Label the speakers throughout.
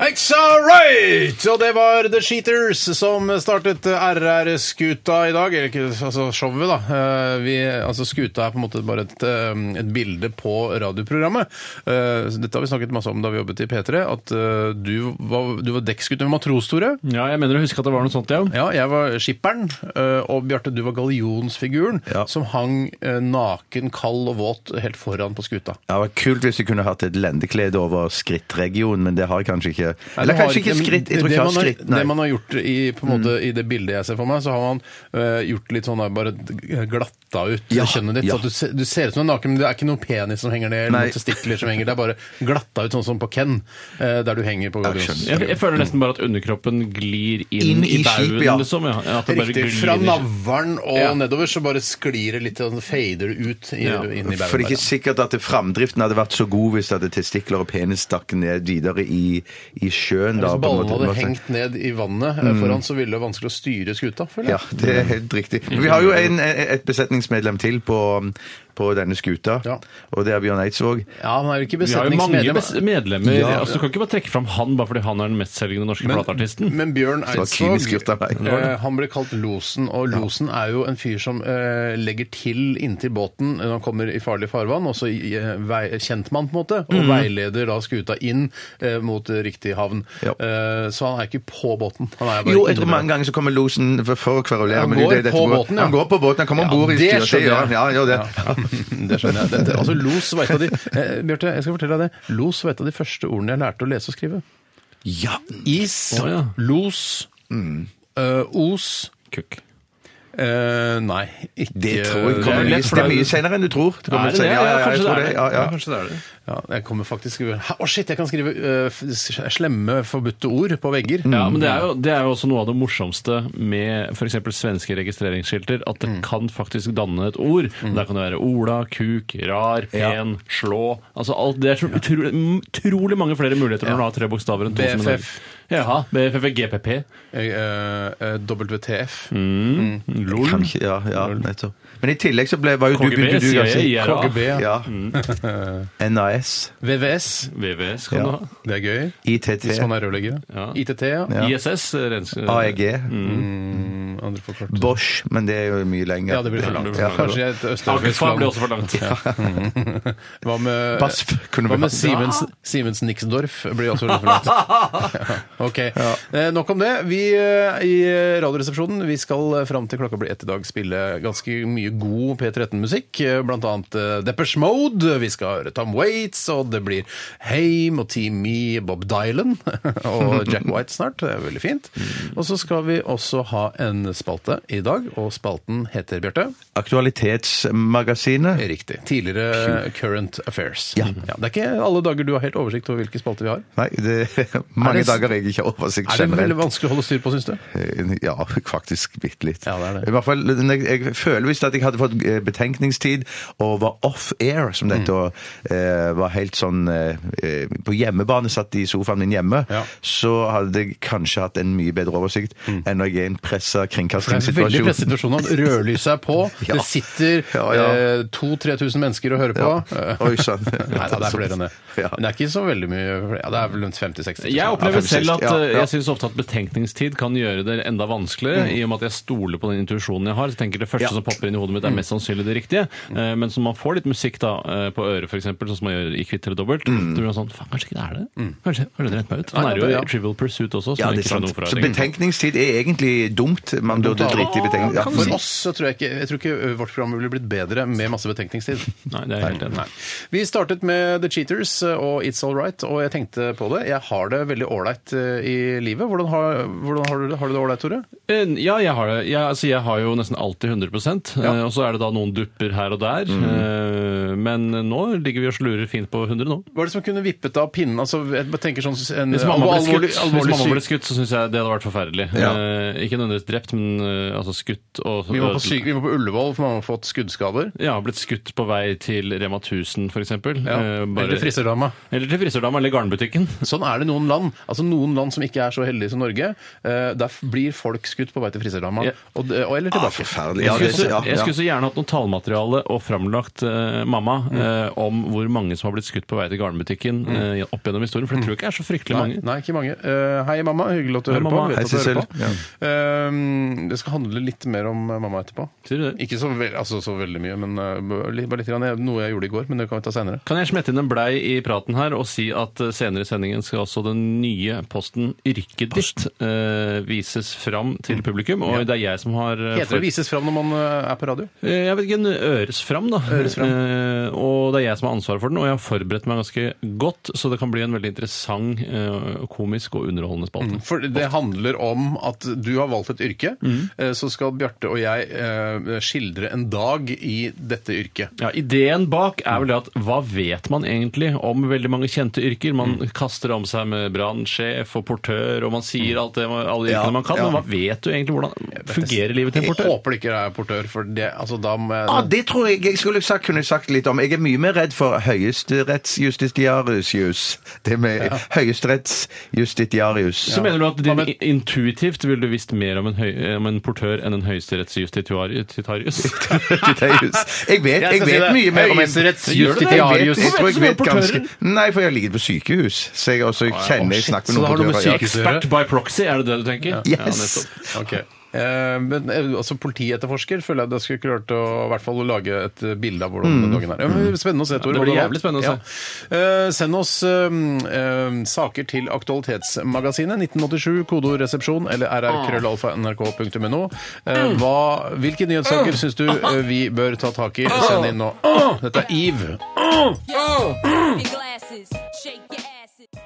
Speaker 1: It's alright! Og det var The Sheeters som startet RR-skuta i dag. Eller ikke, altså showet, da. Eh, Vi, altså Skuta er på en måte bare et, eh, et bilde på radioprogrammet. Eh, så Dette har vi snakket masse om da vi jobbet i P3, at eh, du var, du var dekksgutt med matros, Tore.
Speaker 2: Ja, jeg mener å huske at det var noe sånt, ja.
Speaker 1: Ja, jeg var skipperen, eh, og Bjarte, du var gallionsfiguren som hang eh, naken, kald og våt helt foran på skuta.
Speaker 3: Det hadde vært kult hvis jeg kunne hatt et lendeklede over skrittregionen, men det har jeg kanskje ikke. Eller
Speaker 1: Du har
Speaker 3: kanskje ikke
Speaker 1: men
Speaker 3: skritt. Jeg tror
Speaker 1: det
Speaker 3: ikke jeg
Speaker 1: man
Speaker 3: har
Speaker 1: har-
Speaker 3: skritt, nei.
Speaker 1: Det man har gjort i, på en måte,
Speaker 3: Mm.
Speaker 1: i det bildet jeg ser for meg, så har man øh, gjort litt sånn der, bare glatta ut
Speaker 3: Ja,
Speaker 1: kjønnet ditt.
Speaker 3: ja.
Speaker 1: Så at du, ser, du ser ut som du er naken, men det er ikke noen penis som henger ned, eller
Speaker 3: Nei.
Speaker 1: noen testikler som henger. Det er bare glatta ut, sånn som på Ken, eh, der du henger på
Speaker 3: skjønner.
Speaker 2: Jeg, jeg føler nesten bare at underkroppen glir inn,
Speaker 3: Inn i
Speaker 2: i dauen,
Speaker 3: skipet, ja.
Speaker 2: liksom. Ja. At det bare
Speaker 1: Riktig. Fra
Speaker 2: glir.
Speaker 1: navlen og
Speaker 2: Ja.
Speaker 1: nedover så bare sklir det litt, sånn fader det ut i,
Speaker 2: Ja.
Speaker 1: inn i
Speaker 3: For det er
Speaker 1: baugen.
Speaker 3: ikke sikkert at framdriften hadde vært så god hvis at testikler og penis stakk ned videre i, i sjøen. Da,
Speaker 1: Hvis
Speaker 3: på en
Speaker 1: ballene
Speaker 3: måte.
Speaker 1: hadde hengt ned i vannet eh,
Speaker 3: Mm.
Speaker 1: foran, så ville det vært vanskelig å styre skuta, føler
Speaker 3: Ja,
Speaker 1: jeg.
Speaker 3: det er helt riktig. Men vi har jo en, et besetningsmedlem til på, på denne skuta,
Speaker 1: Ja.
Speaker 3: og det er Bjørn Eidsvåg.
Speaker 1: Ja, han er jo ikke
Speaker 2: Vi har jo mange
Speaker 1: besetningsmedlem.
Speaker 2: bes- medlemmer.
Speaker 1: Ja.
Speaker 2: altså, du kan ikke bare trekke fram han bare fordi han er den mestselgende norske plateartisten.
Speaker 1: Men Bjørn
Speaker 3: var kynisk gjort av
Speaker 1: Eidsvåg
Speaker 3: meg.
Speaker 1: eh, han ble kalt Losen, og Losen er jo en fyr som eh, legger til inntil båten når han kommer i farlig farvann, også i, eh, vei, kjentmann på en måte, og
Speaker 3: Mm.
Speaker 1: veileder da skuta inn eh, mot eh, riktig havn.
Speaker 3: Ja.
Speaker 1: Eh, så han er ikke på båten. Han er bare
Speaker 3: Jo, jeg tror
Speaker 1: inne.
Speaker 3: mange ganger så kommer losen for- for å kverulere.
Speaker 1: Han
Speaker 3: men det er
Speaker 1: går
Speaker 3: jo det
Speaker 1: på
Speaker 3: dette går-
Speaker 1: båten, ja.
Speaker 3: Han går på båten, han kommer om bord i
Speaker 1: det
Speaker 3: styret.
Speaker 1: skjønner
Speaker 3: gjør han.
Speaker 1: jeg.
Speaker 3: Ja, ja, det.
Speaker 1: Ja. Det skjønner jeg. Dette, altså, Los var et av de eh, Bjarte, jeg skal fortelle deg det. Los var et av de første ordene jeg lærte å lese og skrive.
Speaker 3: Ja. Mm.
Speaker 1: Is,
Speaker 2: Å, ja.
Speaker 1: los, eh, os
Speaker 2: Kukk.
Speaker 1: eh, Nei, ikke
Speaker 3: Det tror jeg
Speaker 2: Det
Speaker 3: kommer
Speaker 2: er lett,
Speaker 3: mye,
Speaker 2: for
Speaker 3: det er
Speaker 2: det-
Speaker 3: mye senere enn du tror. Det kommer
Speaker 2: Er det det?
Speaker 3: senere. Ja, ja, ja, jeg
Speaker 2: kanskje
Speaker 3: tror
Speaker 2: det er
Speaker 3: det.
Speaker 2: det.
Speaker 3: Ja, ja.
Speaker 2: Ja, kanskje det er det.
Speaker 1: Ja, jeg kommer faktisk skrive Å shit, jeg kan skrive øh, f- slemme, forbudte ord på vegger.
Speaker 3: Mm.
Speaker 2: Ja, men det er, jo, det er jo også noe av det morsomste med f.eks. svenske registreringsskilter, at
Speaker 3: Mm.
Speaker 2: det kan faktisk danne et ord. Der kan det være Ola, kuk, rar, pen, slå Altså alt Det er så utrolig, utrolig mange flere muligheter når du har tre bokstaver enn to som en
Speaker 1: BFF.
Speaker 2: Ja, BFF er GPP.
Speaker 1: Jeg, øh, øh, WTF.
Speaker 3: Mm.
Speaker 2: LOL.
Speaker 3: Kanskje, ja, ja, nettopp. Men i tillegg så ble, var jo du,
Speaker 2: KGB,
Speaker 3: begynte du å
Speaker 2: CIA,
Speaker 3: si
Speaker 2: IRA,
Speaker 1: KGB,
Speaker 3: ja. NAS,
Speaker 1: VVS.
Speaker 2: VVS kan
Speaker 3: Ja.
Speaker 2: du ha.
Speaker 1: Det er gøy.
Speaker 3: ITT,
Speaker 1: Hvis man er rørlegger.
Speaker 2: Ja. E
Speaker 1: ITT, ja.
Speaker 3: Ja.
Speaker 2: ISS
Speaker 3: eh,
Speaker 2: rens-
Speaker 3: AEG,
Speaker 1: Mm, Andre forklart.
Speaker 3: Bosch, men det er jo mye lenger.
Speaker 1: Ja, det blir for langt.
Speaker 3: Ja.
Speaker 1: Kanskje et østeuropeisk
Speaker 2: Agfa blir
Speaker 1: land.
Speaker 2: også for langt.
Speaker 1: Hva med,
Speaker 3: BASF kunne
Speaker 1: hva
Speaker 3: vi
Speaker 1: med
Speaker 3: hatt.
Speaker 1: Simens, Simens Nixdorf? Blir også litt for langt. Ja, ok. Eh, Nok om det. Vi eh, i Radioresepsjonen vi skal eh, fram til klokka blir ett i dag spille ganske mye god P13-musikk. eh, Blant annet eh, Depeche Mode. Vi skal høre Tom Waits, og det blir Heim og Team Me, Bob Dylan og Jack White snart. Det er veldig fint. Og så skal vi også ha en spalte i dag, og spalten heter, Bjarte?
Speaker 3: Aktualitetsmagasinet.
Speaker 1: Riktig. Tidligere Current Affairs. Mm-hmm.
Speaker 3: Ja.
Speaker 1: Det er ikke alle dager du har helt oversikt over hvilke spalter vi har.
Speaker 3: Nei, det er mange
Speaker 1: det-
Speaker 3: dager jeg ikke har oversikt
Speaker 1: Er det veldig
Speaker 3: generelt.
Speaker 1: vanskelig å holde styr på, syns du?
Speaker 3: Eh, Ja, faktisk bitte litt.
Speaker 1: Ja, det er det.
Speaker 3: I hvert fall, jeg, jeg føler visst at jeg hadde fått eh, betenkningstid og var off-air, som
Speaker 1: Mm.
Speaker 3: dette, og eh, var helt sånn eh, eh, På hjemmebane, satt i sofaen min hjemme,
Speaker 1: Ja. Mm.
Speaker 3: så hadde jeg kanskje hatt en mye bedre oversikt enn når jeg er i en pressa
Speaker 1: Det er en veldig presset
Speaker 3: kringkastingssituasjon.
Speaker 1: situasjon. at Rødlyset er på,
Speaker 3: Ja.
Speaker 1: det sitter
Speaker 3: Ja, ja.
Speaker 1: eh, 2000-3000 mennesker og hører på. Eh,
Speaker 3: Ja. Oi sånn. sann.
Speaker 1: Nei, da, det er flere enn det.
Speaker 3: Ja.
Speaker 1: Men det er ikke så veldig mye ja, Det er vel rundt 50 000-60 000.
Speaker 2: Jeg opplever
Speaker 3: fem, seks.
Speaker 2: selv at
Speaker 3: Ja,
Speaker 2: eh,
Speaker 3: ja. Mm.
Speaker 2: jeg syns ofte at betenkningstid kan gjøre det enda vanskeligere, i og med at jeg stoler på den intuisjonen jeg har. Så tenker jeg det første som popper inn i hodet mitt,
Speaker 3: Mm.
Speaker 2: er mest sannsynlig det riktige. Eh, Men som man får litt musikk da eh, på øret, f.eks., sånn som man gjør i Kvitt eller dobbelt,
Speaker 3: Mm.
Speaker 2: så blir man sånn Faen, kanskje ikke det er det? Kanskje kanskje det rent meg ut? Han
Speaker 1: Nei,
Speaker 2: er jo
Speaker 1: ja.
Speaker 2: i Trivial Pursuit også, som
Speaker 3: Ja,
Speaker 2: jeg
Speaker 3: det er
Speaker 2: ikke skjønner
Speaker 3: sant.
Speaker 2: hvorfor
Speaker 3: Så
Speaker 2: er.
Speaker 3: betenkningstid er egentlig dumt. Man burde drite i betenkningstid. Ja,
Speaker 1: For oss så tror jeg ikke, jeg tror ikke ø, vårt program ville blitt bedre med masse betenkningstid.
Speaker 2: Nei, det er jeg helt enig i.
Speaker 1: Nei. Vi startet med The Cheaters ø, og It's All Right, og jeg tenkte på det. Jeg har det veldig ålreit ø, i livet. Hvordan har, hvordan har, du, det? har du det ålreit, Tore?
Speaker 2: Eh, Ja, jeg har det. Jeg, altså, jeg har jo nesten alltid
Speaker 1: Mm.
Speaker 2: 100 eh, Og så er det da noen dupper her og der. eh, Men nå ligger vi og slurer fint på 100 nå.
Speaker 1: Hva er det som kunne vippet av pinnen? Altså, jeg bare tenker sånn en
Speaker 2: Hvis mamma ble skutt,
Speaker 1: alvorlig- alvorlig
Speaker 2: hvis mamma ble
Speaker 1: syk-
Speaker 2: skutt så syns jeg det hadde vært forferdelig.
Speaker 3: Ja.
Speaker 2: Eh, ikke nødvendigvis drept, men eh, altså skutt og
Speaker 1: Vi må på, syk, vi må på Ullevål, for mamma har fått skuddskader.
Speaker 2: Ja, blitt skutt på vei til Rema 1000, f.eks.
Speaker 1: Ja. Eller friserdama.
Speaker 2: Eh, Eller til frisørdama eller garnbutikken.
Speaker 1: Sånn er det noen land. Altså Noen land som ikke er så heldige som Norge. eh, der blir folk skutt på vei til friserdama.
Speaker 2: Ja. Ah,
Speaker 1: Og, det- og, eller tilbake.
Speaker 3: forferdelig.
Speaker 2: Jeg
Speaker 3: Ja,
Speaker 2: skulle,
Speaker 3: det,
Speaker 2: så,
Speaker 3: ja,
Speaker 2: jeg
Speaker 3: ja.
Speaker 2: skulle så gjerne hatt noe tallmateriale og framlagt eh, mamma
Speaker 1: Mm.
Speaker 2: eh, om hvor mange som har blitt skutt på vei til garnbutikken eh, opp gjennom historien, for det tror jeg ikke er så fryktelig mange.
Speaker 1: Mm. Nei, ikke mange. Eh, hei, mamma. Hyggelig at du
Speaker 2: Hei,
Speaker 1: hører
Speaker 2: mamma.
Speaker 1: på. Vet
Speaker 3: Hei,
Speaker 1: at du hører
Speaker 3: Sissel.
Speaker 1: på. Eh, det skal handle litt mer om eh, mamma etterpå.
Speaker 2: Sier du det?
Speaker 1: Ikke så, ve altså, så veldig mye, men eh, litt- bare litt. Grann. Jeg- Noe jeg gjorde i går, men det kan vi ta senere.
Speaker 2: Kan jeg smette inn en blei i praten her og si at eh, senere i sendingen skal også den nye posten Yrket ditt eh, vises fram til publikum, og det er jeg som har eh,
Speaker 1: Mm. Heter det 'vises fram' når man eh, er på radio?
Speaker 2: Eh, Jeg vet ikke, en øres fram, da.
Speaker 1: Øres fram.
Speaker 2: Eh, og det er jeg som har ansvaret for den, og jeg har forberedt meg ganske godt, så det kan bli en veldig interessant, eh, komisk og underholdende spalte.
Speaker 1: For det handler om at du har valgt et yrke, eh, så skal Bjarte og jeg eh, skildre en dag i dette yrket.
Speaker 2: Ja, ideen bak er vel det at hva vet man egentlig om veldig mange kjente yrker? Man
Speaker 3: Mm.
Speaker 2: kaster om seg med brannsjef og portør, og man sier alt det, alle yrkene
Speaker 3: Mm. Ja,
Speaker 2: man kan,
Speaker 3: ja.
Speaker 2: men hva vet du egentlig? Hvordan fungerer livet til en
Speaker 1: Jeg
Speaker 2: portør?
Speaker 1: håper det ikke er portør, for det, altså, da må jeg
Speaker 3: Ah, det tror jeg jeg skulle sagt, kunne sagt litt om. Jeg er mye mer redd for høyesterettsjustitiarius. Det med høyesterettsjustitiarius.
Speaker 2: Så mener du at
Speaker 1: Hva
Speaker 2: din,
Speaker 1: med-
Speaker 2: intuitivt ville du visst mer om en, høy, eh, om en portør enn en høyesterettsjustitiarius?
Speaker 3: Titarius. Jeg vet,
Speaker 1: Jeg
Speaker 3: jeg
Speaker 1: skal si
Speaker 3: vet
Speaker 1: det.
Speaker 3: mye mer om en- Jeg
Speaker 1: Høyesterettsjustitiarius.
Speaker 3: vet- Jeg tror jeg
Speaker 2: Hvorfor er
Speaker 3: vet
Speaker 2: du
Speaker 3: ganske Nei, for jeg har ligget på sykehus, så jeg også kjenner jeg snakker med
Speaker 1: så da har du
Speaker 3: noen
Speaker 1: med
Speaker 3: portører.
Speaker 1: sykehus-
Speaker 3: ja.
Speaker 2: Expert by proxy, er det det du tenker? Ja,
Speaker 3: Yes.
Speaker 2: nettopp.
Speaker 1: Ok. Eh, men eh, altså, politietterforsker føler jeg det skulle klart å i hvert fall å lage et eh, bilde av hvordan den dagen er. Ja, men Spennende å se, Tore.
Speaker 2: Mm. det blir
Speaker 1: hvordan-
Speaker 2: jævlig spennende å se.
Speaker 1: Ja. Eh, send oss eh, eh, saker til Aktualitetsmagasinet 1987, kodoresepsjon eller rrkrøllalfa.nrk.no. Eh, hva- hvilke
Speaker 2: Mm.
Speaker 1: nyhetssaker syns du eh, vi bør ta tak i? Send inn nå. Dette er Eve.
Speaker 4: and glasses. Shake your asses.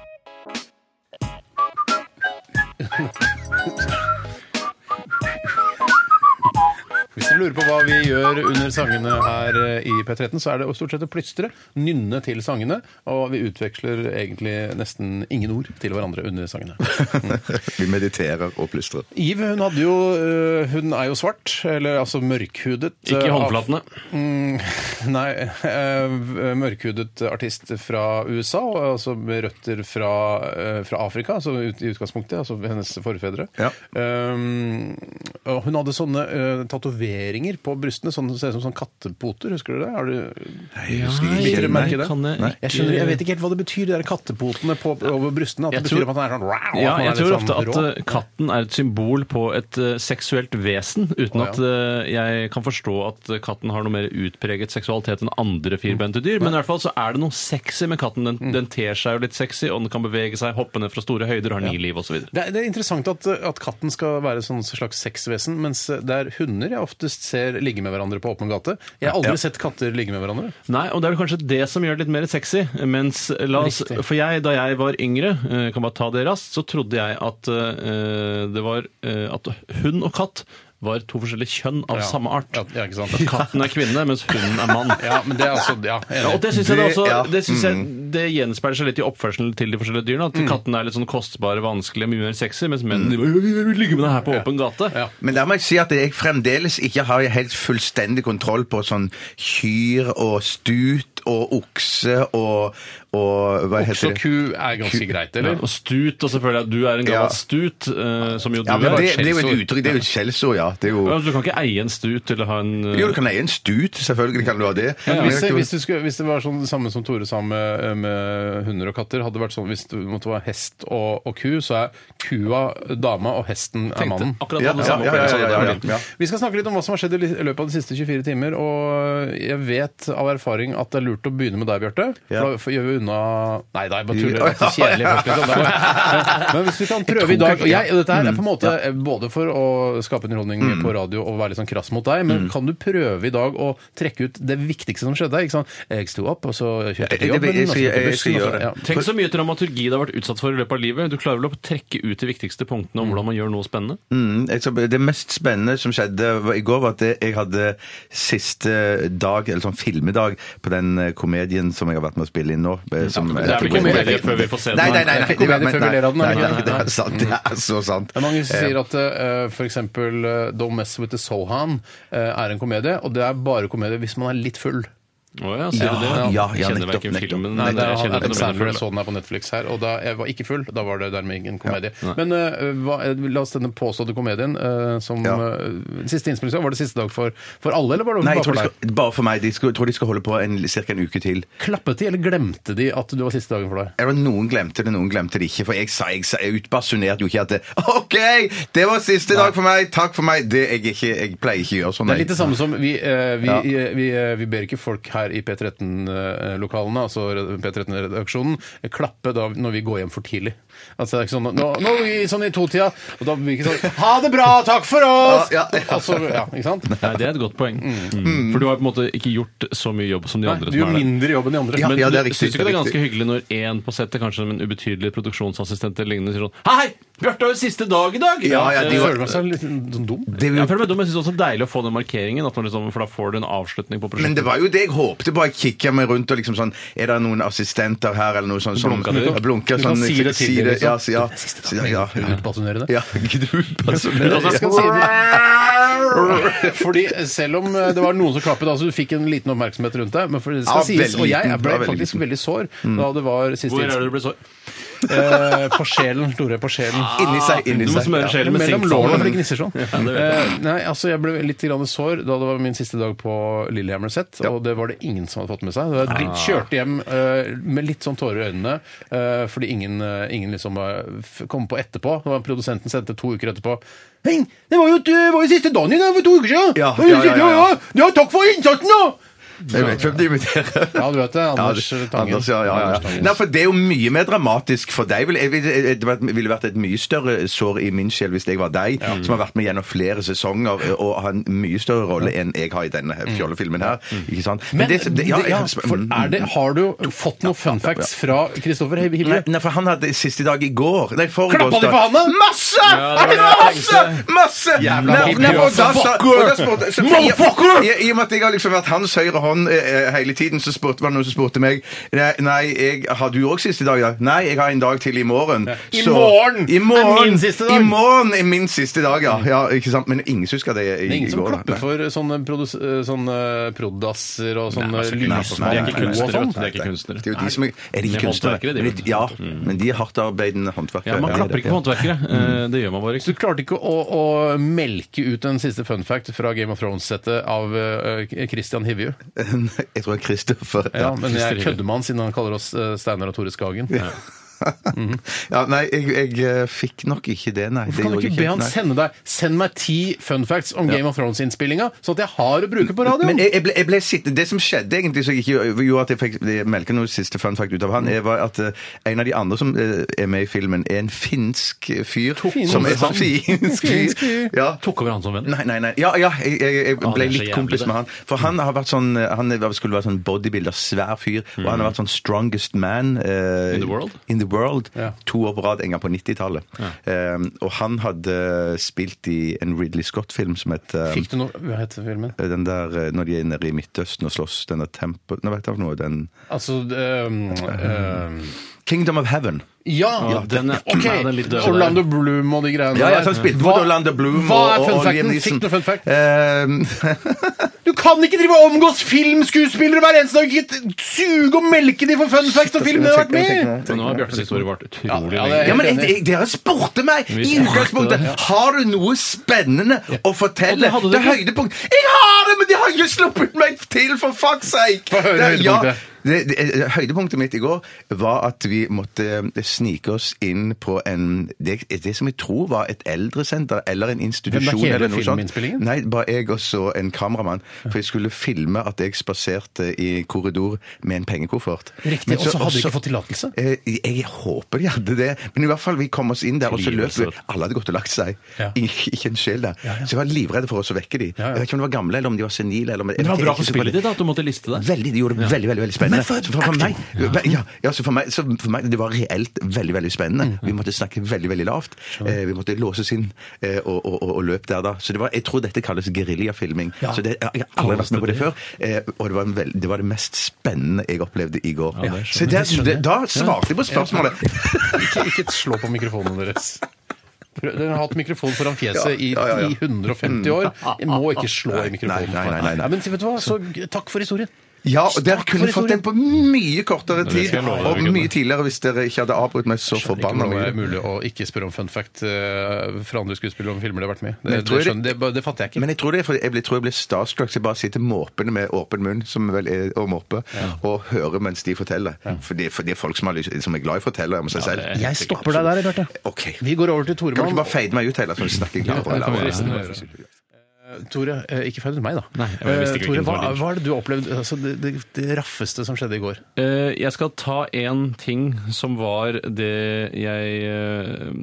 Speaker 1: Hvis dere lurer på hva vi gjør under sangene her eh, i P13, så er det å stort sett å plystre, nynne til sangene, og vi utveksler egentlig nesten ingen ord til hverandre under sangene.
Speaker 3: Vi mediterer og plystrer.
Speaker 1: Iv hun hadde jo eh, Hun er jo svart, eller altså mørkhudet.
Speaker 2: Ikke
Speaker 1: eh,
Speaker 2: i
Speaker 1: av-
Speaker 2: håndflatene.
Speaker 1: Mm, nei. eh, mørkhudet artist fra USA, og altså med røtter fra, eh, fra Afrika, altså ut, i utgangspunktet. Altså hennes forfedre.
Speaker 3: Ja.
Speaker 1: Um, og hun hadde sånne uh, tatoveringer på brystene, sånn, ser ut som sånn kattepoter. Husker du det? Har du
Speaker 3: Jeg husker ikke.
Speaker 1: Biter dere
Speaker 3: Nei.
Speaker 1: merke i det?
Speaker 2: kan jeg,
Speaker 3: Nei.
Speaker 1: jeg, skjønner, jeg vet ikke helt hva det betyr, de der kattepotene på, over brystene. At det
Speaker 2: Jeg tror-
Speaker 1: betyr at han er sånn wow,
Speaker 2: Ja,
Speaker 1: at han
Speaker 2: jeg
Speaker 1: er litt
Speaker 2: tror
Speaker 1: sånn
Speaker 2: ofte at
Speaker 1: rå.
Speaker 2: eh, katten er et symbol på et eh, seksuelt vesen, uten
Speaker 1: Å,
Speaker 2: at eh, jeg kan forstå at eh, katten har noe mer utpreget seksualitet enn andre firbente dyr, men i hvert fall så er det noe sexy med katten.
Speaker 1: Mm.
Speaker 2: Den, den ter seg jo litt sexy, og den kan bevege seg, hoppe ned fra store høyder, har ni liv osv.
Speaker 1: Det er, det er interessant at, eh, at katten skal være sånn slags sexvesen, mens det er hunder jeg oftest ser ligge med hverandre på åpen gate. Jeg har aldri sett katter ligge med hverandre.
Speaker 2: Nei, og det er vel kanskje det som gjør det litt mer sexy. Mens, eh, la oss,
Speaker 1: Riktig.
Speaker 2: for jeg, da jeg var yngre, eh, kan bare ta det raskt, så trodde jeg at, eh, det var, eh, at hund og katt var to forskjellige kjønn av
Speaker 1: Ja.
Speaker 2: samme art.
Speaker 1: Ja, ja, ikke sant?
Speaker 2: At katten er kvinne, mens hunden er mann.
Speaker 1: Ja, men det er altså Ja.
Speaker 2: Ja, og det synes jeg, det
Speaker 3: Det-
Speaker 2: også,
Speaker 3: ja. Mm.
Speaker 2: det, synes jeg det gjenspeiler seg litt i oppførselen til de forskjellige dyrene. At kattene er litt sånn kostbare, vanskelige, mye mer sexy,
Speaker 3: Mm.
Speaker 2: mens mennene de ligger med deg her på åpen gate.
Speaker 1: Ja.
Speaker 3: Men der må jeg si at jeg fremdeles ikke har helt fullstendig kontroll på sånn kyr og stut og okse og, og hva
Speaker 1: Så
Speaker 3: heter det?
Speaker 1: ku er ganske greit, eller?
Speaker 2: Og stut, og selvfølgelig at du er en gammel
Speaker 3: Ja.
Speaker 2: stut, eh, som jo du
Speaker 3: Ja, men
Speaker 2: er.
Speaker 3: det, det er jo et uttrykk, det er jo et skjellsord, ja. Det er jo,
Speaker 2: Ja, Du kan ikke eie en stut eller ha en eh,
Speaker 3: jo, du kan eie en stut, selvfølgelig kan du ha det.
Speaker 1: Men
Speaker 3: Men
Speaker 1: hvis,
Speaker 3: jeg-
Speaker 1: hvis, du skulle, hvis det var sånn det samme som Tore sa med, eh, med hunder og katter hadde det vært sånn, Hvis det måtte være hest og, og ku, så er kua dama, og hesten er
Speaker 2: tenkte
Speaker 1: mannen.
Speaker 2: akkurat
Speaker 3: Ja,
Speaker 2: det
Speaker 3: ja,
Speaker 2: samme.
Speaker 3: ja, ja, ja, ja, ja.
Speaker 1: Ja. Vi skal snakke litt om hva som har skjedd i li- løpet av de siste 24 timer. Og jeg vet av erfaring at det er lurt å begynne med deg, Bjarte.
Speaker 3: Ja.
Speaker 1: For da får- gjør vi unna Nei, nei, bare tuller. Det
Speaker 3: Ja, ja.
Speaker 1: er så kjedelig. folk, liksom. Det er bare- Men hvis vi kan prøve i dag og jeg, og Dette her er på en
Speaker 3: Mm.
Speaker 1: måte eh, både for å skape underholdning på radio og være litt sånn krass mot deg,
Speaker 3: Mm.
Speaker 1: men kan du prøve i dag å trekke ut det viktigste som skjedde? Ikke sant? Jeg sto opp, og så kjørte jeg til
Speaker 3: Jeg- jeg-
Speaker 1: jobben.
Speaker 3: jeg-
Speaker 1: og så gikk jeg på
Speaker 3: jeg- jeg skal
Speaker 1: bussen, og så-
Speaker 3: gjøre det.
Speaker 1: ja.
Speaker 2: Tenk så mye dramaturgi det har vært utsatt for i løpet av livet. Du klarer vel å trekke ut de viktigste punktene om hvordan man gjør noe spennende?
Speaker 3: Mm, jeg skal- Det mest spennende som skjedde var- i går, var at jeg hadde siste dag, eller sånn filmedag, på den eh, eh, komedien som jeg har vært med å spille inn nå. eh, Som,
Speaker 2: Det er vel ikke komedie før vi får se den?
Speaker 3: Nei, nei, nei. nei,
Speaker 1: Det er ikke komedie før vi ler av den,
Speaker 3: Nei,
Speaker 1: er det
Speaker 3: nei,
Speaker 1: ikke?
Speaker 3: Det er sant. Det er så sant.
Speaker 1: Det er mange som sier at uh, f.eks. Uh, Don't Mess With The Sohan eh, er en komedie, og det er bare komedie hvis man er litt full.
Speaker 2: Å ja, sier du det?
Speaker 3: Ja, ja,
Speaker 2: Jeg kjenner
Speaker 3: nettopp,
Speaker 2: verken
Speaker 3: nettopp.
Speaker 2: filmen
Speaker 3: Nei,
Speaker 2: Nei, jeg kjenner
Speaker 1: Det er, han er
Speaker 2: ikke
Speaker 1: en
Speaker 2: noe mer
Speaker 1: særfull, jeg
Speaker 2: for det.
Speaker 1: så den her på Netflix her, og da jeg var ikke full. Da var det dermed ingen komedie. Men eh, hva, eh, la oss denne påståtte komedien eh, som
Speaker 3: Ja.
Speaker 1: eh, Siste innspillingsdag, var det siste dag for, for alle, eller var det
Speaker 3: Eh, Nei, jeg
Speaker 1: bare
Speaker 3: tror de
Speaker 1: for deg?
Speaker 3: skal, bare for meg. De skal, jeg tror de skal holde på ca. en uke til.
Speaker 1: Klappet de, eller glemte de at du var siste dagen for deg?
Speaker 3: Eller noen glemte det, noen glemte det ikke. For jeg, sa, jeg, sa, jeg utbasunerte jo ikke at det, OK, det var siste dag for meg! Takk for meg! Det, jeg, er ikke, jeg pleier ikke å gjøre sånn.
Speaker 1: Det er
Speaker 3: jeg.
Speaker 1: litt det samme som vi, eh, vi,
Speaker 3: Ja.
Speaker 1: eh, vi, eh, vi ber ikke folk her i P13-lokalene, altså re- P13-redaksjonen, klappe da når vi går hjem for tidlig. Altså det er ikke sånn nå, nå er vi sånn i totida, og da blir vi ikke sånn Ha det bra! Takk for oss!
Speaker 3: Ja, ja, ja.
Speaker 1: Og så- ja, ikke sant?
Speaker 2: Nei, det er et godt poeng. Mm. For du har på en måte ikke gjort så mye jobb som de
Speaker 1: Nei,
Speaker 2: andre.
Speaker 1: du
Speaker 2: som
Speaker 1: gjør
Speaker 3: sånn
Speaker 2: er der.
Speaker 1: mindre jobb enn de andre.
Speaker 3: Ja,
Speaker 2: Men
Speaker 3: ja, det er
Speaker 2: du-
Speaker 3: riktig,
Speaker 2: syns du ikke det er
Speaker 3: det er
Speaker 2: ganske hyggelig når én på settet, kanskje som en ubetydelig produksjonsassistent eller lignende, sier sånn Hei! Bjarte har jo siste dag i dag!
Speaker 3: Ja, ja,
Speaker 2: Eh,
Speaker 3: de
Speaker 1: Jeg
Speaker 3: var-
Speaker 1: føler meg så litt sånn dum.
Speaker 3: Det vil-
Speaker 2: jeg føler meg dum, men jeg syns også det er deilig å få den markeringen, at man liksom, for da får du en avslutning på
Speaker 3: Men
Speaker 2: prosjektet.
Speaker 3: det var jo det jeg håpte på. Jeg kikka meg rundt og liksom sånn Er det noen assistenter her, eller noe sånt? som-
Speaker 2: Blunker du?
Speaker 3: Jeg blunker
Speaker 1: Du kan
Speaker 3: sånn.
Speaker 1: si det til dem, liksom.
Speaker 3: Ja, si- ja.
Speaker 1: Det er siste
Speaker 3: Si- ja,
Speaker 1: Vil du utbasunere det?
Speaker 3: ja. Gidder du
Speaker 2: Men altså,
Speaker 3: personere?
Speaker 1: Jeg skal si det. Fordi selv om eh, det var noen som klappet, altså du fikk en liten oppmerksomhet rundt deg, men for det skal
Speaker 3: Ja,
Speaker 1: sies,
Speaker 3: veldig
Speaker 1: og jeg
Speaker 3: liten. Mm.
Speaker 1: ble
Speaker 3: Ja, veldig
Speaker 1: faktisk veldig sår da det var siste
Speaker 2: Hvor er det
Speaker 1: innspilling.
Speaker 2: du ble så
Speaker 1: Eh, På sjelen, Tore, på sjelen.
Speaker 3: Inni seg, inni
Speaker 2: Du må
Speaker 3: seg.
Speaker 2: smøre
Speaker 3: Ja.
Speaker 2: sjelen med
Speaker 1: Mellom
Speaker 2: sinksalve.
Speaker 1: lårene, for det gnisser sånn.
Speaker 2: det vet jeg.
Speaker 1: Eh, nei, altså Jeg ble litt grann sår da det var min siste dag på Lillehammer Set, og det var det ingen som hadde fått med seg. Så Jeg dritt-
Speaker 3: Ah.
Speaker 1: kjørte hjem eh, med litt sånn tårer i øynene, eh, fordi ingen, eh, ingen liksom eh, f- kom på etterpå. Det var Produsenten sendte to uker etterpå. Hei, det var jo, det var jo siste dagen din, det var for to uker siden!
Speaker 3: Ja,
Speaker 1: Det var jo
Speaker 3: ja, ja,
Speaker 1: siste-
Speaker 3: ja, ja.
Speaker 1: ja, takk for innsatsen, da!
Speaker 3: Jeg vet hvem du inviterer.
Speaker 1: Ja, du vet det.
Speaker 3: Ja,
Speaker 1: Anders eh,
Speaker 3: det-
Speaker 1: Tangen.
Speaker 3: Anders, ja, ja, ja.
Speaker 1: Anders Tangen.
Speaker 3: Nei, for det er jo mye mer dramatisk for deg. Vil- jeg vil- jeg- Det var- ville vært et mye større sår i min sjel hvis det var deg, som har vært med gjennom flere sesonger og har en mye større rolle enn jeg har i denne her fjollefilmen her. Ikke sant?
Speaker 1: Mm. Men
Speaker 3: det- det- ja,
Speaker 1: det- ja,
Speaker 3: jeg-
Speaker 1: for er det, har du fått noen fun facts fra Kristoffer Hivje?
Speaker 3: Nei, nei, for han hadde siste dag i går. Nei, forgårs
Speaker 1: Klappa de
Speaker 3: dag.
Speaker 1: for han da?
Speaker 3: Masse!
Speaker 2: det var det jeg
Speaker 3: masse! Masse!
Speaker 1: Jævla
Speaker 3: Nei,
Speaker 1: hippie,
Speaker 3: nei, og da sa-
Speaker 1: motherfucker!
Speaker 3: og da spurte- så-
Speaker 1: Motherfucker!
Speaker 3: I, I og med at jeg har liksom vært hans høyre hånd eh, eh, hele tiden, så spurte, var det noen som spurte meg Nei, nei jeg, har du òg siste dag i dag? Nei, jeg har en dag til i morgen.
Speaker 1: I morgen
Speaker 3: I morgen
Speaker 1: er min siste dag.
Speaker 3: I morgen er min siste dag, ja. ja ikke sant? Men ingen som husker det i,
Speaker 1: Det er ingen
Speaker 3: i
Speaker 1: som
Speaker 3: går. da.
Speaker 1: klapper for sånne, produs eh, sånne prodasser og sånne
Speaker 2: altså,
Speaker 1: lys-
Speaker 2: nei,
Speaker 3: nei,
Speaker 2: de er
Speaker 3: nei,
Speaker 2: ikke
Speaker 3: nei, nei.
Speaker 2: kunstnere. vet du, De er
Speaker 3: Nei,
Speaker 2: ikke kunstnere.
Speaker 3: Det er jo de som er, er de
Speaker 2: De
Speaker 3: ikke
Speaker 2: er
Speaker 3: kunstnere.
Speaker 2: håndverkere, de,
Speaker 3: Men
Speaker 2: vet du.
Speaker 3: ja, men de er hardtarbeidende håndverkere.
Speaker 2: Ja, man klapper ikke på
Speaker 3: Ja. Mm.
Speaker 2: håndverkere. Eh, Det gjør man bare
Speaker 1: Du
Speaker 2: ikke.
Speaker 1: klarte ikke å, å melke ut en siste fun fact fra Game of Thrones-settet av eh, Christian Hivju.
Speaker 3: Jeg tror Kristoffer
Speaker 1: Ja, men jeg
Speaker 2: Christian Hivju.
Speaker 1: kødder med han siden han kaller oss eh, Steinar og Tore Skagen.
Speaker 3: ja, nei, jeg, jeg eh, fikk nok ikke det, nei.
Speaker 1: Mhm. Kan du
Speaker 3: gjorde jeg
Speaker 1: ikke be han
Speaker 3: nei.
Speaker 1: sende deg Send meg ti fun facts om Game of Thrones-innspillinga, sånn at jeg har å bruke på radioen?
Speaker 3: Men jeg, jeg ble, jeg ble sitt, det som skjedde egentlig, så jeg ikke gjorde at jeg fikk melke noe siste fun fact ut av han, er, var at eh, en av de andre som eh, er med i filmen, er en finsk fyr.
Speaker 1: Finsk
Speaker 3: som er sånn
Speaker 1: mann.
Speaker 3: finsk fyr.
Speaker 1: Finsk fyr.
Speaker 3: Ja.
Speaker 2: Tok over han som venn.
Speaker 3: Nei, nei, nei. Ja, ja jeg, jeg, jeg
Speaker 2: Ah,
Speaker 3: ble
Speaker 2: det er så
Speaker 3: litt
Speaker 2: jævlig,
Speaker 3: kompis
Speaker 2: det.
Speaker 3: med han. For han har vært sånn Han er- skulle være sånn bodybuilder, svær fyr. Og han har vært sånn strongest man eh,
Speaker 2: In the world?
Speaker 3: In the world.
Speaker 1: Ja.
Speaker 3: To år på rad, en gang på 90-tallet. Eh, og han hadde eh, spilt i en Ridley Scott-film som het eh,
Speaker 1: Fikk du noe Hva heter filmen?
Speaker 3: den der, eh, Når de er nede i Midtøsten og slåss, den der tempo... Nå vet jeg noe, den
Speaker 1: Altså ehm, ehm,
Speaker 3: Kingdom of Heaven.
Speaker 1: Ja!
Speaker 2: Ja, den er-
Speaker 1: ok,
Speaker 2: Nei, den er litt døv der.
Speaker 1: Orlando Bloom og de greiene
Speaker 3: Ja, ja,
Speaker 1: der.
Speaker 3: så han spilte
Speaker 1: Hva-
Speaker 3: mot Orlando Bloom
Speaker 1: Hva er
Speaker 3: og,
Speaker 1: fun
Speaker 3: og Liam
Speaker 1: facten?
Speaker 3: Neeson.
Speaker 1: Fikk du fun fact?
Speaker 3: Eh,
Speaker 1: Du kan ikke drive og omgås filmskuespillere hver eneste dag! Ikke suge og melke de for fun facts og film de har vært med i!
Speaker 2: Men nå har Bjartes historie vart utrolig
Speaker 1: Ja, ja,
Speaker 2: lenge.
Speaker 3: Ja, men jeg,
Speaker 1: Helt enig.
Speaker 3: jeg, dere spurte meg
Speaker 2: Vi
Speaker 3: i
Speaker 2: spurte
Speaker 3: utgangspunktet
Speaker 2: deg, ja.
Speaker 3: Har du noe spennende å
Speaker 2: Og
Speaker 3: fortelle.
Speaker 2: det hadde du
Speaker 3: det er
Speaker 2: ikke.
Speaker 3: høydepunkt. Jeg har det, men de har ikke sluppet meg til, for fuck's sake!
Speaker 1: Få høre
Speaker 3: Det- ja,
Speaker 1: høydepunktet.
Speaker 3: det, det, høydepunktet mitt i går var at vi måtte eh, snike oss inn på en det, det som jeg tror var et eldresenter eller en institusjon.
Speaker 1: hele
Speaker 3: eller noe sånt.
Speaker 1: filminnspillingen?
Speaker 3: Nei, bare jeg og så en kameramann. For jeg skulle filme at jeg spaserte i korridor med en pengekoffert.
Speaker 1: Riktig,
Speaker 3: Men
Speaker 1: og så hadde du
Speaker 3: også-
Speaker 1: ikke fått tillatelse?
Speaker 2: altså.
Speaker 3: Eh, Jeg håper de hadde det, men i hvert fall vi kom oss inn der, og så løp vi.
Speaker 2: Livredd.
Speaker 3: Alle hadde gått og lagt seg.
Speaker 1: Ja.
Speaker 3: Ik- Ikke en sjel der.
Speaker 1: ja.
Speaker 3: Så jeg var livredd for oss å vekke de. Jeg
Speaker 1: ja.
Speaker 3: vet ikke om de var gamle, eller om de var senile. Eller om...
Speaker 2: Men det var bra
Speaker 3: Jeg-
Speaker 2: for
Speaker 3: jeg-
Speaker 2: spillet ditt da, at du måtte liste deg.
Speaker 3: Veldig, De gjorde det veldig veldig, veldig spennende. men for, for, for meg, ja, ja, så for, meg så for meg Det var reelt veldig veldig spennende. Vi måtte snakke veldig veldig lavt. Eh, vi måtte låses inn eh, og, og, og, og løp der da. Så det var, jeg tror dette kalles geriljafilming. Så det- Jeg har aldri vært med på det før. Eh, og det var, en veld, det var det mest spennende jeg opplevde i går.
Speaker 2: Ja, det skjønner
Speaker 3: så det, det, da svarte jeg på spørsmålet!
Speaker 1: Ikke, ikke slå på mikrofonene deres. Prøv- Dere har hatt mikrofon foran fjeset i,
Speaker 3: Ja, ja, ja.
Speaker 1: i 150 år. Jeg må ikke slå i mikrofonen.
Speaker 3: Nei, nei, nei, nei.
Speaker 1: men vet du hva? Så, g- takk for historien.
Speaker 3: Ja, og dere
Speaker 1: Takk for
Speaker 3: kunne fått
Speaker 1: historien.
Speaker 3: den på mye kortere
Speaker 2: skal
Speaker 3: tid.
Speaker 2: jeg love deg,
Speaker 3: Og
Speaker 2: Gunnar.
Speaker 3: mye tidligere hvis dere ikke hadde avbrutt meg så
Speaker 1: Det er ikke
Speaker 3: forbanna
Speaker 1: noe
Speaker 3: mye.
Speaker 1: mulig å ikke spørre om fun fact eh, fra andre skuespillere om filmer de har vært med i. Det,
Speaker 3: Men
Speaker 1: det,
Speaker 3: tror jeg-
Speaker 1: skjønner- det, det fatter jeg ikke.
Speaker 3: Men jeg tror det er fordi jeg ble, tror jeg ble starstruck, så jeg bare sitter måpende med åpen munn som vel er å måpe, og hører mens de forteller. For, det, for det er folk som, har lyst, som er glad i å fortelle om seg selv.
Speaker 2: det er-
Speaker 1: Jeg stopper deg der, Bjarte.
Speaker 3: OK.
Speaker 1: Vi går over til
Speaker 3: Kan du ikke
Speaker 1: Toremann.
Speaker 3: bare fade meg ut, Taylor, så vi snakker
Speaker 1: Ja, det kan vi nesten
Speaker 3: lavere?
Speaker 1: gjøre. Eh, Tore, eh, ikke feil meg, da.
Speaker 2: Nei, jeg visste ikke
Speaker 1: Eh,
Speaker 2: hvilken det
Speaker 1: Tore, hva,
Speaker 2: var.
Speaker 1: hva er det du opplevde altså, det, det, det raffeste som skjedde i går?
Speaker 2: Eh, Jeg skal ta en ting som var det jeg eh,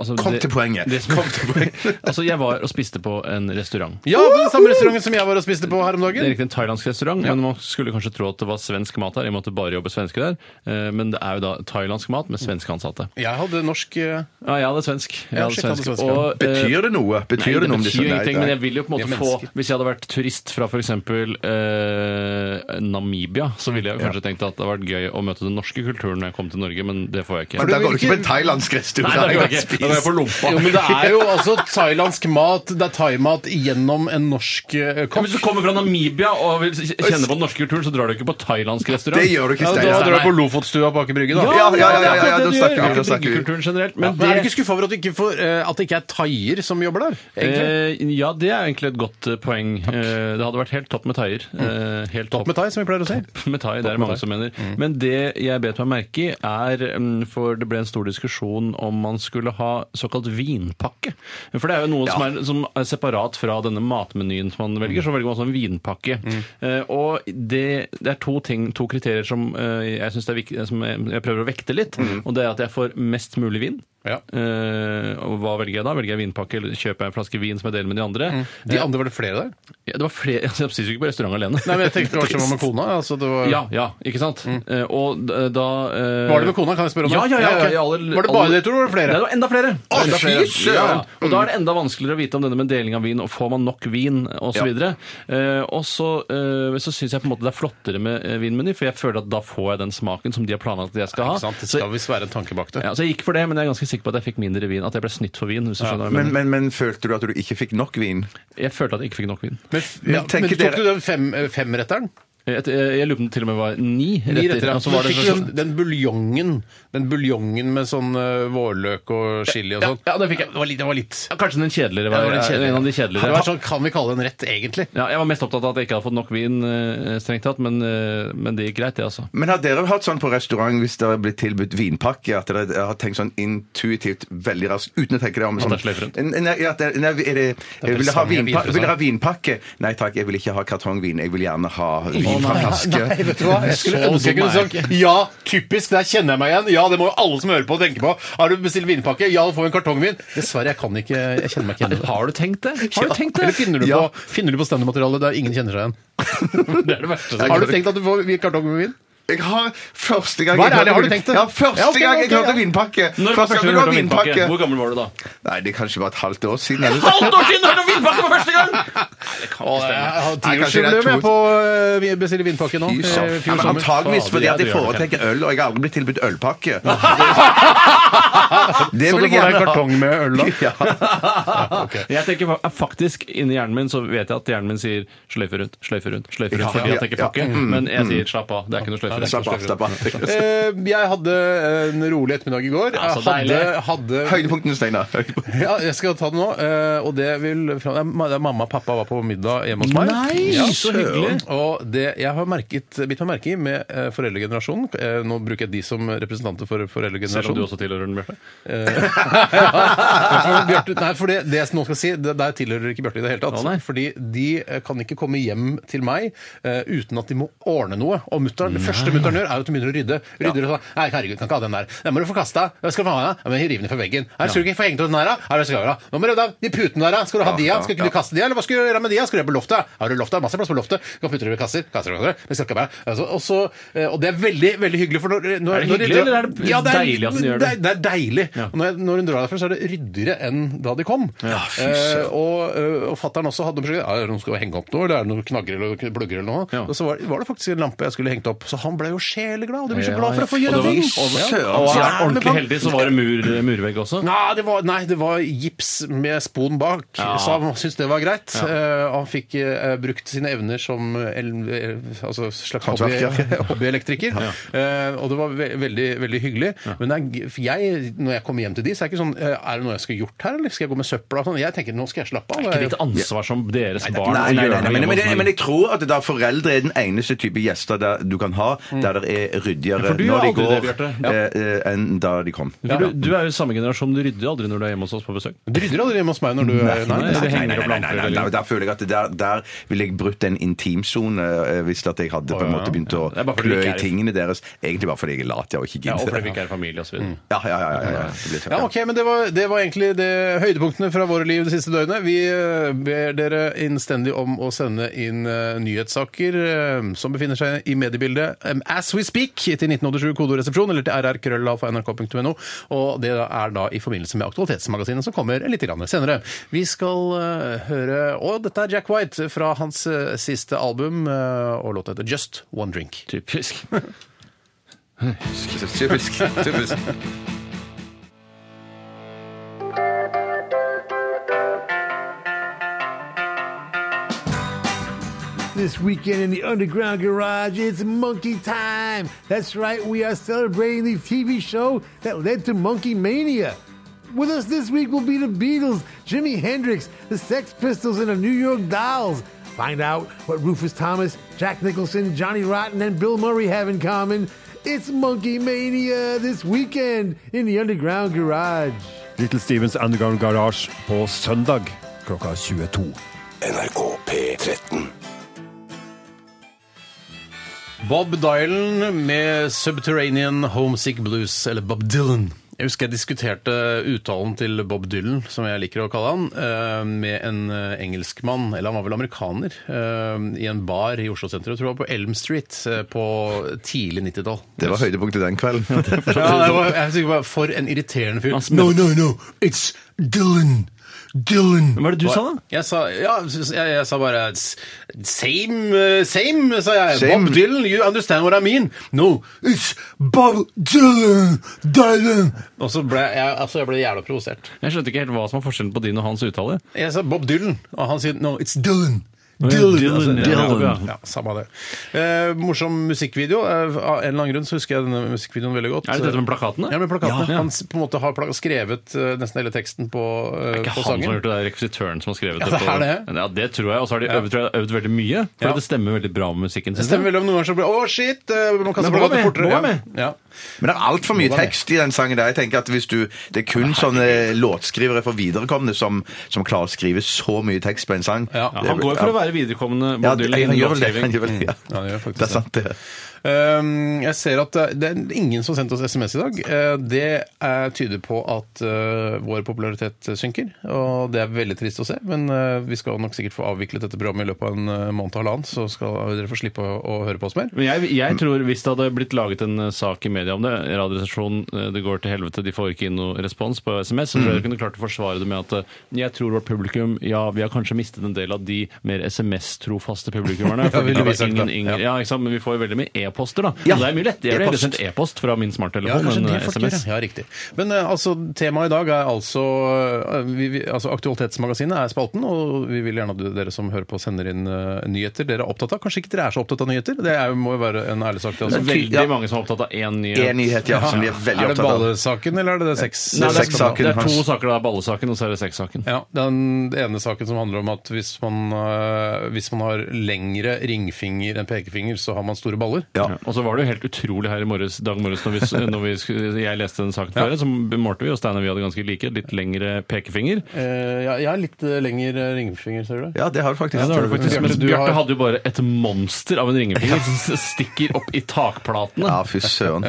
Speaker 2: altså,
Speaker 3: Kom
Speaker 2: det-
Speaker 3: til poenget.
Speaker 2: Det som,
Speaker 3: Kom til poenget.
Speaker 2: altså, jeg var og spiste på en restaurant.
Speaker 1: Ja, på den samme restauranten som jeg var og spiste på her om
Speaker 2: Det er
Speaker 1: dagen.
Speaker 2: riktig en thailandsk restaurant, men man skulle kanskje tro at det var svensk mat her. Jeg måtte bare jobbe svensker der. Eh, Men det er jo da thailandsk mat med svenske ansatte.
Speaker 1: Jeg hadde norsk eh,
Speaker 2: Ja, jeg hadde svensk. Jeg
Speaker 1: Ja,
Speaker 2: hadde
Speaker 1: shit, hadde
Speaker 2: svensk.
Speaker 1: svensk, ja.
Speaker 2: Og, eh,
Speaker 3: Betyr det noe?
Speaker 2: Nei,
Speaker 3: Betyr
Speaker 2: det
Speaker 3: det noe om
Speaker 2: betyr
Speaker 3: disse- Nei,
Speaker 2: ingenting,
Speaker 3: nei.
Speaker 2: men jeg vil jo på en
Speaker 1: De
Speaker 2: måte
Speaker 1: er
Speaker 2: få
Speaker 1: mennesker.
Speaker 2: Hvis jeg hadde vært turist fra f.eks. Eh, Namibia, så ville jeg jo kanskje tenkt at det hadde vært gøy å møte den norske kulturen når jeg kom til Norge, men det får jeg ikke.
Speaker 3: Men da går du ikke på en thailandsk
Speaker 2: Nei,
Speaker 3: restaurant.
Speaker 2: da går jeg ikke. Da går jeg på lompa.
Speaker 1: Jo, men det er jo altså thailandsk mat, det er thaimat gjennom en norsk eh,
Speaker 2: Ja, men Hvis
Speaker 1: kokk.
Speaker 2: du kommer fra Namibia og vil kjenne på den norske kulturen, så drar du ikke på thailandsk restaurant.
Speaker 3: Det gjør du ikke,
Speaker 1: Ja,
Speaker 3: Steiner.
Speaker 1: da drar du på Lofotstua på Aker Brygge, da.
Speaker 3: Ja, ja, ja, ja, ja, da
Speaker 2: det er akkurat det du
Speaker 3: snakker vi,
Speaker 2: gjør.
Speaker 3: da snakker vi.
Speaker 2: Drikkekulturen generelt.
Speaker 1: Men,
Speaker 2: Men
Speaker 1: er du
Speaker 2: det
Speaker 1: ikke skuffa over at det ikke, får, eh, at det ikke er thaier som jobber der? egentlig?
Speaker 2: Eh, ja, det er egentlig et godt eh, poeng. Eh, det hadde vært helt topp med thaier. Eh, helt topp
Speaker 1: Opp med thai, som vi pleier å si.
Speaker 2: med thai, det er det mange som mener.
Speaker 1: Mm.
Speaker 2: Men det jeg bet meg merke i, er mm, For det ble en stor diskusjon om man skulle ha såkalt vinpakke. For det er jo noe som, er, som er separat fra denne matmenyen som man
Speaker 1: Mm.
Speaker 2: velger. Så velger man sånn vinpakke. Eh, og det, det er to ting, to kriterier som eh, jeg synes det er viktig, som jeg, jeg prøver å vekte litt. Og det er at jeg får mest mulig vin.
Speaker 1: Mm. Ja.
Speaker 2: Eh, og hva velger jeg da? Velger jeg vinpakke, eller kjøper jeg en flaske vin som jeg deler med de andre?
Speaker 1: De andre var det flere der?
Speaker 2: Ja, det var flere, Jeg spiser jo ikke på restaurant alene.
Speaker 1: Nei, men jeg tenkte det var som var med kona. Altså, det var...
Speaker 2: Ja, ja, ikke sant? Eh, og d- da eh,
Speaker 1: Mm. Var det med kona, kan jeg spørre om
Speaker 2: Ja,
Speaker 1: det?
Speaker 2: ja, ja,
Speaker 1: Ja, ok.
Speaker 2: ja, alle-
Speaker 1: Var det bare
Speaker 2: alle-
Speaker 1: det, tror du, eller var det flere?
Speaker 2: Nei, det var enda flere.
Speaker 3: Å,
Speaker 2: Enda
Speaker 3: fy
Speaker 2: flere.
Speaker 3: søren!
Speaker 2: Ja, Og da er det
Speaker 1: Mm.
Speaker 2: enda vanskeligere å vite om denne med deling av vin, og får man nok vin, og så
Speaker 3: Ja.
Speaker 2: videre. Eh, og så, eh, så syns jeg på en måte det er flottere med eh, vinmeny, for jeg føler at da får jeg den smaken som de har planlagt at jeg skal ha.
Speaker 1: Ikke sant? Det
Speaker 2: Så,
Speaker 1: skal visst være en tanke bak det.
Speaker 2: ja, så jeg gikk for det, men jeg er ganske sikker på at jeg fikk mindre vin. At jeg ble snytt for vin. hvis du skjønner hva jeg,
Speaker 3: Men,
Speaker 2: mener.
Speaker 3: men, men følte du at du ikke fikk nok vin?
Speaker 2: jeg følte at jeg ikke fikk nok vin.
Speaker 1: Men, f- ja, men,
Speaker 3: tenker
Speaker 1: tok
Speaker 3: dere-
Speaker 1: du den fem, eh, femretteren?
Speaker 2: Jeg, jeg, jeg lurer på om det til og med var ni retter.
Speaker 1: Ni retter, ja.
Speaker 2: og så var
Speaker 1: Men
Speaker 2: det sånn-
Speaker 1: fikk du den, den buljongen Den buljongen med sånn eh, vårløk og chili og
Speaker 2: Ja,
Speaker 1: sånn?
Speaker 2: ja, det fikk jeg.
Speaker 1: Det var litt, det var litt.
Speaker 2: Ja, Kanskje den kjedeligere
Speaker 1: det
Speaker 2: var,
Speaker 1: var den kjedelige.
Speaker 2: en av de kjedeligere.
Speaker 1: Det var sånn, kan vi kalle det en rett, egentlig?
Speaker 2: Ja, jeg var mest opptatt av at jeg ikke hadde fått nok vin, eh, strengt tatt, men, eh, men det gikk greit, det, altså.
Speaker 3: Men har dere hatt sånn på restaurant hvis dere blir tilbudt vinpakke, at dere har tenkt sånn intuitivt veldig raskt uten å tenke dere om? Sånn,
Speaker 2: det er sløyfe rundt.
Speaker 3: N- Nei, ja, at det- nei, er det, vil dere ha
Speaker 1: presang,
Speaker 3: vinpa-
Speaker 1: vinpresang.
Speaker 3: vil dere ha vinpakke? Nei takk, jeg vil ikke ha kartongvin. Jeg vil gjerne ha vin fra
Speaker 1: Nei,
Speaker 3: flaske.
Speaker 1: vet du hva? Jeg skulle
Speaker 2: Så
Speaker 1: ønske jeg
Speaker 2: dum
Speaker 1: kunne
Speaker 2: er jeg
Speaker 1: sagt ja, typisk, der kjenner jeg meg igjen. Ja, det må jo alle som hører på tenke på. Har du bestilt vinpakke? Ja, du får en kartongvin. Dessverre, jeg kan ikke Jeg kjenner meg ikke igjen. i det.
Speaker 2: Har du tenkt det? Har du tenkt
Speaker 1: Eller
Speaker 2: det?
Speaker 1: finner du,
Speaker 3: Ja.
Speaker 1: på, finner du på standup-materiale der ingen kjenner seg igjen?
Speaker 2: Det er det verste.
Speaker 1: Har du tenkt at du får kartong med vin?
Speaker 3: Jeg har første gang jeg
Speaker 1: Hva er det?
Speaker 3: hørte
Speaker 1: Har du
Speaker 3: vin-
Speaker 1: tenkt det?
Speaker 3: Ja,
Speaker 1: Ja,
Speaker 3: første
Speaker 1: ok,
Speaker 3: gang jeg
Speaker 1: ok,
Speaker 3: hørte
Speaker 1: ja.
Speaker 3: vinpakke.
Speaker 2: Når var første gang
Speaker 3: Første gang jeg
Speaker 2: du
Speaker 3: hørte
Speaker 2: hørte om vinpakke? Hvor
Speaker 3: vinpakke.
Speaker 2: gammel var du da?
Speaker 3: Nei, det er kanskje bare et halvt år siden. Eller?
Speaker 2: Halvt år siden hørte om vinpakke for første gang! Nei, det kan ikke stemme.
Speaker 3: Nei, kanskje det er
Speaker 1: Tiårsjubileum
Speaker 3: to-
Speaker 1: jeg på eh, vi bestiller vinpakke nå.
Speaker 3: Fy søren.
Speaker 1: eh,
Speaker 3: Ja,
Speaker 1: fjor
Speaker 3: men
Speaker 1: sommer.
Speaker 3: Antageligvis
Speaker 2: Fader,
Speaker 3: fordi
Speaker 2: jeg
Speaker 3: at jeg
Speaker 2: dør,
Speaker 3: foretrekker øl, og jeg har aldri blitt tilbudt ølpakke. Det vil jeg
Speaker 1: Så du får deg
Speaker 3: gjerne
Speaker 1: en
Speaker 3: ha.
Speaker 1: kartong med øl, da?
Speaker 3: Ja.
Speaker 2: Jeg tenker fa- faktisk, Inni hjernen min så vet jeg at hjernen min sier sløyfe rundt, sløyfe rundt, sløyfe rundt,
Speaker 3: Ja,
Speaker 2: fordi
Speaker 3: ja,
Speaker 2: at jeg ikke
Speaker 3: ja.
Speaker 2: pakker. Men jeg sier slapp av, det er ikke noe sløyfe. det er
Speaker 3: Slapp
Speaker 2: ikke noe
Speaker 3: av, slapp av.
Speaker 1: Eh, Jeg hadde en rolig ettermiddag i går.
Speaker 2: Ja, så
Speaker 1: Jeg
Speaker 2: deilig.
Speaker 1: hadde, hadde
Speaker 3: Høydepunktene, Steinar. Høydepunktene.
Speaker 1: ja, jeg skal ta det nå. eh, Og det vil fra- det er ma- det er Mamma og pappa var på middag hjemme hos meg.
Speaker 2: Nei,
Speaker 1: Ja.
Speaker 2: så hyggelig.
Speaker 1: Og det jeg har merket, bitt meg merke i med eh, foreldregenerasjonen eh, Nå bruker jeg de som representanter for
Speaker 2: sløyfe. Selv om du
Speaker 1: foreldregenerasjonen.
Speaker 2: også tilhører den, Bjarte.
Speaker 1: Ja, for Bjarte- Nei, for det, det jeg nå skal si, det, der tilhører ikke Bjarte i det hele tatt.
Speaker 2: Å, nei.
Speaker 1: fordi de eh, kan ikke komme hjem til meg eh, uten at de må ordne noe. Og mutter'n, det første første mutter'n gjør, er jo at hun begynner å rydde. Rydder og sånn Nei, herregud, kan ikke ha den der. Den må du få kasta. Hva skal du ha den? Ja, men riv den fra veggen. Her skal du ikke få hengt opp den her, da. Her skal du ha. Nå må du rydde av de putene der, da. Skal du ha de, da? Skal ikke du kaste de, eller hva skal du gjøre med de? da? Skal du gjøre på loftet? Har du loftet? Masse plass på loftet. Du kan putte dem i kasser. Kasser og kasser. Men skal ikke være altså, og så- eh, Og det er veldig, veldig hyggelig, for
Speaker 2: Er
Speaker 1: når, når
Speaker 2: det
Speaker 1: når de
Speaker 2: hyggelig,
Speaker 1: drar-
Speaker 2: eller er det
Speaker 1: Ja,
Speaker 2: deilig at hun gjør det?
Speaker 1: det er deilig.
Speaker 2: Ja.
Speaker 1: Og når, jeg- når hun drar derfra, så er det ryddigere enn da de kom. eh, og eh, og fattern også hadde noen prosjekter. Er det noen som skal henge opp noe, eller er det noen knagger eller plugger eller noe?
Speaker 2: Ja.
Speaker 1: Og så var, var det faktisk en lampe jeg skulle hengt opp. Så han ble jo sjeleglad, og de blir så
Speaker 2: Ja,
Speaker 1: glad for å få
Speaker 2: ja.
Speaker 1: gjøre
Speaker 2: Og det var-
Speaker 1: ting.
Speaker 3: og-
Speaker 1: Ja.
Speaker 3: søren,
Speaker 2: Og er
Speaker 1: Ja,
Speaker 2: jeg
Speaker 1: men
Speaker 2: ordentlig
Speaker 1: kan-
Speaker 2: heldig, så var det mur, murvegg også.
Speaker 1: Nei det, var, nei, det var gips med spon bak,
Speaker 2: Ja.
Speaker 1: så han syntes det var greit. Eh, han fikk eh, brukt sine evner som el, el, altså slags hobby,
Speaker 3: Håndverker.
Speaker 1: hobbyelektriker. Eh, og det var ve veldig, veldig hyggelig. Men det er, g- for jeg, når jeg kommer hjem til de, så er det ikke sånn eh, Er det noe jeg skal gjort her, eller skal jeg gå med søpla? og Sånn. Jeg tenker nå skal jeg slappe av.
Speaker 2: Ikke ditt ansvar som deres barn.
Speaker 3: Nei, nei, nei, nei, men, men, men,
Speaker 2: men,
Speaker 3: men jeg tror at da foreldre er den eneste type gjester der du kan ha der det er ryddigere
Speaker 2: Mm. for du
Speaker 3: når
Speaker 2: gjør
Speaker 3: de
Speaker 2: aldri
Speaker 3: går
Speaker 2: det, Bjarte.
Speaker 3: eh, eh, enn da de kom.
Speaker 2: du, du er jo samme generasjon, du rydder aldri når du er hjemme hos oss på besøk.
Speaker 1: Du rydder aldri hjemme hos meg når du er
Speaker 2: nei, det henger opp
Speaker 3: nei,
Speaker 2: lamper,
Speaker 3: nei,
Speaker 2: eller?
Speaker 3: nei, Der føler jeg at det der, der ville jeg brutt en intimsone eh, hvis at jeg hadde på en
Speaker 2: ja,
Speaker 3: måte begynt
Speaker 2: ja.
Speaker 3: å
Speaker 2: Det er bare fordi
Speaker 3: klø
Speaker 2: vi
Speaker 3: i
Speaker 2: ikke er-
Speaker 3: tingene deres. Egentlig bare fordi jeg er lat, jeg, og ikke
Speaker 2: Ja, og fordi
Speaker 3: gidder.
Speaker 2: vi ikke Mm. er familie osv.
Speaker 3: Ja, ja, ja, ja, ja, ja. Det blir sånn,
Speaker 1: Ja,
Speaker 3: ja.
Speaker 1: ok, men det var, det var egentlig det høydepunktene fra våre liv det siste døgnet. Vi eh, ber dere innstendig om å sende inn eh, nyhetssaker eh, som befinner seg i mediebildet eh, as we speak til 1987 kodoresepsjon eller til rrkrøllalfa.nrk.no. Og det er da i forbindelse med Aktualitetsmagasinet som kommer litt grann senere. Vi skal eh, høre Og dette er Jack White fra hans eh, siste album, eh, og låta heter Just One Drink.
Speaker 2: Typisk.
Speaker 3: Typisk. typisk.
Speaker 5: This weekend in the Underground Garage, it's monkey time! That's right, we are celebrating the TV show that led to Monkey Mania. With us this week will be the Beatles, Jimi Hendrix, the Sex Pistols, and the New York Dolls. Find out what Rufus Thomas, Jack Nicholson, Johnny Rotten, and Bill Murray have in common. It's Monkey Mania this weekend in the Underground Garage.
Speaker 6: Little Stevens Underground Garage på søndag klokka 22.
Speaker 7: NRK P13.
Speaker 1: Bob Dylan med 'Subterranean Homesick Blues', eller Bob Dylan. Jeg husker jeg diskuterte uttalen til Bob Dylan, som jeg liker å kalle han, eh, med en eh, engelskmann, eller han var vel amerikaner, eh, i en bar i Oslo sentrum, jeg tror jeg, på Elm Street eh, på tidlig 90-tall.
Speaker 3: Det var høydepunktet den kvelden.
Speaker 1: Ja, det var, jeg er sikker på, For en irriterende fyr.
Speaker 2: Han smører-
Speaker 1: no, no, it's Dylan. Dylan.
Speaker 2: Hva er det du sa, da?
Speaker 1: Jeg sa, ja, jeg, jeg sa bare s- Same, eh, same, sa jeg.
Speaker 3: Same.
Speaker 1: Bob Dylan, you understand what I mean? No, it's Bob Dylan. Dylan. Og så ble jeg, altså, jeg ble jævla provosert.
Speaker 2: Jeg skjønte ikke helt hva som var forskjellen på din og hans uttale.
Speaker 1: Jeg sa Bob Dylan, og han sier no, it's Dylan.
Speaker 2: ja,
Speaker 1: Dylan,
Speaker 2: Dylan,
Speaker 1: altså,
Speaker 2: ja.
Speaker 1: Dylan.
Speaker 2: Ja.
Speaker 1: Ja, samme det. Eh, morsom musikkvideo. Eh, av en eller annen grunn så husker jeg denne musikkvideoen veldig godt.
Speaker 2: Er det dette med plakatene?
Speaker 1: Ja, med plakatene.
Speaker 2: Ja, ja.
Speaker 1: Han s- på en måte har plak skrevet eh, nesten hele teksten på, eh,
Speaker 2: Ikke
Speaker 1: på
Speaker 2: han som har
Speaker 1: sangen.
Speaker 2: gjort det, det er rekvisitøren som har skrevet
Speaker 1: Ja, det
Speaker 2: på-
Speaker 1: er det.
Speaker 2: Ja, det tror jeg. Og så har de øvd, tror jeg, øvd veldig mye, for
Speaker 1: Ja.
Speaker 2: det stemmer veldig bra med musikken.
Speaker 1: Det
Speaker 2: synes jeg.
Speaker 1: stemmer vel om noen ganger så blir Å, shit! eh, Man kaster
Speaker 2: Men nå er vi-
Speaker 1: plakaten
Speaker 2: nå
Speaker 1: fortere.
Speaker 2: er vi.
Speaker 1: Ja.
Speaker 3: Men det er altfor mye tekst i den sangen der. Jeg tenker at hvis du, Det er kun sånne låtskrivere for viderekomne som, som klarer å skrive så mye tekst på en sang.
Speaker 1: Ja,
Speaker 2: Ja, han går jo for å være viderekommende
Speaker 3: ja,
Speaker 2: Bob
Speaker 3: det,
Speaker 2: Dylan.
Speaker 3: han
Speaker 2: i
Speaker 3: gjør vel det.
Speaker 2: låtskriving.
Speaker 3: Han gjør vel det.
Speaker 1: Ja, han gjør faktisk
Speaker 3: det er sant, det.
Speaker 1: Um, jeg ser at det- det er ingen som har sendt oss SMS i dag. Eh, Det eh, tyder på at eh, vår popularitet synker, og det er veldig trist å se. Men eh, vi skal nok sikkert få avviklet dette programmet i løpet av en eh, måned og halvannen, så skal dere få slippe å, å høre på oss mer.
Speaker 2: Men jeg, jeg tror hvis det hadde blitt laget en eh, sak i media om det, Radioresepsjonen, eh, det går til helvete, de får ikke inn noe respons på SMS, så tror
Speaker 1: Mm.
Speaker 2: jeg de kunne klart å forsvare det med at eh, jeg tror vårt publikum Ja, vi har kanskje mistet en del av de mer SMS-trofaste publikummerne.
Speaker 1: Ja,
Speaker 2: For
Speaker 1: ville
Speaker 2: det
Speaker 1: vi
Speaker 2: var
Speaker 1: sagt
Speaker 2: ingen
Speaker 1: det.
Speaker 2: yngre, ja, ikke sant? Men vi får jo veldig mye e-poster, da.
Speaker 3: Ja.
Speaker 2: Og det er mye lettere. Jeg ville heller
Speaker 3: E-post.
Speaker 2: sendt e-post fra min
Speaker 1: Ja,
Speaker 2: smarttelefon
Speaker 1: kanskje
Speaker 2: enn
Speaker 1: det
Speaker 2: eh,
Speaker 1: folk gjør,
Speaker 2: SMS.
Speaker 1: ja, riktig. Men eh, altså, temaet i dag er altså, eh, vi, vi, altså Aktualitetsmagasinet er spalten, og vi vil gjerne at du- dere som hører på, sender inn eh, nyheter dere er opptatt av. Kanskje ikke dere er så opptatt av nyheter? Det er, må jo være en ærlig sak. til
Speaker 2: Det
Speaker 1: altså.
Speaker 2: er
Speaker 3: Ja.
Speaker 2: veldig mange som er opptatt av én nyhet.
Speaker 3: En nyhet ja, som de er veldig
Speaker 1: Er det
Speaker 3: opptatt av.
Speaker 1: ballesaken, eller er det det sex?
Speaker 2: Nei, det, er,
Speaker 3: Sexsaken
Speaker 2: det er to
Speaker 3: hans.
Speaker 2: saker. Det er ballesaken, og så er det sexsaken.
Speaker 1: Ja, Den ene saken som handler om at hvis man, eh, hvis man har lengre ringfinger enn pekefinger, så har man store baller.
Speaker 3: Ja,
Speaker 1: Ja.
Speaker 2: Og så var det jo helt utrolig her i morges, dag morges når, vi, når vi, skulle- jeg leste den saken før, så målte vi, og Steinar vi hadde ganske like, litt lengre pekefinger.
Speaker 1: Eh, ja, jeg har litt eh, lengre ringefinger, ser du det?
Speaker 3: Ja, det har du faktisk.
Speaker 2: Ja, det har du faktisk. Men
Speaker 1: Bjarte, du
Speaker 2: Bjarte
Speaker 1: har-
Speaker 2: hadde jo bare et monster av en ringefinger som stikker opp i takplatene.
Speaker 3: Ja, fy søren.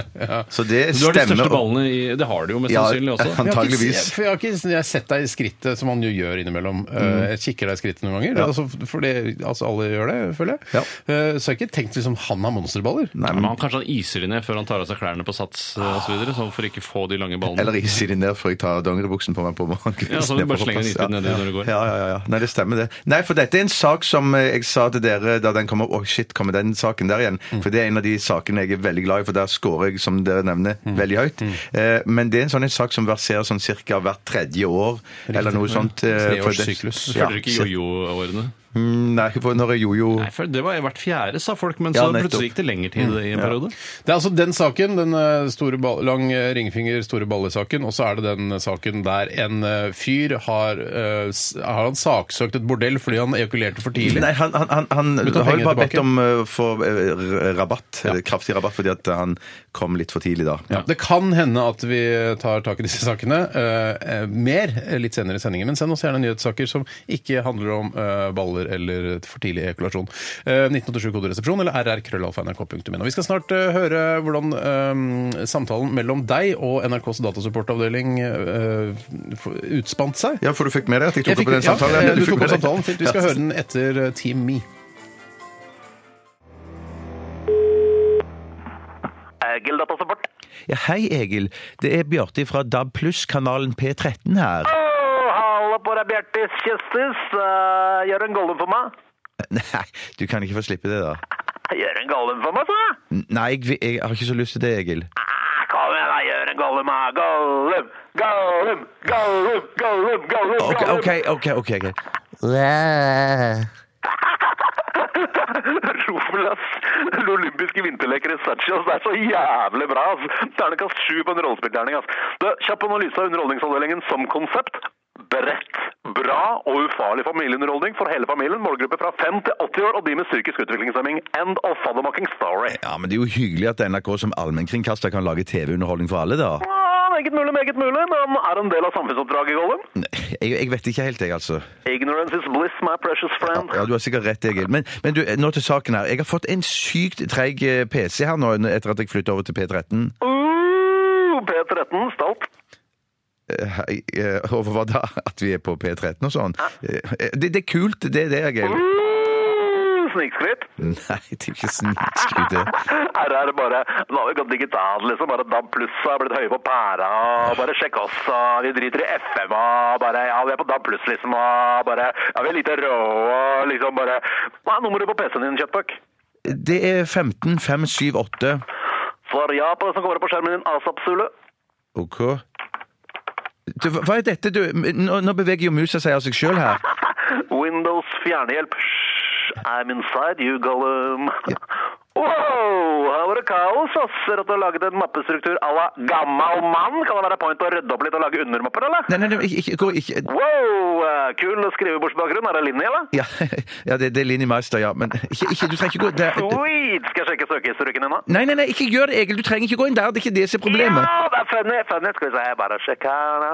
Speaker 3: Så det
Speaker 2: Du har de største
Speaker 3: stemmer.
Speaker 2: ballene i Det har du jo mest
Speaker 3: Ja,
Speaker 2: sannsynlig også.
Speaker 3: han-
Speaker 1: Jeg har ikke-
Speaker 3: Antageligvis.
Speaker 1: For jeg har ikke jeg har sett deg i skrittet, som han jo gjør innimellom. Eh,
Speaker 3: Mm.
Speaker 1: Jeg kikker deg i skrittet noen ganger. Altså, for det, altså, alle gjør det, føler jeg. Eh, Så jeg har ikke tenkt liksom han har monsterballer.
Speaker 3: Nei,
Speaker 2: Men
Speaker 3: men,
Speaker 2: han kanskje han iser de ned før han tar av seg klærne på sats eh, og så videre, sånn for ikke få de lange ballene.
Speaker 3: eller is i den der før jeg tar dongeribuksen på meg på morgenen.
Speaker 2: Ja, så du
Speaker 3: Det er
Speaker 2: bare
Speaker 3: for å
Speaker 2: slenger den
Speaker 3: passe.
Speaker 2: isbit nedi når du går.
Speaker 3: Ja, ja, ja, ja. Nei, det stemmer det. Nei, for dette er en sak som eh, jeg sa til dere da den kom opp. Å, shit, kommer den saken der igjen?
Speaker 2: Mm.
Speaker 3: For det er en av de sakene jeg er veldig glad i, for der scorer jeg, som dere nevner,
Speaker 2: Mm.
Speaker 3: veldig høyt. Eh, Men det er en sånn en sak som verserer sånn cirka hvert tredje år, eller noe sånt. eh, for det-
Speaker 1: Treårssyklus.
Speaker 2: Du
Speaker 3: Ja,
Speaker 2: følger ikke jojo-årene?
Speaker 3: Mm, Nei, for når er jojo
Speaker 2: Nei, for det var hvert fjerde, sa folk, men
Speaker 3: Ja,
Speaker 2: så
Speaker 3: nettopp.
Speaker 2: plutselig gikk det lengre tid i en periode.
Speaker 1: Det er altså den saken, den eh, store ball, lang eh, ringfinger, store baller-saken, og så er det den saken der en eh, fyr har, eh, s- har han saksøkt et bordell fordi han ejakulerte for tidlig.
Speaker 3: Nei, han, han, han, han
Speaker 1: Betalte
Speaker 3: har jo bare
Speaker 1: penger tilbake.
Speaker 3: bedt om eh, å få eh, r- rabatt, eh, kraftig rabatt, fordi at han kom litt for tidlig da.
Speaker 1: Ja. Det kan hende at vi tar tak i disse sakene eh, eh, mer eh, litt senere i sendingen. Men send oss gjerne nyhetssaker som ikke handler om eh, baller eller for tidlig ejakulasjon. Eh, 1987 koderesepsjon eller rrkrøllalfa.nrk.no. Vi skal snart eh, høre hvordan eh, samtalen mellom deg og NRKs datasupportavdeling eh, f- utspant seg.
Speaker 3: Ja, for du fikk med deg at jeg tok opp den
Speaker 1: ja,
Speaker 3: samtalen?
Speaker 1: eh,
Speaker 3: Ja,
Speaker 1: du tok
Speaker 3: fikk med
Speaker 1: opp
Speaker 3: deg.
Speaker 1: samtalen. Fint. Vi skal
Speaker 3: Ja.
Speaker 1: høre den etter eh, Team Me.
Speaker 3: Ja, hei Egil, det er Bjarte fra DAB Pluss-kanalen P13 her.
Speaker 8: Halla på deg, Bjertis Kjøstis. Eh, gjør en gollum for meg.
Speaker 3: Nei, du kan ikke få slippe det da.
Speaker 8: Gjør en gollum for meg, sa jeg.
Speaker 3: Nei, jeg, vil- jeg har ikke så lyst til det, Egil.
Speaker 8: Ah, Kom igjen, da. Gjør en gollum, da. Gollum, gollum, gollum, gollum, gollum.
Speaker 3: Ok,
Speaker 8: gollum.
Speaker 3: ok, ok, ok. ok.
Speaker 8: Rovel, ass. Den olympiske vinterleker i Sotsji, ass. Det er så jævlig bra, ass. Ternekast sju på en rollespillterning, ass. Du, kjapp analyse av underholdningsavdelingen som konsept. Bredt, bra og ufarlig familieunderholdning for hele familien. Målgruppe fra 5 til 80 år og de med psykisk utviklingshemming. End of faddermaking story.
Speaker 3: Ja, men det er jo hyggelig at NRK som allmennkringkaster kan lage TV-underholdning for alle da.
Speaker 8: Ja, meget Ah, mulig, meget mulig, men er en del av samfunnsoppdraget, Gollum.
Speaker 3: Nei, Jeg, jeg vet ikke helt, jeg altså.
Speaker 8: Ignorance is bliss, my precious friend.
Speaker 3: Ja, du har sikkert rett, Egil. Men, men du, eh, nå til saken her. Jeg har fått en sykt treig eh, PC her nå etter at jeg flytta over til P13.
Speaker 8: Uh, P13, stolt.
Speaker 3: Eh, hei, eh, Over hva da? At vi er på P13 og sånn? Eh, Det, det er kult, det er det, Egil.
Speaker 8: Uh, Snikskritt.
Speaker 3: Nei, det er ikke snikskryt, det.
Speaker 8: Her er det bare Nå har vi gått digitalt, liksom. Bare DAB pluss har blitt høye på pæra. og Bare sjekk oss, og vi driter i FM og bare Ja, vi er på DAB pluss, liksom, og bare Ja, vi er lite rå og liksom bare Hva er nummeret på PC-en din, Kjøttbøk?
Speaker 3: Det er 15, 5, 7, 8.
Speaker 8: Svar ja på det som kommer opp på skjermen din, asap, Zulu.
Speaker 3: OK. Du, hva hva er dette, du? Nå, nå beveger jo musa seg av seg sjøl her.
Speaker 8: Windows fjernhjelp. Shh, I'm inside you, Gollum. Wow, her var det kaos, ass. Ser at du har laget en mappestruktur à la gammal mann. Kan det være point å rydde opp litt og lage undermapper, eller?
Speaker 3: Nei, nei, nei, ikke, ikke, gå, ikke.
Speaker 8: Wow, eh, kul skrivebordsbakgrunn. Er det Linni, eller?
Speaker 3: Ja, ja det, det er Linni Meister, ja. Men ikke, ikke, du trenger ikke gå der.
Speaker 8: Sweet! Skal jeg sjekke søkehistorikken din, da?
Speaker 3: Nei, nei, nei, ikke gjør det, Egil. Du trenger ikke gå inn der. Det er ikke det som er problemet.
Speaker 8: Ja, det er funny, funny. Skal vi se, jeg bare sjekker her da.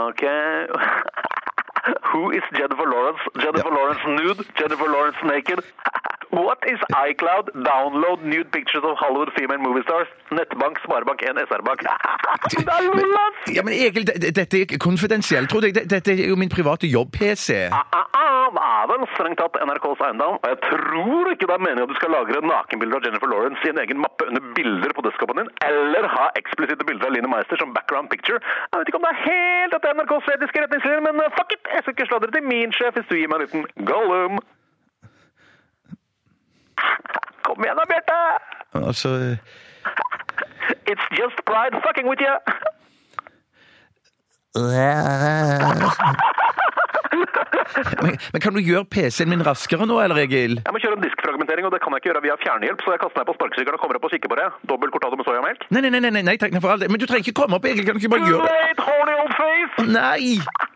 Speaker 8: Ok. Who is Jennifer Lawrence? Jennifer Lawrence nude? Jennifer Lawrence naked? What is iCloud? Download nude pictures of Hollywood female movie stars. Nettbank, Sparebank 1, SR-bank. Det er jo lass!
Speaker 3: Ja, men Egil, det- det- dette er konfidensielt, tror jeg. Det- Dette er jo min private jobb-PC.
Speaker 8: Ah, ah, ah, Det er vel strengt tatt NRKs eiendom, og jeg tror ikke det er meningen at du skal lagre nakenbilder av Jennifer Lawrence i en egen mappe under bilder på desktopen din, eller ha eksplisitte bilder av Line Meister som background picture. Jeg vet ikke om det er helt etter NRKs etiske retningslinjer, men eh, fuck it! Jeg skal ikke sladre til min sjef hvis du gir meg en liten gollum. Kom igjen da, Bjarte!
Speaker 3: Altså
Speaker 8: It's just pride fucking with you!
Speaker 3: men, men kan du gjøre PC-en min raskere nå, eller, Egil?
Speaker 8: Jeg må kjøre en diskfragmentering, og det kan jeg ikke gjøre via fjernhjelp, så jeg kaster meg på sparkesykkelen og kommer opp og kikker på det. Dobbel cortado med sojamelk.
Speaker 3: Nei, nei, nei, nei, nei, nei takk nei, for all det. Men du trenger ikke komme opp, Egil. Kan du ikke bare
Speaker 8: Too
Speaker 3: gjøre det?
Speaker 8: late, horny old face!
Speaker 3: Nei!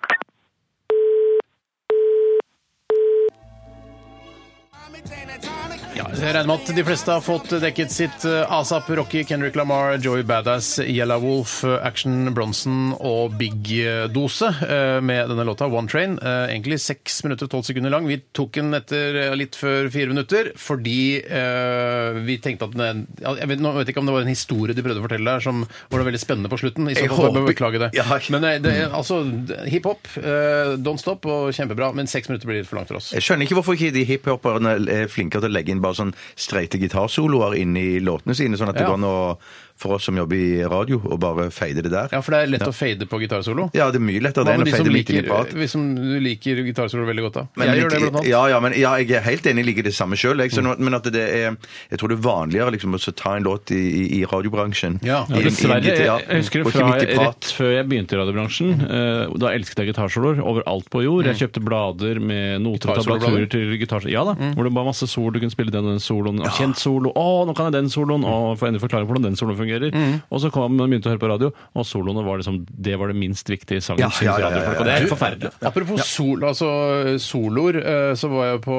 Speaker 1: Ja, Altså, jeg regner med at de fleste har fått dekket sitt eh, ASAP, Rocky, Kendrick Lamar, Joey Badass, Yellow Wolf, eh, Action Bronson og Big eh, Dose eh, med denne låta, One Train. Eh, Egentlig 6 minutter og 12 sekunder lang. Vi tok den etter eh, litt før 4 minutter fordi eh, vi tenkte at den, ja, jeg vet, Nå vet jeg ikke om det var en historie de prøvde å fortelle her som var veldig spennende på slutten. I så
Speaker 3: Jeg
Speaker 1: fall får jeg
Speaker 3: håper-
Speaker 1: beklage det.
Speaker 3: Ja.
Speaker 1: Men eh, det, er altså, hiphop, eh, don't stop og kjempebra, men 6 minutter blir litt for langt for oss.
Speaker 3: Jeg skjønner ikke hvorfor ikke de hiphoperne er flinkere til å legge inn bare sånn streite gitarsoloer inn i låtene sine, sånn at det
Speaker 1: Ja.
Speaker 3: går an å, for oss som jobber i radio, å bare fade det der.
Speaker 1: Ja, for det er lett å fade på gitarsolo.
Speaker 3: Ja, det er mye lettere
Speaker 1: Hva
Speaker 3: det enn
Speaker 1: med
Speaker 3: å
Speaker 1: de som
Speaker 3: fade midt inn i
Speaker 1: liker,
Speaker 3: prat.
Speaker 1: hvis som du liker gitarsolo veldig godt, da?
Speaker 3: Men
Speaker 1: jeg gjør
Speaker 3: lik-
Speaker 1: det, blant annet.
Speaker 3: ja, ja, men, ja, jeg er helt enig, jeg liker det samme sjøl. Men at det er, jeg tror det er vanligere liksom, å så ta en låt i, i, i radiobransjen.
Speaker 1: Ja.
Speaker 3: I en- i en
Speaker 2: Dessverre.
Speaker 3: gitar-
Speaker 2: Jeg, jeg husker det
Speaker 3: og ikke
Speaker 2: fra
Speaker 3: midt i prat.
Speaker 2: rett før jeg begynte i radiobransjen. eh, Da elsket jeg gitarsoloer overalt på jord. Jeg kjøpte blader med noter og tablaturer
Speaker 1: Gitarsolo-blader?
Speaker 2: til gitarsoloer. Ja da, hvor det var masse solo. Du kunne spille den og den soloen. Og kjent solo. Å, nå kan jeg den soloen! Og får endelig forklare hvordan den soloen fungerer. Og så kom man begynte å høre på radio, og soloene var liksom Det var det minst viktige i sangen,
Speaker 3: Ja,
Speaker 2: synes
Speaker 3: ja, ja, ja, ja.
Speaker 2: radiofolk. Og det er helt forferdelig.
Speaker 1: Apropos sol, altså, eh, soloer, eh, så var jeg på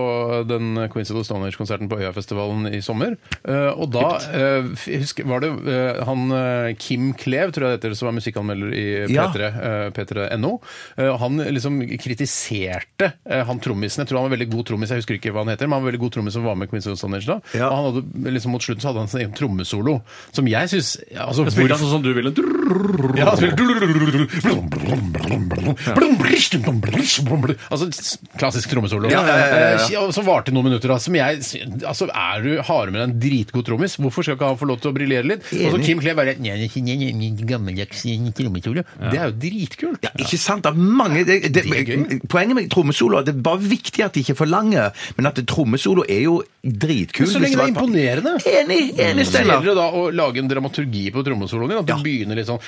Speaker 1: den Quincy of the Stone Age-konserten på Øyafestivalen i sommer. eh, Og da eh, f- jeg husker, var det eh, han eh, Kim Klev, tror jeg det heter, som er musikkanmelder i
Speaker 3: Ja.
Speaker 1: P3, eh, P3.no. eh, og Han liksom kritiserte eh, han trommisen. Jeg tror han var veldig god trommis, jeg husker ikke hva han heter, men han var veldig god trommis som var med Quincy of the Stone Age da.
Speaker 3: Ja.
Speaker 1: Og han hadde, liksom, mot slutten så hadde han sin egen trommesolo, som jeg syns altså,
Speaker 2: Spilte han sånn som du ville?
Speaker 1: ja, han spiller Altså s- klassisk trommesolo.
Speaker 3: Ja, ja, ja, ja,
Speaker 1: Eh, Som varte noen minutter. da, Som jeg, sy- altså, er du hardere med en dritgod trommis? Hvorfor skal ikke han få lov til å briljere litt? Og så Kim Klee bare «Nei, det er ikke- nei, nei, nei, Gammeldags trommesolo. Det er jo dritkult.
Speaker 3: Ja, ikke sant? Det er mange det, det,
Speaker 1: Det er gøy.
Speaker 3: Poenget med trommesolo er at det er bare viktig at de ikke er for lange, men at trommesolo er jo dritkul.
Speaker 1: Så
Speaker 3: hvis
Speaker 1: lenge det Mm.
Speaker 3: var
Speaker 1: er
Speaker 3: et par-
Speaker 1: imponerende.
Speaker 3: Enig! enig,
Speaker 1: Så gjelder
Speaker 3: Steinar.
Speaker 1: det da å lage en dramaturgi på trommesoloen din. At du begynner litt sånn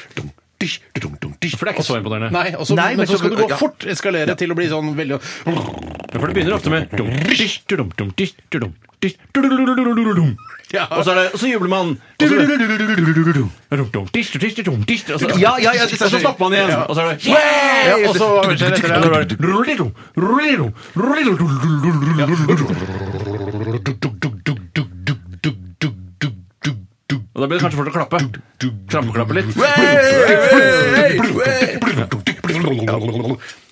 Speaker 1: For det
Speaker 2: er ikke så imponerende.
Speaker 1: Nei, og så-
Speaker 3: Nei,
Speaker 1: men
Speaker 3: men
Speaker 1: så
Speaker 3: så-
Speaker 1: skal det gå
Speaker 3: ja.
Speaker 1: fort eskalere til å bli sånn veldig
Speaker 2: Ja, For det begynner ofte med dum, dish, dum, dum, dish, dum, dish, dum.
Speaker 1: Ja.
Speaker 2: Og så, er det, og så jubler man. Og så, dum, dum, dish, dum, dish, dum, dish, og så,
Speaker 3: Ja, ja, ja,
Speaker 2: og så stopper man igjen. Og så er det yeah!
Speaker 1: Ja, og så var det etter det.
Speaker 2: Og så er det rullero, rullero, rullero. Og da blir det kanskje fort å klappe. Krampeklappe litt.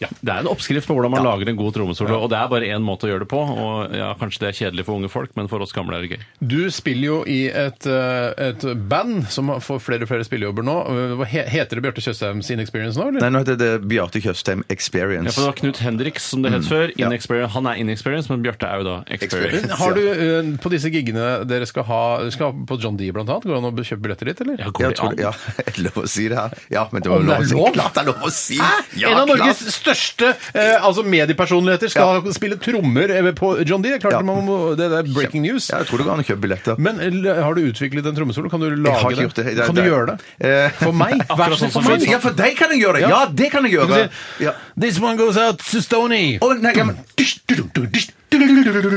Speaker 2: Ja, det er en oppskrift på hvordan man lager en god trommesolo, og det er bare én måte å gjøre det på. Og ja, Kanskje det er kjedelig for unge folk, men for oss gamle er det gøy.
Speaker 1: Du spiller jo i et, eh, et band som får flere og flere spillejobber nå. Hva he- Heter det Bjarte Tjøstheims Inexperience nå, eller?
Speaker 3: Nei, nå heter det Bjarte Tjøstheim Experience.
Speaker 2: Ja, for det var Knut Henriks, som det het før. Inexperience. Han er inexperience, men Bjarte er jo da experience.
Speaker 1: Har du eh, på disse giggene dere skal ha skal ha på John D blant annet, går det an å kjøpe billetter dit, eller?
Speaker 2: Ja, går
Speaker 3: Jeg
Speaker 2: det
Speaker 3: tror,
Speaker 2: an?
Speaker 3: ja, er det lov å si det her? Ja, men det var
Speaker 1: Om det
Speaker 3: lov
Speaker 1: er
Speaker 3: å si.
Speaker 1: lov?
Speaker 3: Klart det er lov å si! Ja,
Speaker 1: Ah, en av
Speaker 3: klart.
Speaker 1: Norges største eh, altså mediepersonligheter skal spille trommer eh, på John D. Det er Klart
Speaker 3: Ja.
Speaker 1: man må, det er breaking news.
Speaker 3: Ja, jeg tror det går an å kjøpe billetter.
Speaker 1: Men eh, har du utviklet en trommesolo? Kan du lage
Speaker 3: har ikke gjort det. Det er-
Speaker 1: Kan du
Speaker 3: det er-
Speaker 1: gjøre det?
Speaker 3: Eh,
Speaker 1: For meg? Vær
Speaker 2: akkurat
Speaker 1: så
Speaker 2: sånn
Speaker 1: snill,
Speaker 2: som
Speaker 1: for meg!
Speaker 2: vi
Speaker 3: Ja, for deg kan jeg gjøre det! Ja, det kan jeg
Speaker 1: Du
Speaker 3: gjøre!
Speaker 1: kan si,
Speaker 3: Ja.
Speaker 1: This one goes out to Stony.
Speaker 3: Å, nei, ja, men-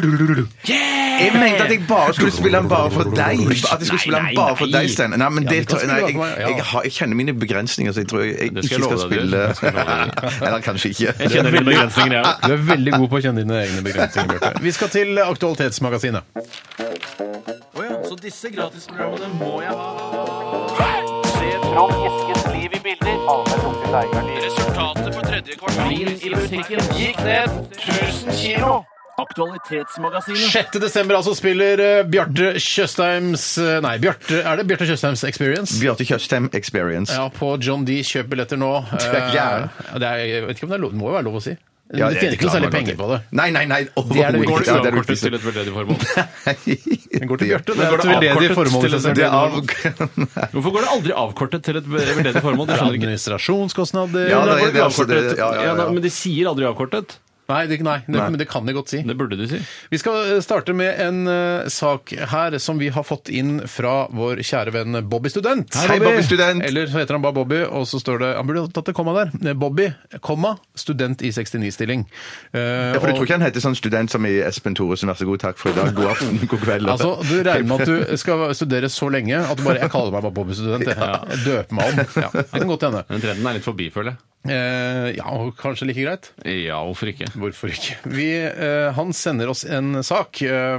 Speaker 3: Jeg mente at jeg bare skulle spille den bare for deg. At jeg skulle spille den bare for deg, Stein. Nei, men det
Speaker 1: du kan
Speaker 3: tror jeg- nei,
Speaker 1: spille
Speaker 3: jeg,
Speaker 1: den for meg, ja.
Speaker 3: jeg, har, jeg kjenner mine begrensninger, så jeg tror jeg, jeg
Speaker 2: Det
Speaker 3: ikke
Speaker 2: skal jeg love deg,
Speaker 3: skal spille
Speaker 2: det skal jeg love deg.
Speaker 3: Eller kanskje ikke.
Speaker 2: Jeg kjenner mine begrensninger, jeg òg.
Speaker 1: Du er veldig god på å kjenne dine egne begrensninger, Bjarte. Vi skal til Aktualitetsmagasinet.
Speaker 2: Resultatet på tredje kvartal i butikken gikk ned 1000 kilo. Aktualitetsmagasinet.
Speaker 1: 6. desember altså spiller eh, Bjarte Tjøstheims eh, Nei, Bjarte, er det Bjarte Tjøstheims Experience?
Speaker 3: Bjarte Tjøstheim Experience.
Speaker 1: Ja, på John D. Kjøp billetter nå.
Speaker 3: Du er gæren.
Speaker 1: Eh, det er, jeg vet ikke om det er lov, det må jo være lov å si. Du
Speaker 3: Ja, det-
Speaker 1: tjener
Speaker 3: det
Speaker 1: ikke noe
Speaker 3: klarer
Speaker 1: særlig
Speaker 3: man
Speaker 1: penger
Speaker 3: godt.
Speaker 1: på det.
Speaker 3: Nei, nei, nei.
Speaker 1: er det
Speaker 2: Går
Speaker 1: viktigste.
Speaker 2: det
Speaker 3: overhodet ikke.
Speaker 2: uavkortet til et veldedig formål?
Speaker 3: Nei.
Speaker 1: Den går til Bjarte. Det
Speaker 2: Men
Speaker 1: er
Speaker 2: går
Speaker 1: et
Speaker 2: det
Speaker 1: veldedig
Speaker 2: avkortet
Speaker 1: formål.
Speaker 2: til
Speaker 1: i seg
Speaker 2: et
Speaker 1: selv.
Speaker 3: Det er
Speaker 1: Det
Speaker 3: av...
Speaker 2: Hvorfor går det aldri avkortet til et veldedig formål? Det
Speaker 1: er
Speaker 2: skjønner jeg ikke.
Speaker 1: Administrasjonskostnader
Speaker 3: Ja,
Speaker 2: Da
Speaker 3: det
Speaker 2: går
Speaker 3: er-
Speaker 2: det
Speaker 3: altså, det-
Speaker 2: avkortet.
Speaker 3: ja, ja, ja.
Speaker 2: Ja, da, Men de sier aldri avkortet.
Speaker 1: Nei, det, nei, det, men det kan de godt si.
Speaker 2: Det burde de si.
Speaker 1: Vi skal eh, starte med en eh, sak her som vi har fått inn fra vår kjære venn Bobby Student.
Speaker 3: Hei, Bobby. Bobby Student.
Speaker 1: Eller så heter han bare Bobby, og så står det Han burde ha tatt det komma der. Eh, Bobby, komma, student i 69-stilling. Eh,
Speaker 3: Ja, for du tror
Speaker 1: og-
Speaker 3: ikke han heter sånn student som i Espen Thoresen, vær så god, takk for i dag, god aften, god kveld.
Speaker 1: Altså, Du regner med at du skal studere så lenge at du bare Jeg kaller meg bare Bobby Student. Jeg, jeg døper meg om. Ja, det kan godt hende.
Speaker 2: Den trenden er litt forbi, føler jeg.
Speaker 1: Eh, ja, og kanskje like greit.
Speaker 2: Ja, hvorfor ikke?
Speaker 1: Hvorfor ikke? Vi, eh, han sender oss en sak, eh,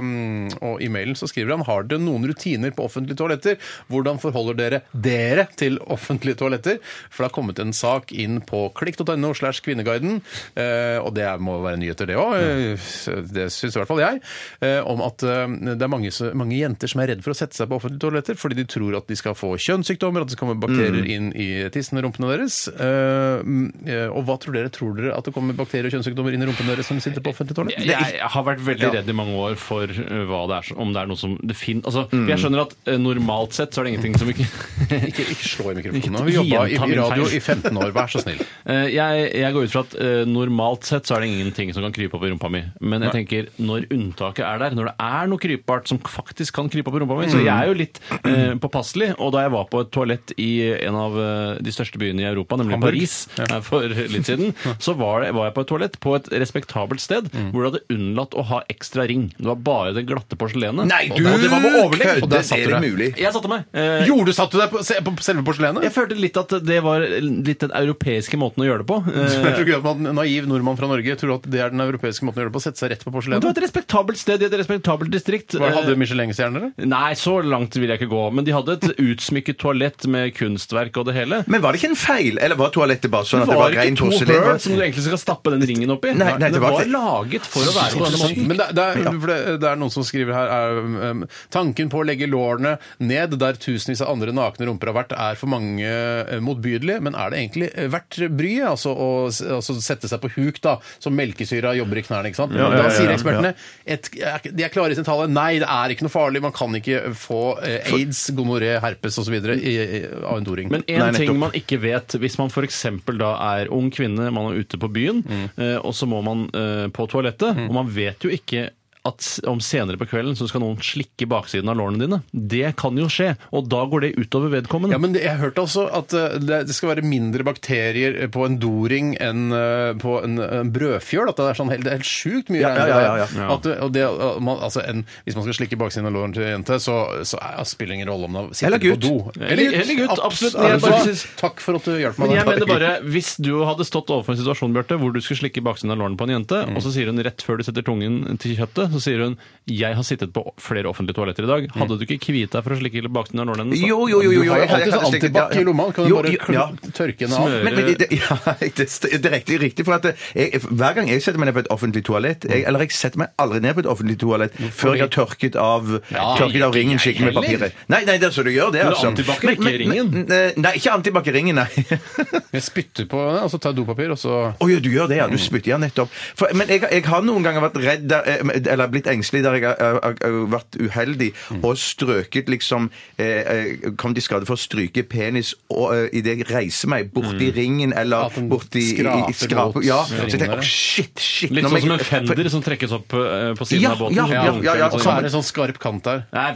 Speaker 1: og i mailen så skriver han har dere noen rutiner på offentlige toaletter. Hvordan forholder dere dere til offentlige toaletter? For det har kommet en sak inn på klikk.no slash kvinneguiden, eh, og det er- må være nyheter det òg, eh, det syns i hvert fall jeg, eh, om at eh, det er mange, så- mange jenter som er redd for å sette seg på offentlige toaletter fordi de tror at de skal få kjønnssykdommer, at det kommer bakterier
Speaker 2: Mm.
Speaker 1: inn i tissen og rumpene deres. Eh, mm, eh, Og hva tror dere? Tror dere at det kommer bakterier og kjønnssykdommer inn i rumpene deres når de sitter på offentlige toaletter?
Speaker 2: Jeg har vært veldig redd i mange år for uh, hva det er, som- om det er noe som det fin... Altså, for
Speaker 3: Mm.
Speaker 2: Jeg skjønner at uh, normalt sett så er det ingenting som ikke
Speaker 1: Ikke, ikke slå i
Speaker 2: Ikke
Speaker 1: mikrofonen. nå. Vi jobba i,
Speaker 2: gjenta
Speaker 1: i
Speaker 2: min
Speaker 1: radio
Speaker 2: feil.
Speaker 1: i 15 år, vær så snill.
Speaker 2: Eh, jeg, jeg går ut fra at eh, normalt sett så er det ingenting som kan krype opp i rumpa mi. Men jeg tenker når unntaket er der, når det er noe krypbart som faktisk kan krype opp i rumpa mi
Speaker 3: Mm.
Speaker 2: Så jeg er jo litt eh, påpasselig. Og da jeg var på et toalett i en av eh, de største byene i Europa, nemlig
Speaker 1: Hamburg.
Speaker 2: Paris, eh, for litt siden, så var, det, var jeg på et toalett på et respektabelt sted
Speaker 3: Mm.
Speaker 2: hvor de hadde unnlatt å ha ekstra ring. Det var bare det glatte porselenet.
Speaker 3: Nei,
Speaker 2: Og
Speaker 3: du
Speaker 2: der- det var med overlegg!
Speaker 3: kødder!
Speaker 1: og der
Speaker 3: Er
Speaker 1: satt
Speaker 3: det
Speaker 1: du deg.
Speaker 3: mulig?
Speaker 2: Jeg satte meg. Eh,
Speaker 1: Gjorde du satt du deg på, se- på selve
Speaker 2: jeg
Speaker 1: porselenet?
Speaker 2: følte litt at det var litt den europeiske måten å gjøre det på. Eh,
Speaker 1: Jeg tror ikke at man, En naiv nordmann fra Norge tror at det er den europeiske måten å gjøre det på. Sette seg rett på
Speaker 2: Men det var
Speaker 1: porselenet.
Speaker 2: et respektabelt sted i et respektabelt distrikt.
Speaker 1: Hva, Hadde
Speaker 2: Eh,
Speaker 1: Michelin-stjerner, eller?
Speaker 2: Nei, så langt vil jeg ikke gå. Men de hadde et utsmykket toalett med kunstverk og det hele.
Speaker 3: Men var det ikke en feil? Eller var toalettet bare sånn
Speaker 2: Det
Speaker 3: at det
Speaker 2: var
Speaker 3: var
Speaker 2: ikke
Speaker 3: rein
Speaker 2: to
Speaker 3: porselen?
Speaker 2: høl som du egentlig skal stappe den ringen oppi.
Speaker 3: Nei, nei, det
Speaker 2: det
Speaker 3: var
Speaker 2: var
Speaker 3: ikke-
Speaker 2: laget for å være på denne måten.
Speaker 1: Men det, det, er, for det, det er noen som skriver her er, um, Tanken på å legge lårene ned der tusenvis av andre nakne rumper har vært, er for mange eh, motbydelig, men er det egentlig eh, verdt bryet? Altså å s- altså sette seg på huk, da, som melkesyra jobber i knærne, ikke sant? Men
Speaker 3: ja,
Speaker 1: da sier
Speaker 3: ja,
Speaker 1: ekspertene et, er ikke- De er klare i sin tale. Nei, det er ikke noe farlig. Man kan ikke få eh, aids, gonoré, herpes osv. av en doring.
Speaker 2: Men
Speaker 3: Nei,
Speaker 2: én ting
Speaker 3: nettopp.
Speaker 2: man ikke vet, hvis man f.eks. da er ung kvinne, man er ute på byen,
Speaker 3: Mm.
Speaker 2: eh, og så må man eh, på toalettet, og man vet jo ikke at s- om senere på kvelden så skal noen slikke baksiden av lårene dine. Det kan jo skje, og da går det utover vedkommende.
Speaker 1: Ja, men det, jeg hørte også at eh, det, det skal være mindre bakterier eh, på en doring enn eh, på en, en brødfjøl. At det er sånn helt, det er helt sjukt mye
Speaker 3: Ja, ja, ja, ja,
Speaker 2: ja.
Speaker 1: At, du- og det, at man, altså en, hvis man skal slikke baksiden av låren til en jente, så, så er, spiller det ingen rolle om man sitter
Speaker 3: Eller
Speaker 1: på
Speaker 3: gutt.
Speaker 1: do.
Speaker 2: Eller- eller gutt, absolutt. Jeg
Speaker 1: Vet du
Speaker 2: bare
Speaker 1: hva?
Speaker 2: synes-
Speaker 1: Takk for at du hjalp meg.
Speaker 2: Men jeg
Speaker 1: der.
Speaker 2: mener bare, Hvis du hadde stått overfor en situasjon Bjørte, hvor du skulle slikke baksiden av låren på en jente,
Speaker 3: Mm.
Speaker 2: og så sier hun rett før du setter tungen til kjøttet, så sier hun 'jeg har sittet på flere offentlige toaletter i dag', hadde du ikke kviet deg for å slikke baksiden av låren hennes? da?
Speaker 3: Mm. Jo, jo, jo. jo, jo.
Speaker 1: Du har jo
Speaker 3: jeg- jeg-
Speaker 1: alltid
Speaker 3: jeg-
Speaker 1: sånn
Speaker 3: jeg- jeg-
Speaker 1: antibac i lomma. Kan du
Speaker 3: Jo,
Speaker 1: bare
Speaker 3: jo,
Speaker 1: kl-
Speaker 3: ja.
Speaker 1: tørke den av?
Speaker 2: Smør.
Speaker 3: Men, men det, det- ja, det, st- det er riktig, riktig for at jeg, hver gang jeg setter meg ned på et offentlig toalett
Speaker 1: Mm.
Speaker 3: jeg, Eller jeg setter meg aldri ned på et offentlig toalett før jeg har tørket av, tørket av ringen skikkelig med papiret. Nei, nei, det er så du gjør det,
Speaker 2: Men
Speaker 3: altså.
Speaker 2: antibac er ikke i ringen.
Speaker 3: men- eh, Nei, ikke antibac i ringen, nei.
Speaker 1: Jeg spytter på den, og så tar jeg dopapir, og så
Speaker 3: Å ja, du gjør det,
Speaker 2: Mm.
Speaker 3: ja. Du spytter ja nettopp. For, men jeg, jeg har noen ganger vært redd der, eh, eller blitt engstelig der jeg har- har har- har vært uheldig
Speaker 2: Mm.
Speaker 3: og strøket liksom eh, eh, Kom til skade for å stryke penis og, eh, i det jeg reiser
Speaker 2: Mm.
Speaker 3: meg borti ringen eller
Speaker 1: At den
Speaker 3: borti i- i-
Speaker 1: skraper
Speaker 3: skraper- Ja,
Speaker 1: mot
Speaker 3: så jeg
Speaker 1: ringene
Speaker 3: tenker
Speaker 1: der.
Speaker 3: åh, shit, shit.
Speaker 2: Litt
Speaker 3: nå må
Speaker 2: sånn som en
Speaker 3: jeg- for-
Speaker 2: fender som trekkes opp eh, på siden
Speaker 3: Ja,
Speaker 2: av båten.
Speaker 3: ja, ja, ja, ja.
Speaker 1: Og så er det sånn skarp kant der.
Speaker 2: Nei.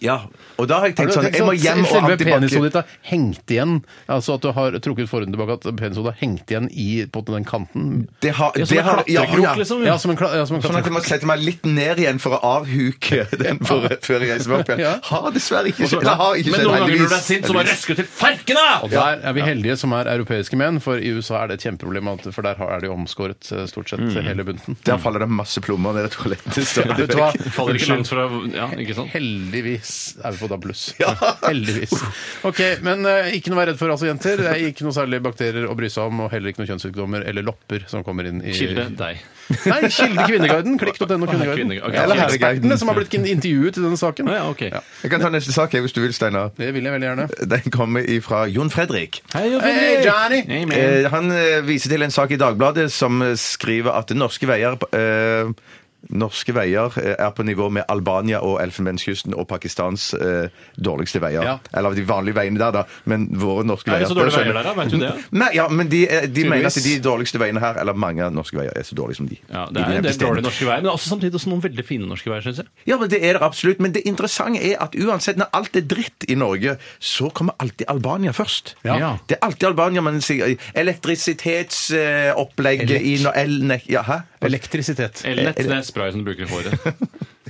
Speaker 3: Ja, og da har jeg tenkt
Speaker 1: Har
Speaker 3: sånn
Speaker 1: du tenkt
Speaker 3: Jeg må
Speaker 1: sånn at
Speaker 3: hjem og
Speaker 1: Selve penishodet
Speaker 3: antibac.
Speaker 1: ditt har hengt igjen. Altså at du har trukket forhuden tilbake, at penishodet har hengt igjen i på den kanten.
Speaker 3: Det har
Speaker 2: Ja, som
Speaker 3: det
Speaker 2: en
Speaker 3: har- ja,
Speaker 2: klatrekrok,
Speaker 3: ja.
Speaker 2: liksom.
Speaker 1: Ja, som en, kla- ja, som en
Speaker 3: Sånn at jeg må sette meg litt ned igjen for å avhuke den for, før jeg reiser meg opp
Speaker 1: Ja.
Speaker 3: igjen. Har dessverre ikke skjedd. Eller har ikke
Speaker 2: Men
Speaker 3: skjedd,
Speaker 2: noen ganger
Speaker 3: heldigvis.
Speaker 2: når du er sint, så bare
Speaker 3: Heldigvis.
Speaker 2: røsker du til farken, da!
Speaker 1: Og der er vi heldige som er europeiske menn, for i USA er det et kjempeproblem, at- for der har- er de omskåret eh, stort sett
Speaker 3: Mm.
Speaker 1: hele bunten.
Speaker 3: Der faller det masse plommer ned i toalettet. stadig
Speaker 1: Vet du hva?
Speaker 3: vekk.
Speaker 2: Faller ikke
Speaker 1: Unnskyld.
Speaker 2: langt fra Ja, ikke sant?
Speaker 1: Heldigvis er vi på DAB+. Heldigvis. Ok, Men eh, ikke noe å være redd for, altså, jenter. Det er ikke noe særlig bakterier å bry seg om, og heller ikke noen kjønnssykdommer eller lopper som kommer inn i
Speaker 2: Kilde deg.
Speaker 1: Nei, Kilde Kvinneguiden. Klikk.no Kvinneguiden.
Speaker 2: Kvinneguiden, ok.
Speaker 1: Eller
Speaker 3: Kvinneguiden.
Speaker 1: ekspertene som har blitt intervjuet i denne saken.
Speaker 2: Å ja, ok.
Speaker 3: Jeg kan ta neste sak jeg, hvis du vil, Steinar.
Speaker 1: Det vil jeg veldig gjerne.
Speaker 3: Den kommer ifra Jon Fredrik.
Speaker 2: Hei,
Speaker 1: Hey, Johnny!
Speaker 2: Hey, man.
Speaker 3: Eh, han eh, viser til en sak i Dagbladet som eh, skriver at norske veier eh, Norske veier eh, er på nivå med Albania og Elfenbenskysten og Pakistans eh, dårligste veier.
Speaker 1: Ja.
Speaker 3: Eller de vanlige veiene der, da. Men våre norske
Speaker 2: Er
Speaker 3: veier
Speaker 2: det så dårlige
Speaker 3: skjønner-
Speaker 2: veier der, da? Vet du det?
Speaker 3: Nei, ja, men de, eh, de mener at
Speaker 1: Tydeligvis.
Speaker 3: de dårligste veiene her, eller mange av norske veier, er så dårlige som de.
Speaker 2: Ja, det er
Speaker 3: I
Speaker 2: en del
Speaker 3: bestemte-
Speaker 2: dårlige norske veier, men også samtidig også noen veldig fine norske veier, syns jeg.
Speaker 3: Ja, men det er det absolutt. Men det interessante er at uansett når alt er dritt i Norge, så kommer alltid Albania først.
Speaker 2: Ja.
Speaker 3: Det er alltid Albania, men sier- elektrisitetsopplegget i no- el- ne- ja, hæ?
Speaker 1: Elektrisitet.
Speaker 2: Eh, Elnett, det er spray som du bruker i håret.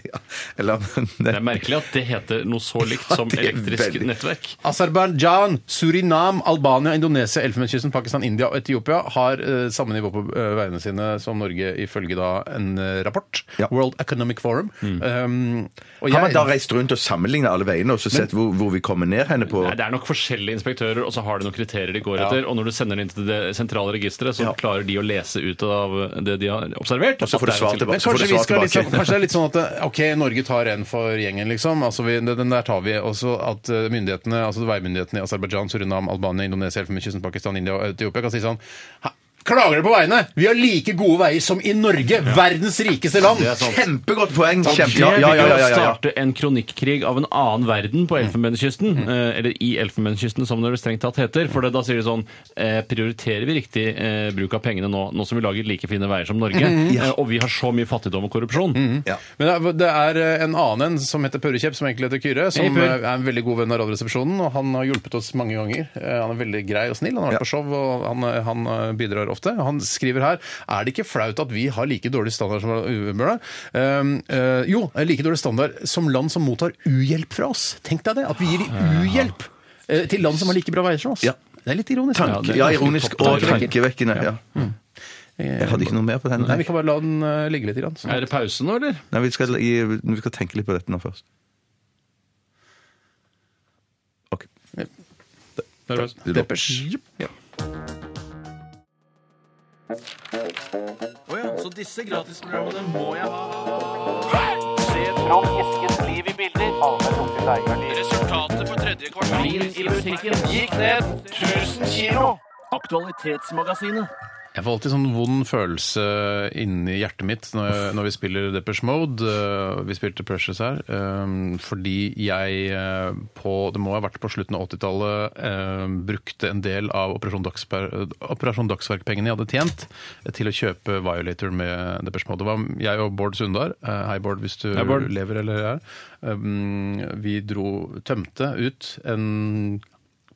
Speaker 3: Ja, eller,
Speaker 2: Det er merkelig at det heter noe så likt som
Speaker 3: Det er
Speaker 2: elektrisk
Speaker 3: veldig-
Speaker 2: nettverk.
Speaker 1: Aserbajdsjan, Surinam, Albania, Indonesia, Elfenbenskysten, Pakistan, India og Etiopia har eh, samme nivå på eh, veiene sine som Norge, ifølge da en eh, rapport.
Speaker 3: Ja.
Speaker 1: World Economic Forum.
Speaker 2: Mm.
Speaker 1: Um, og
Speaker 3: Har man da
Speaker 1: jeg,
Speaker 3: reist rundt og sammenlignet alle veiene og så sett hvor, hvor vi kommer ned henne på
Speaker 2: Nei, Det er nok forskjellige inspektører, og så har de noen kriterier de går
Speaker 1: Ja.
Speaker 2: etter. Og når du sender det inn til det sentrale registeret, så
Speaker 3: Ja.
Speaker 2: klarer de å lese ut av det de har observert.
Speaker 3: så
Speaker 2: at
Speaker 3: får du
Speaker 2: det er
Speaker 3: svar
Speaker 2: en
Speaker 3: tilbake.
Speaker 1: men
Speaker 3: så får
Speaker 1: kanskje,
Speaker 3: du
Speaker 1: vi
Speaker 3: svar
Speaker 1: skal litt,
Speaker 3: tilbake.
Speaker 1: sånn- kanskje det er litt sånn at eh, OK, Norge tar en for gjengen, liksom. Altså, vi, den, den der tar vi. Og så at eh, myndighetene, altså veimyndighetene i Aserbajdsjan, Surinam, Albania, Indonesia, Elfenbenskysten, Pakistan, India og Etiopia kan si sånn «Ha, Klager dere på veiene? Vi har like gode veier som i Norge! Verdens rikeste land!
Speaker 3: Kjempegodt poeng! Kjempe,
Speaker 2: Ja,
Speaker 3: ja, ja, ja, ja, ja, ja.
Speaker 2: starte en kronikkrig av en annen verden på Elfenbenskysten,
Speaker 3: Mm.
Speaker 2: eh, eller i Elfenbenskysten, som det vel strengt tatt heter. For det, da sier de sånn eh, Prioriterer vi riktig eh, bruk av pengene nå, nå som vi lager like fine veier som Norge?
Speaker 3: Mm.
Speaker 2: eh, og vi har så mye fattigdom og korrupsjon.
Speaker 3: Ja.
Speaker 1: Men det er- det er en annen en som heter Purre Kjepp, som egentlig heter Kyrre, som
Speaker 2: Hei, Purre.
Speaker 1: eh, er en veldig god venn av Radioresepsjonen, og han har hjulpet oss mange ganger. Eh, Han er veldig grei og snill, han har vært
Speaker 3: Ja.
Speaker 1: på show, og han, eh, han eh, bidrar ofte. Han skriver her er det ikke flaut at vi har like dårlig standard som Uber? Um, eh, jo, like dårlig standard som land som mottar uhjelp fra oss. Tenk deg det, at vi gir de uhjelp eh, til land som har like bra veier som oss.
Speaker 3: Ah, Ja.
Speaker 1: Det er litt ironisk.
Speaker 2: Tanke-
Speaker 1: det er
Speaker 3: ja,
Speaker 1: ganske
Speaker 3: ironisk
Speaker 1: topp.
Speaker 3: og tankevekkende. Ja. Jeg hadde ikke noe mer på den.
Speaker 1: Nei,
Speaker 3: Nei,
Speaker 1: vi kan bare la den eh, ligge litt. Grann, så.
Speaker 2: Er det pause nå, eller?
Speaker 3: Nei, vi, skal, i- vi skal tenke litt på dette nå først. Ok.
Speaker 1: Deppers. Jeg får alltid sånn vond følelse inni hjertet mitt når, jeg, når vi spiller Deppers Mode. eh, Vi spilte Precious her. eh, Fordi jeg eh, på Det må ha vært på slutten av 80-tallet eh, brukte en del av Operasjon, Dagsper, Operasjon Dagsverk-pengene jeg hadde tjent, eh, til å kjøpe Violator med Deppers Mode. Det var jeg og Bård Sundar. eh, Hei, Bård, hvis du
Speaker 2: Hei, Bård.
Speaker 1: lever eller er. Eh, Vi dro Tømte ut en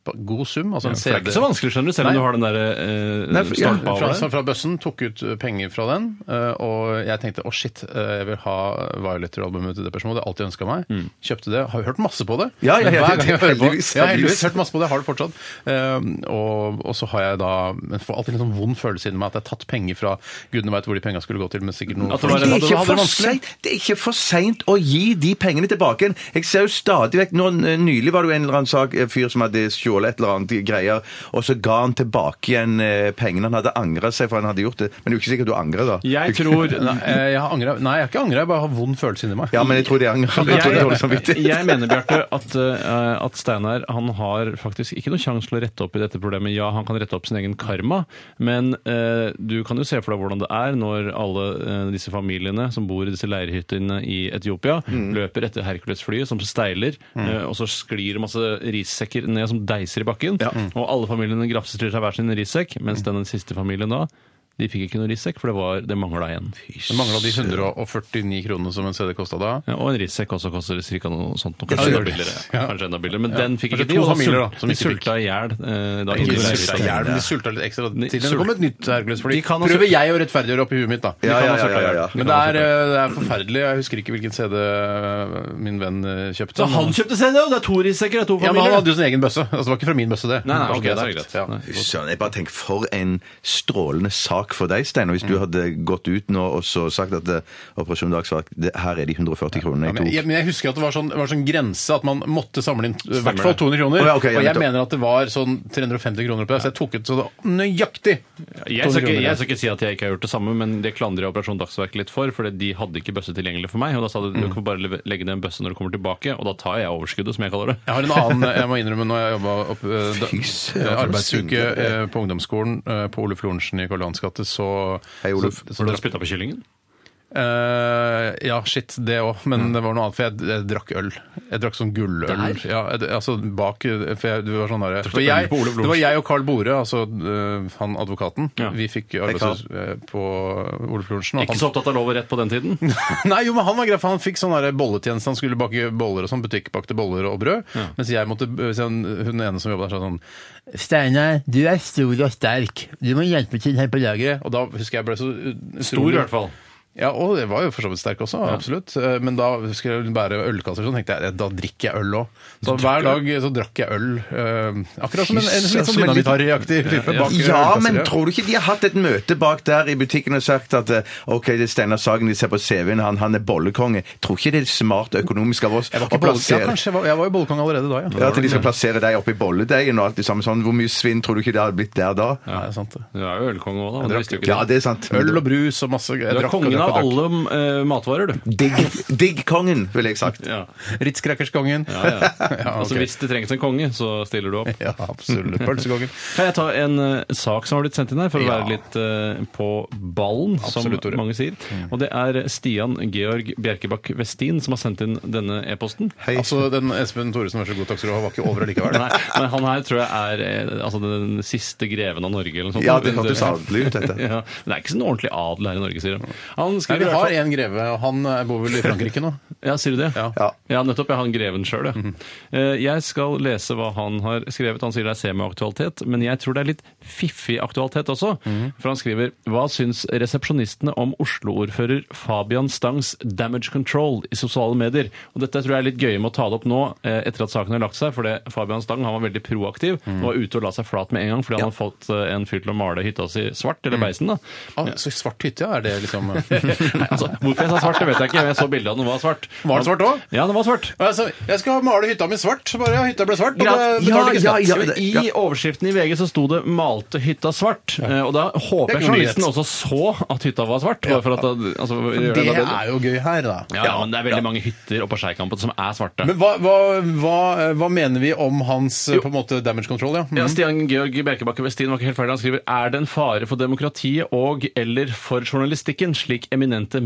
Speaker 1: god sum, altså
Speaker 2: For
Speaker 1: en
Speaker 2: det
Speaker 1: CD.
Speaker 2: er ikke så vanskelig, skjønner du, selv om
Speaker 1: Nei.
Speaker 2: du har den derre eh,
Speaker 3: for- ja,
Speaker 2: stolpa
Speaker 1: fra,
Speaker 2: over
Speaker 1: som
Speaker 2: deg.
Speaker 1: fra bøssen, tok ut eh, penger fra den, eh, og jeg tenkte å shit, eh, jeg vil ha Violator-albumet til Depeche Mode, det har jeg alltid ønska meg. Kjøpte det, har jo hørt masse på det.
Speaker 3: Mm. Ja, ja,
Speaker 1: Men
Speaker 3: ja,
Speaker 1: Hver gang jeg hører på
Speaker 3: heldigvis,
Speaker 1: Ja, heldigvis
Speaker 3: heldigvis.
Speaker 1: hørt masse på det, jeg har det fortsatt. Eh, og, og så har jeg da men får alltid en sånn vond følelse inni meg at jeg har tatt penger fra gudene veit hvor de penga skulle gå til, men sikkert noe
Speaker 2: At det var en- hadde-
Speaker 3: Men
Speaker 2: hadde
Speaker 3: det er, ikke
Speaker 2: det
Speaker 3: for
Speaker 2: vanskelig.
Speaker 3: sent, det er ikke for seint å gi de pengene tilbake igjen. Jeg ser jo stadig vekk nå, Nylig var det jo en eller annen sak, en fyr som hadde stjålet et eller annet greier, og så ga han tilbake igjen eh, pengene. Han hadde angra seg for han hadde gjort det. Men det er jo ikke sikkert du angrer, da.
Speaker 2: Jeg tror
Speaker 1: Nei, eh, jeg har angret. Nei, jeg har ikke angra, jeg bare har vond følelse inni meg.
Speaker 3: Ja, men jeg tror de angrer. Jeg tror de har dårlig
Speaker 2: jeg,
Speaker 3: samvittighet.
Speaker 2: jeg mener, Bjarte, at, eh, at Steinar han har faktisk ikke noe sjanse til å rette opp i dette problemet. Ja, han kan rette opp sin egen karma, men eh, du kan jo se for deg hvordan det er når alle eh, disse familiene som bor i disse leirhyttene i Etiopia,
Speaker 3: Mm.
Speaker 2: løper etter Hercules-flyet som steiler, eh, og så sklir det masse rissekker ned som deiser i bakken, og alle familiene grafser til seg hver sin rissekk,
Speaker 3: Mm.
Speaker 2: mens den siste familien da de fikk ikke noe rissekk, for det, var- det mangla en.
Speaker 1: Det mangla de 149 kronene som en CD kosta da.
Speaker 2: Ja, og en rissekk også koster ca. noe sånt. noe Kanskje,
Speaker 1: Ja, det
Speaker 2: enda
Speaker 1: gjør det.
Speaker 2: billigere.
Speaker 1: Ja.
Speaker 2: Kanskje enda billigere. Men den fikk
Speaker 1: Kanskje
Speaker 2: ikke de.
Speaker 1: to
Speaker 2: og
Speaker 1: familier,
Speaker 2: sult-
Speaker 1: da, som
Speaker 2: de
Speaker 1: ikke fikk.
Speaker 2: sulta i hjel. eh, da
Speaker 1: Ikke
Speaker 2: de
Speaker 1: de
Speaker 2: leier
Speaker 1: sulta
Speaker 2: ut.
Speaker 1: i hjel, men de sulta litt ekstra til.
Speaker 2: De
Speaker 1: Det kom
Speaker 2: sulta.
Speaker 1: et nytt Hercules-fly.
Speaker 2: De kan ha
Speaker 1: Prøver
Speaker 2: sulta.
Speaker 1: jeg å rettferdiggjøre oppi huet mitt, da.
Speaker 3: Ja,
Speaker 1: De kan ha
Speaker 3: ja, ja,
Speaker 1: sulta
Speaker 3: ja,
Speaker 1: i
Speaker 3: ja.
Speaker 1: hjel. Men det er, eh, det er forferdelig. Jeg husker ikke hvilken CD min venn eh, kjøpte.
Speaker 2: Så han
Speaker 1: men-
Speaker 2: kjøpte CD, og det er to rissekker og to
Speaker 1: ja, men han
Speaker 2: familier!
Speaker 1: hadde jo sin egen bøsse. Altså, det var ikke fra min bøsse, det.
Speaker 2: Nei, nei,
Speaker 1: Bare så
Speaker 2: ok, da
Speaker 1: det
Speaker 2: er det
Speaker 1: sagt.
Speaker 2: greit.
Speaker 1: Ja.
Speaker 2: Nei.
Speaker 3: Fy Søren, jeg bare tenker, For en strålende sak for deg, Steinar.
Speaker 1: Mm.
Speaker 3: Hvis du hadde gått ut nå og så sagt at eh, Operasjon Dagsverk, det, her er de 140 kronene
Speaker 1: Ja, men,
Speaker 3: jeg
Speaker 1: jeg,
Speaker 3: tok.
Speaker 1: men jeg husker at det var sånn, det var sånn grense at man måtte samle inn i hvert fall
Speaker 2: det.
Speaker 1: 200 kroner.
Speaker 3: Å, ja, ok, ja,
Speaker 1: og jeg
Speaker 3: nettopp.
Speaker 1: mener at det var sånn 350 kroner på det, så jeg tok ut så det nøyaktig.
Speaker 2: Jeg skal, ikke, jeg skal ikke si at jeg ikke har gjort det samme, men det klandrer jeg Operasjon Dagsverk litt for. For de hadde ikke bøsse tilgjengelig for meg. Og da sa de du
Speaker 1: Mm.
Speaker 2: kan bare leve- legge ned en bøsse når du kommer tilbake, og da tar jeg overskuddet, som jeg kaller det.
Speaker 1: Jeg har en annen jeg må innrømme når jeg jobba opp eh, da-
Speaker 3: Fy søren,
Speaker 1: eh,
Speaker 3: for
Speaker 1: arbeidsuke
Speaker 3: synd.
Speaker 1: eh, på ungdomsskolen eh, på Oluf Lorentzen i Karl Johans gate, så
Speaker 3: Hei, Oluf.
Speaker 1: Så, så
Speaker 2: For du
Speaker 1: drakk-
Speaker 2: spytta på kyllingen?
Speaker 1: Eh, ja, shit, det òg,
Speaker 3: Mm.
Speaker 1: men det var noe annet. For jeg, jeg drakk øl. Jeg drakk sånn gulløl. Ja, jeg, altså bak For jeg, det var sånn derre
Speaker 2: øl
Speaker 1: for jeg-
Speaker 2: på Olav Lorentzen.
Speaker 1: Det var jeg og Carl Bore, altså eh, han advokaten.
Speaker 2: Ja.
Speaker 1: Vi fikk
Speaker 3: Hei, Carl.
Speaker 1: arbeidshus eh, på Oluf Lorentzen. og
Speaker 2: Ikke
Speaker 1: han-
Speaker 2: så opptatt av lov og rett på den tiden?
Speaker 1: Nei, jo, men han var grei, for han fikk sånn der bolletjeneste. Han skulle bake boller og sånn, butikkbakte boller og brød. Mens jeg måtte, hvis han, hun ene som jobba der, sa sånn Steinar, du er stor og sterk. Du må hjelpe til her på lageret. Og da husker jeg ble så uh,
Speaker 2: Stor, i hvert fall.
Speaker 1: Ja, og det var jo for så vidt sterk også, absolutt. Eh, Men da skulle jeg bære ølkasser, så tenkte jeg da drikker jeg øl òg. Så hver dag så drakk jeg øl. eh, Akkurat som en, en litt sånn
Speaker 3: Som en litt-
Speaker 1: dynamitariaktig type. bak
Speaker 3: Ja,
Speaker 1: ølkasser,
Speaker 3: men
Speaker 1: ja.
Speaker 3: tror du ikke de har hatt et møte bak der i butikken og sagt at eh, OK, det er Steinar Sagen, de ser på CV-en, han, han er bollekonge. Tror ikke det er smart økonomisk av oss
Speaker 1: Jeg var ikke
Speaker 3: å
Speaker 1: bolle- ja,
Speaker 3: plassere-
Speaker 1: kanskje jeg var, jeg var jo bollekonge allerede da,
Speaker 3: Ja, At de skal plassere deg oppi bolledeigen og alt det samme sånn. Hvor mye svinn tror du ikke det hadde blitt der da?
Speaker 1: Nei, det er sant det.
Speaker 2: Du er jo ølkonge òg, da. men det visste jo ikke
Speaker 3: Ja,
Speaker 2: du.
Speaker 3: det er sant.
Speaker 1: Øl og brus og masse
Speaker 2: Du er kongen av alle eh, matvarer, du.
Speaker 3: Digg, digg kongen, ville jeg sagt.
Speaker 2: Ja.
Speaker 1: Ritz-crackerskongen.
Speaker 2: Ja, ja. Altså,
Speaker 1: ok.
Speaker 2: Hvis det trengs en konge, så stiller du opp.
Speaker 1: Ja, absolutt. Pølsekongen.
Speaker 2: Kan jeg ta en eh, sak som har blitt sendt inn her, for å
Speaker 1: Ja.
Speaker 2: være litt eh, på ballen,
Speaker 1: Absolutt, Tore.
Speaker 2: som mange sier. Og det er Stian Georg Bjerkebakk Westin som har sendt inn denne e-posten.
Speaker 3: Hei.
Speaker 1: Altså, den Espen Thoresen, vær så god, takk skal du ha, var ikke over allikevel.
Speaker 2: Nei, men han her tror jeg er eh, altså, den siste greven av Norge eller noe sånt.
Speaker 3: Ja, det hørtes adelig ut, dette.
Speaker 2: Ja, men det er ikke sånn ordentlig adel her i Norge, sier han. Han
Speaker 1: Nei,
Speaker 2: skriver
Speaker 1: vi
Speaker 2: i hvert
Speaker 1: har
Speaker 2: fall-
Speaker 1: en greve, og han eh, bor vel i Frankrike nå?
Speaker 2: Ja, sier du det?
Speaker 1: Ja. Mhm.
Speaker 3: Ja.
Speaker 2: Ja, nettopp. Jeg har en greven sjøl, ja. Eh, Jeg skal lese hva han har skrevet. Han sier det er semiaktualitet, men jeg tror det er litt fiffig aktualitet også.
Speaker 1: Mhm.
Speaker 2: For han skriver Hva syns resepsjonistene om Oslo-ordfører Fabian Stangs damage control i sosiale medier? Og dette tror jeg er litt gøye med å ta det opp nå, eh, etter at saken har lagt seg. For det, Fabian Stang han var veldig proaktiv
Speaker 1: Mhm.
Speaker 2: og var ute og la seg flat med en gang fordi han hadde fått eh, en fyr til å male hytta si svart, eller beisen, da.
Speaker 1: Ah, så svart hytte, ja, er det liksom eh,
Speaker 2: Nei, altså, hvorfor jeg sa svart, det vet jeg ikke, men jeg så bildet av den var svart.
Speaker 1: Var den svart også?
Speaker 2: Ja, den var svart.
Speaker 1: altså, Jeg skal male hytta mi svart, så bare ja, hytta ble svart, og da
Speaker 2: Greit.
Speaker 1: betalte
Speaker 2: Ja,
Speaker 1: ikke
Speaker 2: ja,
Speaker 1: skatt.
Speaker 2: ja, det- I overskriften i VG så sto det 'malte hytta svart'. Eh, Og da håper jeg
Speaker 1: Det er ikke noe
Speaker 2: journalisten
Speaker 1: nyhet.
Speaker 2: også så at hytta var svart. Bare for at, da- altså, gjør
Speaker 1: Det
Speaker 2: det bedre.
Speaker 1: er jo gøy her, da.
Speaker 2: ja, ja, men det er veldig mange hytter oppå Skeikampen som er svarte.
Speaker 1: Men hva, hva, hva, hva mener vi om hans eh, på en måte damage control, ja? Mm.
Speaker 2: ja, Stian Georg Bjerkebakke Westin var ikke helt ferdig. Han skriver er det en fare for demokratiet og eller for journalistikken, slik eminente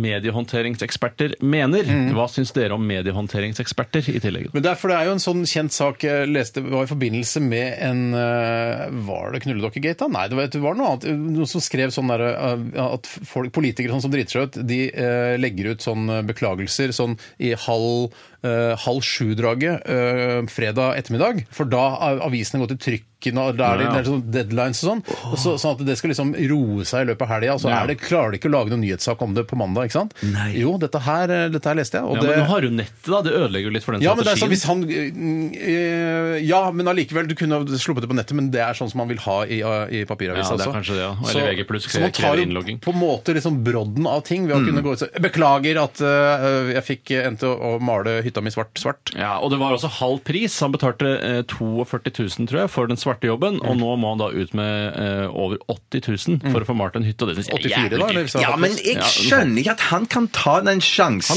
Speaker 2: mediehåndteringseksperter mener. Hva syns dere om mediehåndteringseksperter i tillegg?
Speaker 1: Mm. Men det er, for det er jo en sånn kjent sak jeg leste var i forbindelse med en eh, Var det Knulledokkegate? da? Nei, det var, det var noe annet. Noen som skrev sånn der, eh, at folk, politikere sånn som driter seg ut, de eh, legger ut sånn eh, beklagelser sånn i halv eh, halv sju-draget eh, fredag ettermiddag, for da har avisene gått i trykken, og da er det,
Speaker 2: Ja.
Speaker 1: det er sånn deadlines og sånn. Og så, sånn at det skal liksom roe seg i løpet av helga, og så er det, klarer de ikke å lage noen nyhetssak om det på mandag, ikke sant? Nei. Jo, dette her, eh, dette her leste jeg. Og
Speaker 2: Ja, men
Speaker 1: det,
Speaker 2: nå har du nettet, da. Det ødelegger jo litt for den
Speaker 1: ja, men det er
Speaker 2: strategien.
Speaker 1: sånn hvis han mm, eh, Ja, men allikevel, du kunne ha sluppet det på nettet, men det er sånn som han vil ha i, eh, i papiravisa
Speaker 2: Ja, det er
Speaker 1: også.
Speaker 2: kanskje det, ja. Eller
Speaker 1: Så-
Speaker 2: VG+,
Speaker 1: Så man tar
Speaker 2: krever
Speaker 1: jo
Speaker 2: innlogging. Mm.
Speaker 1: på en måte liksom brodden av ting ved å kunne gå ut og si Beklager at eh, jeg fikk eh, endte å å male hytta mi svart svart.
Speaker 2: Ja, og det var også halv pris. Han betalte eh, 42 000, tror jeg, for den svarte jobben,
Speaker 3: Mm.
Speaker 2: og nå må han da ut med eh, over 80 000 for å få malt en hytte, og det synes jeg
Speaker 1: 84
Speaker 2: er
Speaker 1: da,
Speaker 2: jævlig
Speaker 1: eller?
Speaker 2: dyrt.
Speaker 1: Så-
Speaker 3: Ja, men jeg skjønner ikke at han kan ta den sjansen.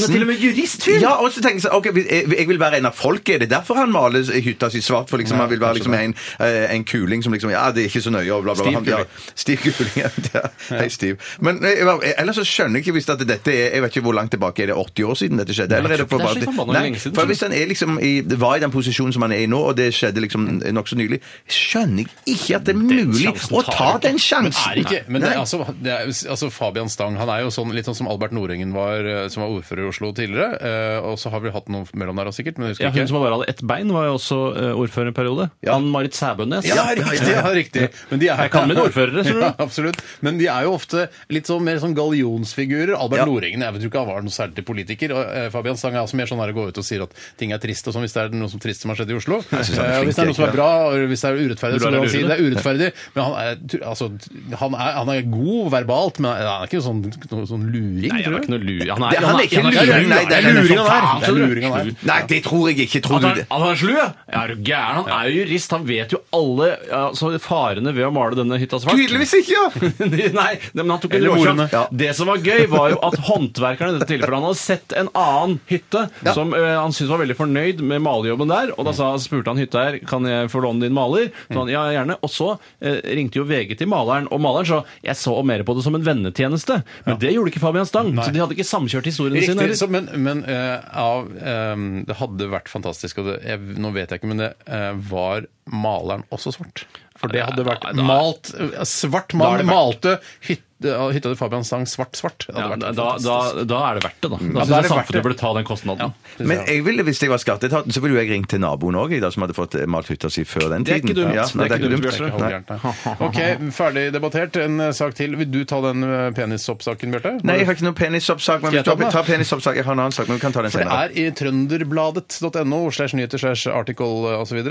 Speaker 2: liksom. Han er til og med jurist, fyr!
Speaker 3: Ja, og så tenker jeg sånn, ok, jeg, jeg vil være en av folket. Er det derfor han maler hytta si svart? For liksom, han vil være liksom en, eh, en kuling som liksom, ja, det er ikke så nøye, og bla, bla, bla.
Speaker 1: Stiv
Speaker 3: Han- ja,
Speaker 1: kuling.
Speaker 3: Stiv kuling, ja. ja. Hei, Stiv. Men eh, jeg- ellers så skjønner jeg ikke hvis at dette er, jeg vet ikke hvor langt tilbake, er det 80 år siden dette skjedde? Eller er det for
Speaker 2: det er så
Speaker 3: bare-
Speaker 2: forbanna
Speaker 3: Nei,
Speaker 2: lenge siden.
Speaker 3: For hvis han er liksom i, var i den posisjonen som han er i nå, og det skjedde liksom nok så nylig, skjønner jeg ikke at det er mulig
Speaker 2: Mm. sjansen
Speaker 3: å
Speaker 2: tar
Speaker 3: ta
Speaker 2: du ikke.
Speaker 3: den
Speaker 1: Er
Speaker 3: sjansen.
Speaker 1: ikke, men det,
Speaker 3: Nei.
Speaker 1: altså, det er, jo- altså Fabian Stang han er jo sånn, litt sånn som Albert Nordengen var, eh, som var ordfører i Oslo tidligere. eh, Og så har vi hatt noe mellom der også, sikkert. Men jeg husker
Speaker 2: Ja, hun
Speaker 1: ikke.
Speaker 2: som bare hadde ett bein, var jo også eh, ordfører en periode. Ann-Marit Sæbønes.
Speaker 1: Ja, riktig. Ja, riktig. Men de er,
Speaker 2: Jeg kan mine ordførere, skjønner du.
Speaker 1: Ja, absolutt. Men de er jo ofte litt sånn mer sånn gallionsfigurer. Albert
Speaker 3: Ja.
Speaker 1: Nordengen jeg tror ikke han var noen særlig politiker. Og eh, Fabian Stang er også mer sånn her å gå ut og sier at ting er trist og sånn, hvis det er noe som trist som har skjedd i Oslo.
Speaker 3: synes han er
Speaker 1: Eh,
Speaker 3: flink,
Speaker 1: hvis det er noe som
Speaker 3: jeg,
Speaker 1: er bra, og hvis det er urettferdig,
Speaker 2: Du
Speaker 1: så
Speaker 2: lar
Speaker 1: vil han
Speaker 2: deg
Speaker 1: si
Speaker 2: lure,
Speaker 1: det er urettferdig. Men han er, tu- altså, han er, han er god verbalt, men han er ikke sånn, noe sånn
Speaker 2: Nei,
Speaker 1: luring,
Speaker 2: han
Speaker 1: tror
Speaker 2: er
Speaker 1: jeg.
Speaker 2: ikke noe luring. Han
Speaker 3: Det- han er ikke luring, nei, det er
Speaker 2: han
Speaker 3: luring
Speaker 2: som
Speaker 3: han
Speaker 1: er.
Speaker 2: faen,
Speaker 1: Det er
Speaker 2: skjønner du?
Speaker 1: luring han er.
Speaker 3: Nei, det tror jeg ikke. Tror
Speaker 2: At
Speaker 3: du
Speaker 2: han,
Speaker 3: det?
Speaker 2: at han er slu, ja? Er du gæren? Han er jo jurist. Han vet jo alle altså, farene ved å male denne hytta svart.
Speaker 3: Tydeligvis ikke! ja.
Speaker 2: Nei, nei, men han tok
Speaker 1: Eller
Speaker 2: ikke ordene.
Speaker 1: ordene.
Speaker 3: Ja.
Speaker 2: Det som var gøy, var jo at håndverkerne i dette tilfellet Han hadde sett en annen hytte som eh, han syntes var veldig fornøyd med malejobben der. Og da sa, spurte han hytteeier kan jeg få låne din maler. Så han, ja, gjerne. Og så eh, ringte jo VG til maleren, og maleren sa jeg så mer på det som en vennetjeneste. Men det gjorde ikke Fabian Stang, så de hadde ikke samkjørt historiene sine.
Speaker 1: Riktig,
Speaker 2: eller?
Speaker 1: så, men, men eh, av, eh, det hadde vært fantastisk, og det, jeg, nå vet jeg ikke, men det eh, var maleren også svart. For det hadde vært malt, eh, svart
Speaker 2: Da er
Speaker 1: mann
Speaker 2: det verdt.
Speaker 1: malte hytt, eh, hytta til Fabian sang svart, svart. Det hadde
Speaker 2: Ja,
Speaker 1: vært
Speaker 2: da,
Speaker 1: helt
Speaker 2: da, da
Speaker 1: fantastisk.
Speaker 2: da er det verdt det, da. Da
Speaker 1: Mm. da
Speaker 2: syns jeg
Speaker 1: er det verdt
Speaker 2: samfunnet
Speaker 1: det.
Speaker 2: burde ta den kostnaden.
Speaker 1: Ja.
Speaker 3: Men jeg ville, hvis jeg var skatteetaten, så ville jo jeg ringt til naboen òg, som hadde fått malt hytta si før den tiden.
Speaker 2: Det er ikke dumt.
Speaker 3: Ja,
Speaker 2: Det
Speaker 3: nei,
Speaker 2: er ikke dumt,
Speaker 1: Det er ikke
Speaker 3: Nei.
Speaker 1: halvgærent, nei. OK, ferdig debattert. En eh, sak til. Vil du ta den eh, penissoppsaken, Bjarte?
Speaker 3: Nei, jeg har ikke noe penisoppsak. Men
Speaker 1: Skal jeg
Speaker 3: hvis
Speaker 1: ta
Speaker 3: du
Speaker 1: den, da?
Speaker 3: tar penisoppsak, jeg har en annen sak, men vi kan ta den
Speaker 1: For det
Speaker 3: senere.
Speaker 1: er i trønderbladet.no slash nyheter slash article eh, osv.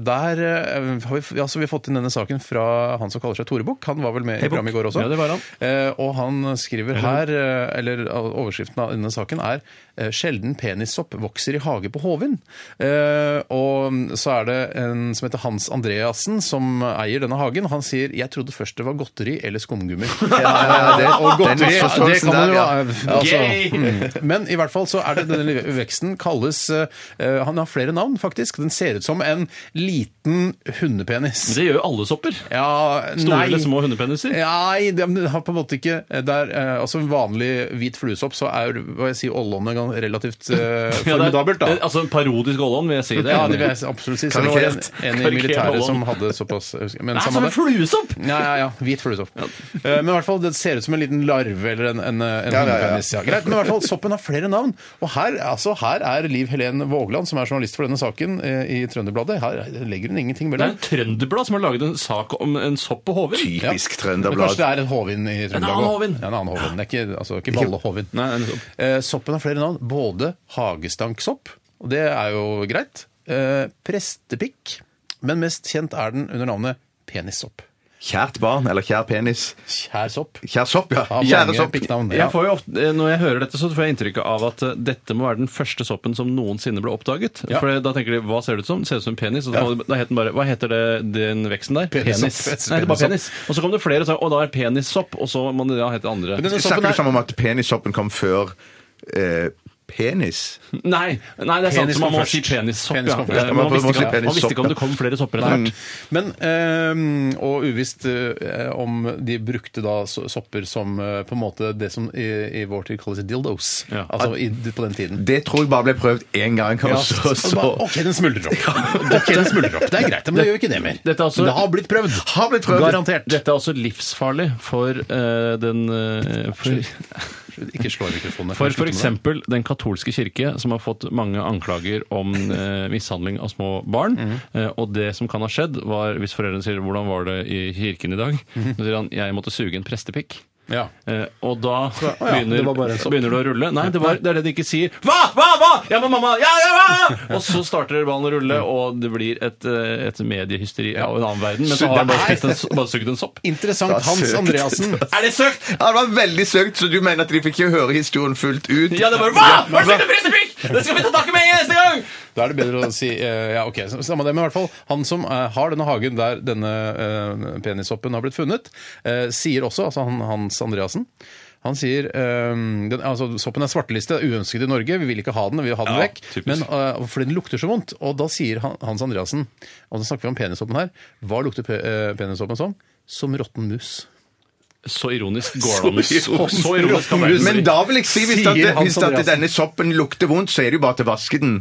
Speaker 1: Der eh, har vi, f- altså, vi har fått inn denne saken fra han som kaller seg Tore Bukk. Han var vel med i programmet i går også.
Speaker 2: Ja, det var han.
Speaker 1: Eh, Og han skriver her, eh, eller eh, overskriften av denne saken er eh, 'Sjelden penissopp vokser i hage på Hovin'. Eh, Og så er det en som heter Hans Andreassen som eier denne hagen. Han sier 'jeg trodde først det var godteri eller skumgummi'.
Speaker 3: ja, det-
Speaker 1: og
Speaker 3: den
Speaker 1: godteri, det
Speaker 3: misforståelsen
Speaker 1: kan man
Speaker 3: der,
Speaker 1: jo
Speaker 3: ja.
Speaker 1: altså, Mm. Men i hvert fall så er det denne lille veksten kalles eh, eh, Han har flere navn, faktisk. Den ser ut som en liten hundepenis.
Speaker 2: Det gjør jo alle sopper.
Speaker 1: Ja,
Speaker 2: Store
Speaker 1: nei.
Speaker 2: eller små hundepeniser.
Speaker 1: Nei, det men det har på en måte ikke der, eh, Altså en vanlig hvit fluesopp, så er hva jeg sier, ollene gan- relativt eh,
Speaker 2: Ja, det er-
Speaker 1: formidabelt,
Speaker 2: eh,
Speaker 1: da.
Speaker 2: Altså en parodisk Ollan, vil jeg si det.
Speaker 1: Ja, det vil jeg absolutt si. Så det var en, en i
Speaker 2: Karikert
Speaker 1: militæret
Speaker 2: ollon.
Speaker 1: som hadde såpass men
Speaker 2: Nei,
Speaker 1: samme
Speaker 2: som en
Speaker 1: det.
Speaker 2: fluesopp!
Speaker 1: Ja, ja, ja. Hvit fluesopp. Eh, Men i hvert fall, det ser ut som en liten larve eller en, en, en
Speaker 3: ja, ja.
Speaker 1: hundepenis. Ja, greit. Men i hvert fall, soppen har flere navn. Og her, altså, her er Liv Helen Vågland, som er journalist for denne saken eh, i Trønderbladet. Her legger hun ingenting
Speaker 2: Det er
Speaker 1: mellom.
Speaker 2: en Trønderblad som har laget en sak om en sopp på Håvin.
Speaker 3: Typisk
Speaker 1: Men kanskje
Speaker 3: trønderblad.
Speaker 1: det er en hovin i Trøndelag
Speaker 2: annen
Speaker 1: også.
Speaker 2: hovin.
Speaker 1: Ja, en annen hovin. Det er ikke, altså, ikke Valle-hovin.
Speaker 2: Nei, en sopp.
Speaker 1: Eh, soppen har flere navn. Både hagestanksopp, og det er jo greit. Eh, prestepikk. Men mest kjent er den under navnet penissopp.
Speaker 3: Kjært barn, eller kjær penis.
Speaker 1: Kjær sopp.
Speaker 3: Kjær sopp, ja.
Speaker 1: Av
Speaker 3: Kjære
Speaker 1: mange
Speaker 3: sopp.
Speaker 1: pikknavn.
Speaker 2: Jeg får jo ofte, eh, når jeg hører dette, så får jeg inntrykk av at eh, dette må være den første soppen som noensinne ble oppdaget.
Speaker 1: Ja.
Speaker 2: For da tenker de hva ser det ut som? Det ser ut som en penis. Og så kom det- da het den bare Hva heter det, den veksten der?
Speaker 1: Penissopp.
Speaker 2: Nei, det er bare penis. Og så kom det flere og sa å, da er det penissopp, og så må det da hete andre.
Speaker 1: Denne soppen
Speaker 3: Snakker du
Speaker 1: er- sånn
Speaker 3: sammen om at penissoppen kom før eh, penis?
Speaker 2: Nei, nei, det er sant.
Speaker 1: Penis
Speaker 2: så Man
Speaker 1: kom
Speaker 2: må si
Speaker 1: først.
Speaker 2: penissopp,
Speaker 1: Penis
Speaker 2: ja.
Speaker 1: kom først.
Speaker 2: Eh,
Speaker 3: Ja,
Speaker 2: Man
Speaker 3: man må
Speaker 2: visste
Speaker 3: si
Speaker 2: ikke- man visste
Speaker 3: penissopp,
Speaker 2: ikke om
Speaker 3: ja.
Speaker 2: det kom flere sopper etter hvert.
Speaker 1: Men, ehm, og uvisst eh, om de brukte da so- sopper som eh, på en måte det som i, i vår tid kalles dildos.
Speaker 2: Ja.
Speaker 1: Altså i, på den tiden.
Speaker 3: Det tror jeg bare ble prøvd én gang. og så-
Speaker 1: Og bare,
Speaker 3: så-
Speaker 1: OK, den smuldrer opp. Ok, den smuldrer opp. Det er greit, men det gjør ikke det mer.
Speaker 2: Dette er altså-
Speaker 1: det har blitt prøvd.
Speaker 3: Har blitt prøvd.
Speaker 1: Garantert.
Speaker 2: Dette er også livsfarlig for eh, den eh, for,
Speaker 1: Ikke slå i mikrofonen.
Speaker 2: For
Speaker 1: Slutt med det.
Speaker 2: f.eks. den katolske kirke, som har fått mange anklager om eh, mishandling av små barn.
Speaker 1: Mhm.
Speaker 2: Eh, og det som kan ha skjedd, var hvis foreldrene sier 'Hvordan var det i kirken i dag?'
Speaker 1: Mhm.
Speaker 2: Så sier han 'Jeg måtte suge en prestepikk'.
Speaker 1: Ja.
Speaker 2: Eh, og da
Speaker 1: ja, det
Speaker 2: begynner,
Speaker 1: var bare en sånn. sopp.
Speaker 2: begynner du å rulle. Nei, det, var, det er det de ikke sier. Hva? Hva? Hva? Ja, men mamma! Ja, ja, hva? Og så starter ballen å
Speaker 1: Mm.
Speaker 2: rulle, og det blir et, eh, et mediehysteri av en annen verden. Men så har han bare, spist en, so- bare sugd en sopp.
Speaker 1: Interessant. Hans
Speaker 3: søkt.
Speaker 1: Andreassen.
Speaker 2: Er det søkt?
Speaker 3: Ja, det var veldig søkt, så du mener at de fikk ikke høre historien fullt ut?
Speaker 2: Ja, det var Hva? Var det søkt en prestepikk? Det skal vi ta tak i med en eneste gang!
Speaker 1: Da er det bedre å si eh, Ja, OK, så- samme det. Men i hvert fall, han som eh, har denne hagen der denne eh, penissoppen har blitt funnet, eh, sier også, altså han, Hans Andreassen han sier eh, den, altså soppen er svarteliste, uønsket i Norge, vi vil ikke ha den. vi vil ha den
Speaker 2: Ja,
Speaker 1: vekk,
Speaker 2: typisk.
Speaker 1: men, eh, Fordi den lukter så vondt. Og da sier han, Hans Andreassen, og nå snakker vi om penissoppen her, hva lukter pe eh, penissoppen som? Som råtten mus.
Speaker 2: Så ironisk går det an.
Speaker 3: Så ironisk.
Speaker 2: Så ironisk kan det
Speaker 3: Men da vil jeg si, hvis,
Speaker 1: Sier
Speaker 3: at,
Speaker 1: Hans
Speaker 3: hvis at
Speaker 1: Andreasen.
Speaker 3: denne soppen lukter vondt, så er det jo bare til å vaske den.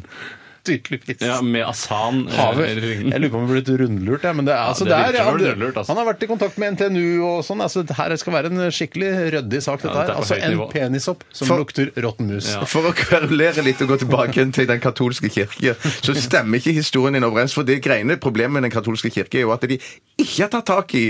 Speaker 1: Tydeligvis.
Speaker 2: ja, Med asan eh,
Speaker 1: Havet.
Speaker 2: eller ringen.
Speaker 1: Jeg lurer på om vi er blitt rundlurt, jeg. Men det er, altså,
Speaker 2: det
Speaker 1: det
Speaker 2: virker
Speaker 1: er,
Speaker 2: som
Speaker 1: han,
Speaker 2: vi er rundlurt, altså.
Speaker 1: han har vært i kontakt med NTNU og sånn. Altså, det her skal være en skikkelig ryddig sak, dette
Speaker 2: Ja, dette er på
Speaker 1: her. Altså
Speaker 2: høyt
Speaker 1: en
Speaker 2: nivå.
Speaker 1: penissopp som
Speaker 3: For-
Speaker 1: lukter råtten mus.
Speaker 2: Ja.
Speaker 3: For å kverulere litt og gå tilbake igjen til den katolske kirke, så stemmer ikke historien din overens. For det greiene problemet med den katolske kirke er jo at de ikke har tatt tak i,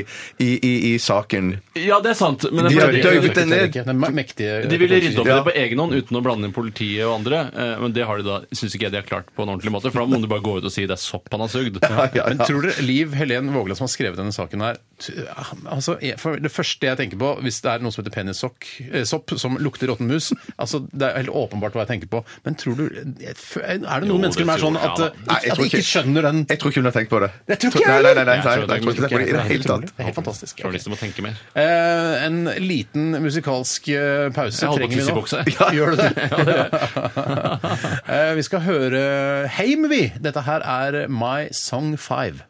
Speaker 3: i, i, i saken.
Speaker 2: Ja, det er sant. Men det
Speaker 3: De
Speaker 2: er
Speaker 3: har
Speaker 2: fordi-
Speaker 3: døyvet den
Speaker 1: Det er
Speaker 3: ned.
Speaker 1: ikke- det er me- mektige
Speaker 2: de ville rydde opp i
Speaker 3: Ja.
Speaker 2: det på egen hånd uten å blande inn politiet og andre. eh, Men det har de da, syns ikke jeg de har klart på en ordentlig måte. For da må du bare gå ut og si det er sopp han har sugd.
Speaker 1: Men tror dere Liv Helen Vågland som har skrevet denne saken her t- ja, altså, jeg- for Det første jeg tenker på, hvis det er noe som heter penissopp eh, sopp, som lukter råtten mus altså, Det er helt åpenbart hva jeg tenker på. Men tror du jeg f- Er det noen
Speaker 2: Jo, det
Speaker 1: mennesker som er
Speaker 2: tror
Speaker 1: sånn
Speaker 2: jeg,
Speaker 1: at,
Speaker 2: ja,
Speaker 1: eh,
Speaker 2: da.
Speaker 3: Nei, jeg
Speaker 1: at
Speaker 3: tror
Speaker 1: de ikke
Speaker 3: ikke-
Speaker 1: skjønner den
Speaker 3: Jeg tror ikke hun har tenkt på det.
Speaker 1: Jeg tror ikke
Speaker 3: Nei,
Speaker 1: jeg
Speaker 3: nei, nei, nei,
Speaker 2: Jeg
Speaker 3: nei,
Speaker 2: tror det er
Speaker 3: nei, jeg tror ikke det er på det i det hele tatt.
Speaker 1: Det er helt fantastisk.
Speaker 2: Journalister må tenke mer.
Speaker 1: Eh, en liten musikalsk eh, pause
Speaker 2: Jeg holder på å
Speaker 1: trenger
Speaker 2: tisse
Speaker 1: vi
Speaker 2: i
Speaker 1: nå.
Speaker 2: buksa.
Speaker 1: Gjør du det? Eh, vi skal høre Heim, vi. Dette her er My Song 5.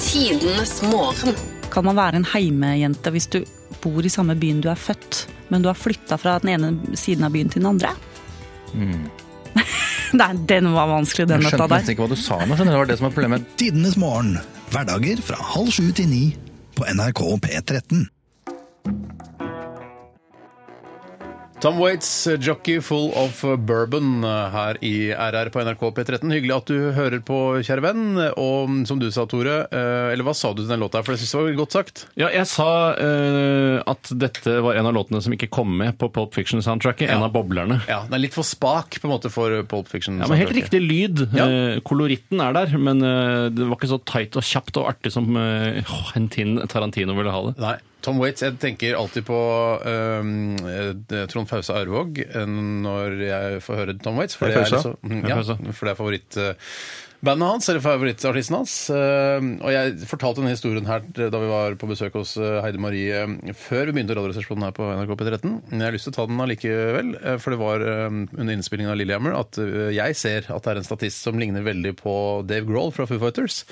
Speaker 9: Tidenes morgen.
Speaker 4: Kan man være en heimejente hvis du bor i samme byen du er født, men du har flytta fra den ene siden av byen til den andre? Nei, den var vanskelig, den
Speaker 10: Jeg
Speaker 4: låta
Speaker 10: skjønte
Speaker 4: der.
Speaker 10: nesten ikke hva du sa nå, skjønner du. Det var det som var problemet. Tidenes morgen. Hverdager fra halv sju til ni på NRK P13.
Speaker 1: Tom Waits, jockey full of bourbon eh, her i RR på NRK P13. Hyggelig at du hører på, kjære venn. Og mm, som du sa, Tore, eh, eller hva sa du til den låta? her? For jeg synes det var godt sagt.
Speaker 2: Ja, jeg sa eh, at dette var en av låtene som ikke kom med på Pulp Fiction-soundtracket. En av boblerne.
Speaker 1: Ja, Den er litt for spak på en måte for Pulp Fiction.
Speaker 2: Ja, men Helt
Speaker 1: soundtracket.
Speaker 2: riktig lyd. Eh, Koloritten er der, men eh, det var ikke så tight og kjapt og artig som eh, Quentin Tarantino ville ha det.
Speaker 1: Nei. Tom Waits, jeg tenker alltid på um, eh, Trond Fausa Arvåg eh, når jeg får høre Tom Waits. For
Speaker 2: Hei,
Speaker 1: det er,
Speaker 2: Fausa.
Speaker 1: liksom, Mm,
Speaker 2: Hei,
Speaker 1: ja,
Speaker 2: Fausa.
Speaker 1: for det er favorittbandet hans, eller favorittartisten hans. Eh, og jeg fortalte denne historien her da vi var på besøk hos eh, Heidi Marie eh, før vi begynte Radioresepsjonen her på NRK P13. Men jeg har lyst til å ta den allikevel, eh, for det var eh, under innspillingen av Lillehammer at eh, jeg ser at det er en statist som ligner veldig på Dave Grohl fra Foo Fighters.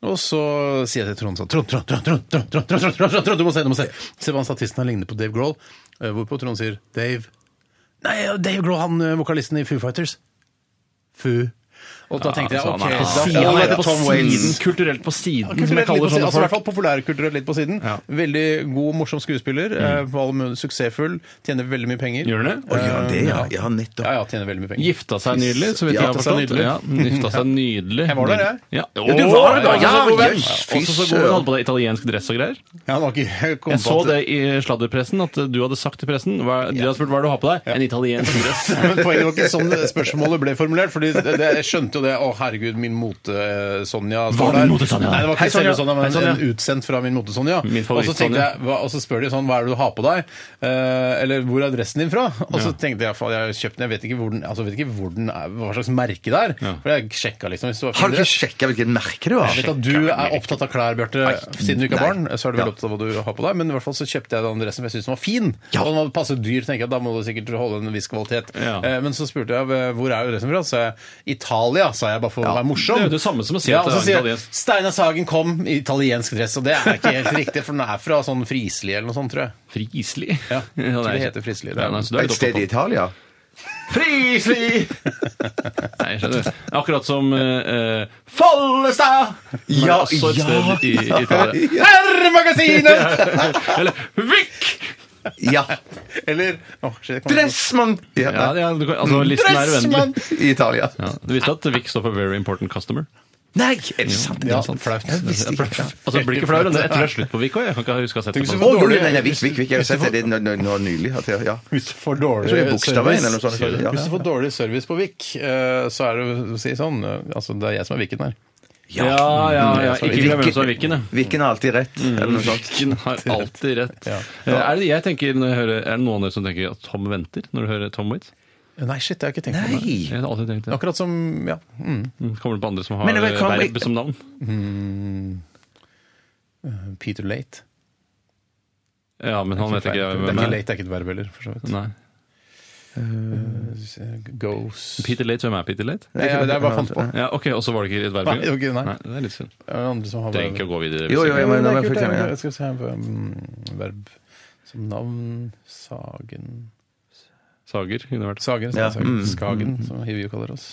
Speaker 1: Og så sier jeg til Trond sånn Trond, Trond, Trond, Trond, Trond, Trond, Trond, Trond, Trond, Trond, Trond, du må se, du må se. Se hva han statisten har lignet på Dave Grohl. Eh, Hvorpå Trond sier Dave. Nei, Dave Grohl, han eh, vokalisten i Foo Fighters. Fu. Og da tenkte jeg
Speaker 2: altså, han er på
Speaker 1: ok, da
Speaker 2: siden,
Speaker 1: da
Speaker 2: han er
Speaker 1: heter
Speaker 2: på
Speaker 1: Tom
Speaker 2: siden,
Speaker 1: Waits.
Speaker 2: kulturelt på siden,
Speaker 1: Ja,
Speaker 2: som jeg
Speaker 1: kulturelt
Speaker 2: kaller
Speaker 1: litt på siden,
Speaker 2: sånne
Speaker 1: altså,
Speaker 2: folk.
Speaker 1: I hvert fall populærkulturelt litt på siden. Veldig god, morsom skuespiller. eh, På alle mulige suksessfull. Tjener veldig mye penger. Gjør
Speaker 2: han det?
Speaker 3: Å, gjør han det, ja? Ja, nettopp.
Speaker 1: Ja, ja, tjener veldig mye penger.
Speaker 2: Gifta seg nydelig, så vidt jeg har
Speaker 1: Gifta seg
Speaker 2: forstått.
Speaker 1: nydelig.
Speaker 2: Ja, gifta seg nydelig.
Speaker 1: Jeg var der, jeg.
Speaker 2: Ja.
Speaker 1: Ja, du var der,
Speaker 2: Åh, også
Speaker 1: ja,
Speaker 2: så god venn.
Speaker 1: jøss, fy
Speaker 2: Også så god venn.
Speaker 1: søren.
Speaker 2: Hadde på deg italiensk dress og greier.
Speaker 1: Ja, han var ikke, jeg kom
Speaker 2: Jeg så
Speaker 1: på at-
Speaker 2: det i eh, sladderpressen, at du hadde sagt til pressen hva, De hadde spurt hva er det du har på deg. En italiensk dress.
Speaker 1: Men poenget var ikke sånn spørsmålet ble formulert. Fordi det, det, jeg skjønte jo det. Å, herregud, min eh, mote-Sonja
Speaker 2: Var det mote-Sonja?
Speaker 1: Nei, det var
Speaker 2: Hei,
Speaker 1: ikke selve
Speaker 2: Sonja.
Speaker 1: Sonja, men
Speaker 2: Hei, Sonja.
Speaker 1: en utsendt fra min mote-Sonja.
Speaker 2: Min
Speaker 1: Og så tenkte
Speaker 2: favoritt-Sonja.
Speaker 1: jeg, hva, og så spør de sånn, hva er det du har på deg? Eh, eller hvor er dressen din fra? Og så
Speaker 2: Ja.
Speaker 1: tenkte jeg, faen, jeg har kjøpt den, jeg vet ikke hvor den, altså, jeg vet ikke hvor den er, hva slags merke det er. For jeg sjekka liksom. Hvis det var fin
Speaker 3: Har du ikke
Speaker 1: dress.
Speaker 3: sjekka hvilket merke det
Speaker 2: Ah,
Speaker 3: var?
Speaker 1: Jeg vet at du er opptatt av klær, Bjarte. Siden du ikke
Speaker 3: nei.
Speaker 1: har barn, så er du
Speaker 3: Ja.
Speaker 1: vel opptatt av hva du har på deg. Men i hvert fall så kjøpte jeg den dressen, for jeg syntes den var fin. Og den var passe dyr, tenker jeg. Da må du sikkert holde en viss kvalitet.
Speaker 2: Ja.
Speaker 1: Eh, Men så spurte jeg eh, hvor er jo dressen fra. Så sa jeg Italia, sa jeg bare for å være morsom.
Speaker 2: Det er jo det samme som å si
Speaker 1: ja,
Speaker 2: at
Speaker 1: og
Speaker 2: det
Speaker 1: så
Speaker 2: er
Speaker 1: sier jeg,
Speaker 2: italiensk.
Speaker 1: Steinar Sagen kom i italiensk dress, og det er ikke helt riktig, for den er fra sånn Frisli eller noe sånt, tror jeg.
Speaker 2: Frisli?
Speaker 1: Ja, jeg tror
Speaker 2: nei.
Speaker 1: det heter Frisli.
Speaker 2: Ja, nei, så du er litt
Speaker 3: Et sted i
Speaker 2: opptatt
Speaker 3: Italia?
Speaker 1: Frisli!
Speaker 2: Nei, jeg skjønner. Akkurat som eh, eh, Follestad! Men
Speaker 1: Ja,
Speaker 2: også et
Speaker 1: ja,
Speaker 2: sted i
Speaker 1: ja,
Speaker 2: Italia.
Speaker 1: ja. Herremagasinet!
Speaker 2: Eller Vik!
Speaker 3: Ja.
Speaker 1: Eller åh, shit, jeg kom-
Speaker 3: Dressmann!
Speaker 2: Ja, ja, du kan, altså, listen er uendelig.
Speaker 3: I Italia.
Speaker 2: Ja, du visste at Vik står for Very Important Customer?
Speaker 3: Nei, er det sant?
Speaker 1: Ja, flaut.
Speaker 3: visste ikke.
Speaker 2: Altså, det blir ikke flauere enn det etter det er slutt på Vik òg. Jeg kan ikke huske å ha sett det på
Speaker 1: Tenk så
Speaker 2: den.
Speaker 3: Å, jo,
Speaker 1: dårlig.
Speaker 3: nei, nei, Vik, Vik, Vik. Jeg har sett det nå, nå, nå nylig. At jeg, ja.
Speaker 1: Hvis du får
Speaker 3: Jeg tror det
Speaker 1: dårlig
Speaker 3: er Bogstadveien eller noe sånt.
Speaker 1: service,
Speaker 3: Ja.
Speaker 1: hvis du får dårlig service på Vik, eh, så er det jo å si sånn eh, Altså, det er jeg som er Viken her.
Speaker 2: Ja, ja, ja. Ikke glem hvem som er Viken, ja.
Speaker 3: Viken har alltid rett, eller noe sånt.
Speaker 2: Viken har alltid rett.
Speaker 1: Ja.
Speaker 2: Eh, Er, det, jeg tenker, når jeg hører, er det noen av dere som tenker at Tom venter når du hører Tom Waits?
Speaker 1: Nei, shit, det har jeg ikke tenkt på.
Speaker 3: Nei!
Speaker 2: Jeg har alltid tenkt det.
Speaker 1: Akkurat som Ja. Mm.
Speaker 2: Mm, Kommer det på andre som har
Speaker 3: Men det var-
Speaker 2: eh,
Speaker 3: kan-
Speaker 2: verb som navn?
Speaker 1: Peter Late.
Speaker 2: Ja, men han vet
Speaker 1: det
Speaker 2: ikke
Speaker 1: er
Speaker 2: hvem
Speaker 1: ikke
Speaker 2: er.
Speaker 1: Late det er ikke et verb heller, for så vidt.
Speaker 2: Nei.
Speaker 1: Ghost
Speaker 2: Peter Late, hvem er Peter Late?
Speaker 1: Nei, ja, det er bare fant på.
Speaker 2: Ja, ok, Og så var det ikke et verb?
Speaker 1: Nei,
Speaker 2: engang?
Speaker 1: ok, nei.
Speaker 2: Det er litt synd.
Speaker 1: Det er Andre som har
Speaker 2: Du trenger ikke å
Speaker 1: verb.
Speaker 2: gå videre.
Speaker 3: Jo, jo, jo, men,
Speaker 1: Nei,
Speaker 3: men, for
Speaker 1: kult, det er-
Speaker 3: eksempel, ja.
Speaker 1: Jeg skal se her på mm, verb som navn Sagen
Speaker 2: Sager kunne det vært.
Speaker 1: Sagen,
Speaker 3: Ja,
Speaker 1: Sagen.
Speaker 3: mm.
Speaker 1: Skagen, som vi kaller oss.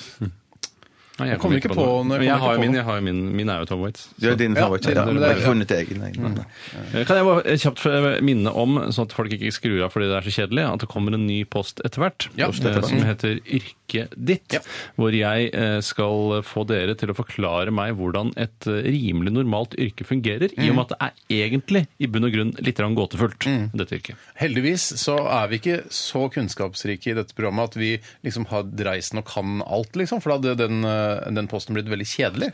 Speaker 2: Nei,
Speaker 1: Jeg kommer ikke på
Speaker 2: noe.
Speaker 1: noe, jeg
Speaker 2: Men jeg
Speaker 1: kommer
Speaker 2: har jo
Speaker 1: ikke på
Speaker 2: min.
Speaker 1: noe.
Speaker 2: Jeg har jo min, min er jo Tom Waits.
Speaker 3: Det er din
Speaker 1: Ja,
Speaker 3: favoritt.
Speaker 1: det-
Speaker 3: Ja,
Speaker 1: det-
Speaker 3: du
Speaker 1: det-
Speaker 3: har ikke funnet egen. Nei, nei.
Speaker 2: Eh, Kan jeg bare kjapt eh, minne om, sånn at folk ikke skrur av fordi det er så kjedelig, at det kommer en ny post etter hvert
Speaker 1: Ja,
Speaker 2: eh,
Speaker 1: etter hvert.
Speaker 2: som heter Yrket ditt,
Speaker 1: Ja.
Speaker 2: hvor jeg eh, skal få dere til å forklare meg hvordan et eh, rimelig normalt yrke fungerer,
Speaker 1: Mm.
Speaker 2: i og med at det er egentlig i bunn og grunn litt grann gåtefullt, dette yrket.
Speaker 1: Heldigvis så er vi ikke så kunnskapsrike i dette programmet at vi liksom har dreisen og kan alt, liksom. For da hadde den, eh, den posten blitt veldig kjedelig.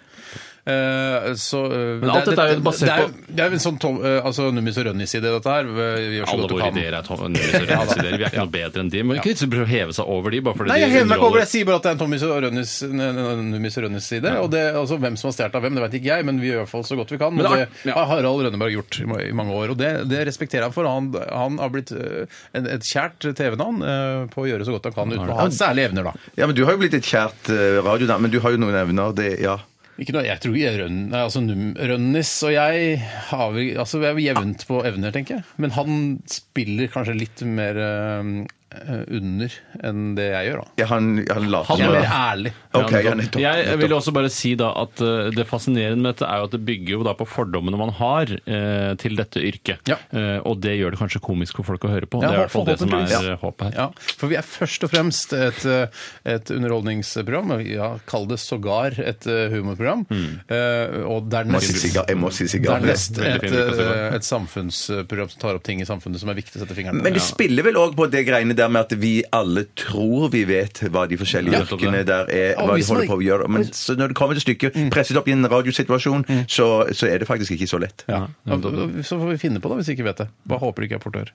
Speaker 1: Eh, så, eh,
Speaker 2: Men alt
Speaker 1: det-
Speaker 2: dette er jo
Speaker 1: det-
Speaker 2: basert
Speaker 1: det er,
Speaker 2: på-
Speaker 1: Det er jo en sånn tom, eh, altså, Nummis og Rønnis i det, dette her. Eh, Vi gjør så
Speaker 2: Alle
Speaker 1: godt vi
Speaker 2: våre
Speaker 1: kan.
Speaker 2: ideer er tom- nummeriske ideer. Vi er ikke noe bedre enn de. Men ikke prøve å heve seg over de, bare fordi
Speaker 1: Nei, jeg
Speaker 2: de
Speaker 1: hever meg ikke over.
Speaker 2: underholder.
Speaker 1: Jeg sier bare at det er en Tommis og Rønnis, n- n- Nummis og Rønnis side. Og det, altså, hvem som har stjålet av hvem, det vet ikke jeg, men vi gjør i hvert fall så godt vi kan.
Speaker 2: Men
Speaker 1: Men
Speaker 2: det er-
Speaker 1: det har Harald Rønneberg gjort i ma- i mange år, og det, det respekterer jeg for. Han, han har blitt øh, en, et kjært TV-navn øh, på å gjøre så godt han kan, uten å ha særlige evner, da.
Speaker 3: Ja, men du har jo blitt et kjært eh, radionavn, men du har jo noen evner. Det, ja.
Speaker 1: Ikke noe, jeg tror jeg Rønn, nei, altså, Num- Rønnis og jeg har vi, altså, vi er jevnt på evner, tenker jeg. Men han spiller kanskje litt mer øh, eh, under enn det jeg gjør, da.
Speaker 3: Ja, han, han later
Speaker 1: Han
Speaker 3: som
Speaker 1: er
Speaker 3: det.
Speaker 1: mer ærlig.
Speaker 3: Ok, ja, nettopp,
Speaker 2: Jeg vil
Speaker 3: nettopp.
Speaker 2: også bare si da at eh, det fascinerende med dette er jo at det bygger jo da på fordommene man har eh, til dette yrket. Eh, og det gjør det kanskje komisk for folk å høre på.
Speaker 1: Ja,
Speaker 2: det er i hvert fall det som er
Speaker 1: forhåpentligvis.
Speaker 2: eh, håpet her.
Speaker 1: Ja, for vi er først og fremst et, eh, et underholdningsprogram. Ja, kall det sågar et eh, humorprogram. Eh, og
Speaker 3: Jeg Mm. må si
Speaker 1: dernest
Speaker 3: sigar- jeg må si sigar.
Speaker 1: Dernest
Speaker 3: Veldig
Speaker 1: et,
Speaker 3: fin lyd på sigar.
Speaker 1: eh, et samfunnsprogram som tar opp ting i samfunnet som er viktig å sette fingeren på.
Speaker 3: Men det spiller vel òg på det greiene der med at vi alle tror vi vet hva de forskjellige
Speaker 1: Ja.
Speaker 3: yrkene der er,
Speaker 1: Og
Speaker 3: hva de
Speaker 1: hvis Mm. man
Speaker 3: holder på å
Speaker 1: ikke-
Speaker 3: gjøre. Men så når det kommer til stykket, presset opp i en radiosituasjon, så, så er det faktisk ikke så lett.
Speaker 1: Ja. Så får vi finne på det hvis vi ikke vet det. Bare håper det ikke er portør.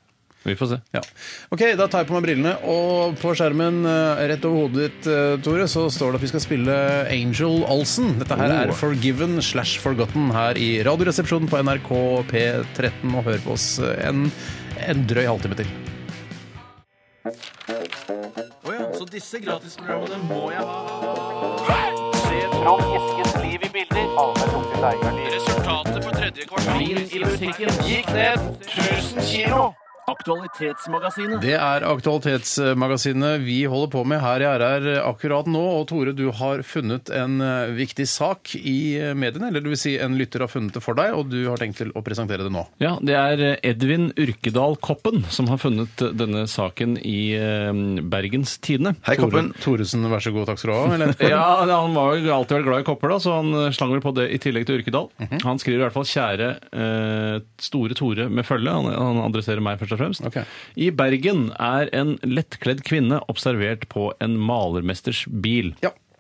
Speaker 2: Vi får se.
Speaker 1: Ja. Ok, da tar jeg på meg brillene, og på skjermen eh, rett over hodet ditt, eh, Tore, så står det at vi skal spille Angel Olsen. Dette her
Speaker 2: Oh.
Speaker 1: er Forgiven slash Forgotten her i Radioresepsjonen på NRK P13, og hør på oss eh, en, en drøy halvtime til.
Speaker 2: Så disse gratisprogrammene må jeg ha.
Speaker 11: Se Trond Eskens liv i bilder. Resultatet på tredje kvartal i musikken gikk ned 1000 kilo. Aktualitetsmagasinet.
Speaker 1: Det er Aktualitetsmagasinet vi holder på med her i RR akkurat nå. Og Tore, du har funnet en eh, viktig sak i eh, mediene. Eller det vil si, en lytter har funnet det for deg, og du har tenkt til å presentere det nå.
Speaker 2: Ja, det er Edvin Urkedal Koppen som har funnet denne saken i eh, Bergens Tidende.
Speaker 1: Hei,
Speaker 2: Tore-
Speaker 1: Koppen. Thoresen, vær så god, takk skal du ha. eller?
Speaker 2: ja, han var jo alltid vært glad i kopper, da, så han eh, slang vel på det i tillegg til Urkedal. Han skriver i hvert fall 'Kjære eh, Store Tore med følge'. Han, han adresserer meg først og fremst. I Bergen er en lettkledd kvinne observert på en malermesters bil.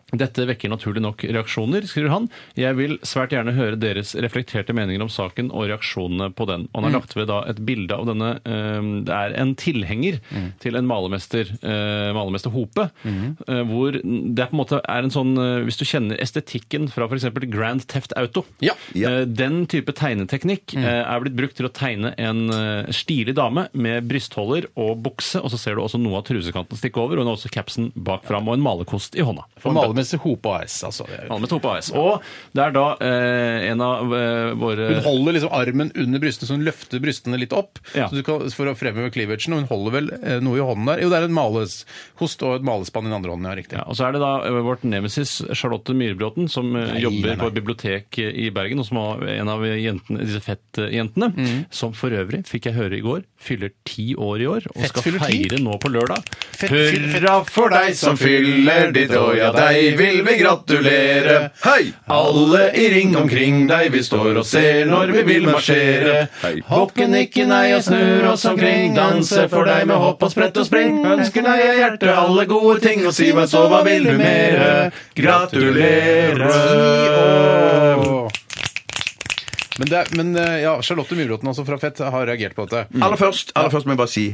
Speaker 2: Dette vekker naturlig nok reaksjoner, skriver han. Jeg vil svært gjerne høre deres reflekterte meninger om saken og reaksjonene på den. Og han har
Speaker 1: Mm.
Speaker 2: lagt ved da et bilde av denne eh, Det er en tilhenger
Speaker 1: Mm.
Speaker 2: til en malermester, eh, malermester Hope. Eh, hvor det er på en måte er en sånn eh, Hvis du kjenner estetikken fra f.eks. Grand Theft Auto eh, Den type tegneteknikk
Speaker 1: Mm.
Speaker 2: eh, er blitt brukt til å tegne en eh, stilig dame med brystholder og bukse, og så ser du også noe av trusekanten stikke over, og hun har også capsen bak fram og en malerkost i hånda.
Speaker 1: For malermester Hope AS, altså. det er-
Speaker 2: Malermester Hope AS. Og det er da eh, en av eh, våre
Speaker 1: Hun holder liksom armen under brystene, så hun løfter brystene litt opp
Speaker 2: Ja.
Speaker 1: så du kan, for å fremheve cleavagen. Og hun holder vel eh, noe i hånden der. Jo, det er en malekost og et malespann i den andre hånden, ja, riktig.
Speaker 2: Ja, og så er det da eh, vårt nemesis Charlotte Myhrbråten, som eh,
Speaker 1: Nei,
Speaker 2: jobber
Speaker 1: nei, nei.
Speaker 2: på et bibliotek eh, i Bergen, og som var en av jentene, disse fettjentene.
Speaker 1: Mm.
Speaker 2: Som for øvrig, fikk jeg høre i går, fyller ti år i år, og
Speaker 1: Fett
Speaker 2: skal
Speaker 1: fyller ti?
Speaker 2: feire nå på lørdag.
Speaker 1: Fett fyller-
Speaker 2: Hurra for deg som fyller ditt år, ja deg vil vi gratulere.
Speaker 3: Hei!
Speaker 2: Alle i ring omkring deg, vi står og ser når vi vil marsjere. Hoppen ikke nei og snur oss omkring, danse for deg med hopp og sprett og spring. Ønsker deg av hjertet alle gode ting, og si meg så hva vil du mere? Gratulerer.
Speaker 1: Men, det, er- men eh, ja, Charlotte Myhrbråten altså fra Fett har reagert på dette.
Speaker 3: Aller først, aller først må jeg bare si,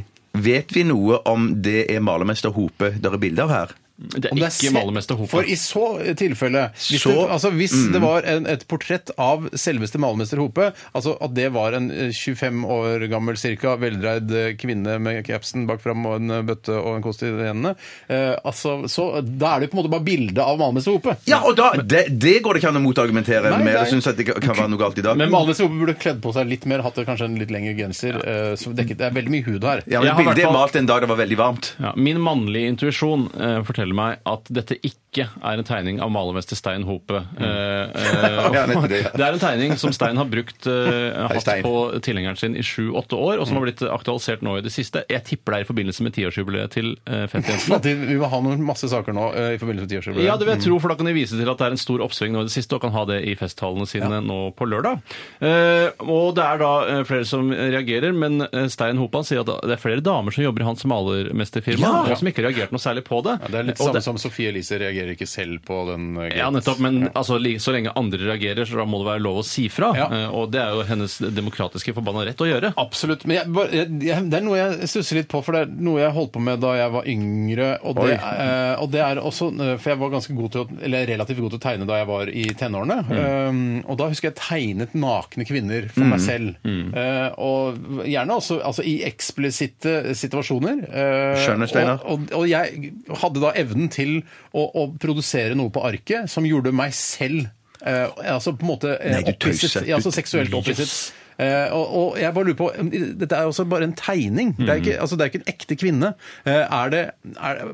Speaker 3: vet vi noe om det er malermester Hope der er bilde av her?
Speaker 2: Det
Speaker 1: Om det er se- For i så tilfelle Hvis,
Speaker 3: Så-
Speaker 1: det, altså hvis
Speaker 3: Mm.
Speaker 1: det var en, et portrett av selveste malermester Hope, altså at det var en eh, 25 år gammel cirka veldreid eh, kvinne med capsen bak fram og en eh, bøtte og en kost i hendene, eh, altså, så da er det jo på en måte bare bildet av malermester Hope.
Speaker 3: Ja, og da, det, det går det ikke an å motargumentere
Speaker 1: Nei,
Speaker 3: mer.
Speaker 1: nei.
Speaker 3: Jeg syns at det kan være noe galt i dag.
Speaker 1: Men malermester Hope burde kledd på seg litt mer, hatt kanskje en litt lengre genser. eh, som dekket, det er veldig mye hud her.
Speaker 3: ja, men
Speaker 2: Jeg har
Speaker 3: Bildet
Speaker 2: hvertfall-
Speaker 3: er malt en dag det var veldig varmt.
Speaker 2: Ja, min mannlige intuisjon eh, forteller meg at dette ikke er en tegning av malermester Stein Hope. Eh, eh,
Speaker 3: Mm. Ja, nettopp det, ja.
Speaker 2: det er en tegning som Stein har brukt eh, hatt
Speaker 3: Stein. Mm.
Speaker 2: på tilhengeren sin i sju-åtte år, og som har blitt aktualisert nå i det siste. Jeg tipper det er i forbindelse med tiårsjubileet til eh, Fettjentene.
Speaker 1: Martin, Vi må ha noen masse saker nå eh, i forbindelse med tiårsjubileet.
Speaker 2: Ja, det vil jeg tro, for da kan de vise til at det er en stor oppsving nå i det siste, og kan ha det i festtalene sine nå på lørdag. Eh, og det er da eh, flere som reagerer, men eh, Stein Hopan sier at det er flere damer som jobber i hans malermesterfirma,
Speaker 1: Ja.
Speaker 2: og som ikke har reagert noe særlig på det.
Speaker 1: Ja, det er litt
Speaker 2: Og
Speaker 1: samme som Sofie Elise reagerer ikke selv på den. eh,
Speaker 2: Ja, nettopp, men altså, li- så lenge andre reagerer, så da må det være lov å si fra. Eh, Og det er jo hennes demokratiske forbanna rett å gjøre.
Speaker 1: Absolutt. Men jeg, bare- jeg, jeg- det er noe jeg stusser litt på, for det er noe jeg holdt på med da jeg var yngre. Og det,
Speaker 2: Oi.
Speaker 1: eh, og det er også eh, For jeg var ganske god til å, eller relativt god til å tegne da jeg var i tenårene. Eh, og da husker jeg tegnet nakne kvinner for meg
Speaker 2: Mm.
Speaker 1: selv.
Speaker 2: Mm.
Speaker 1: Eh, og gjerne også altså, i eksplisitte situasjoner. Eh,
Speaker 3: Skjønner, Steinar.
Speaker 1: Og, og, og jeg hadde da evnen til å, å produsere noe på arket som gjorde meg selv eh, altså på en måte eh,
Speaker 3: Nei, du tøyser.
Speaker 1: opphisset. Ja, altså
Speaker 3: Du-
Speaker 1: seksuelt opphisset.
Speaker 3: Yes.
Speaker 1: Eh, og, og jeg bare lurer på um, Dette er jo også bare en tegning. Det
Speaker 2: Mm.
Speaker 1: er ikke, altså, det er ikke en ekte kvinne. Eh, er det Er,
Speaker 3: Er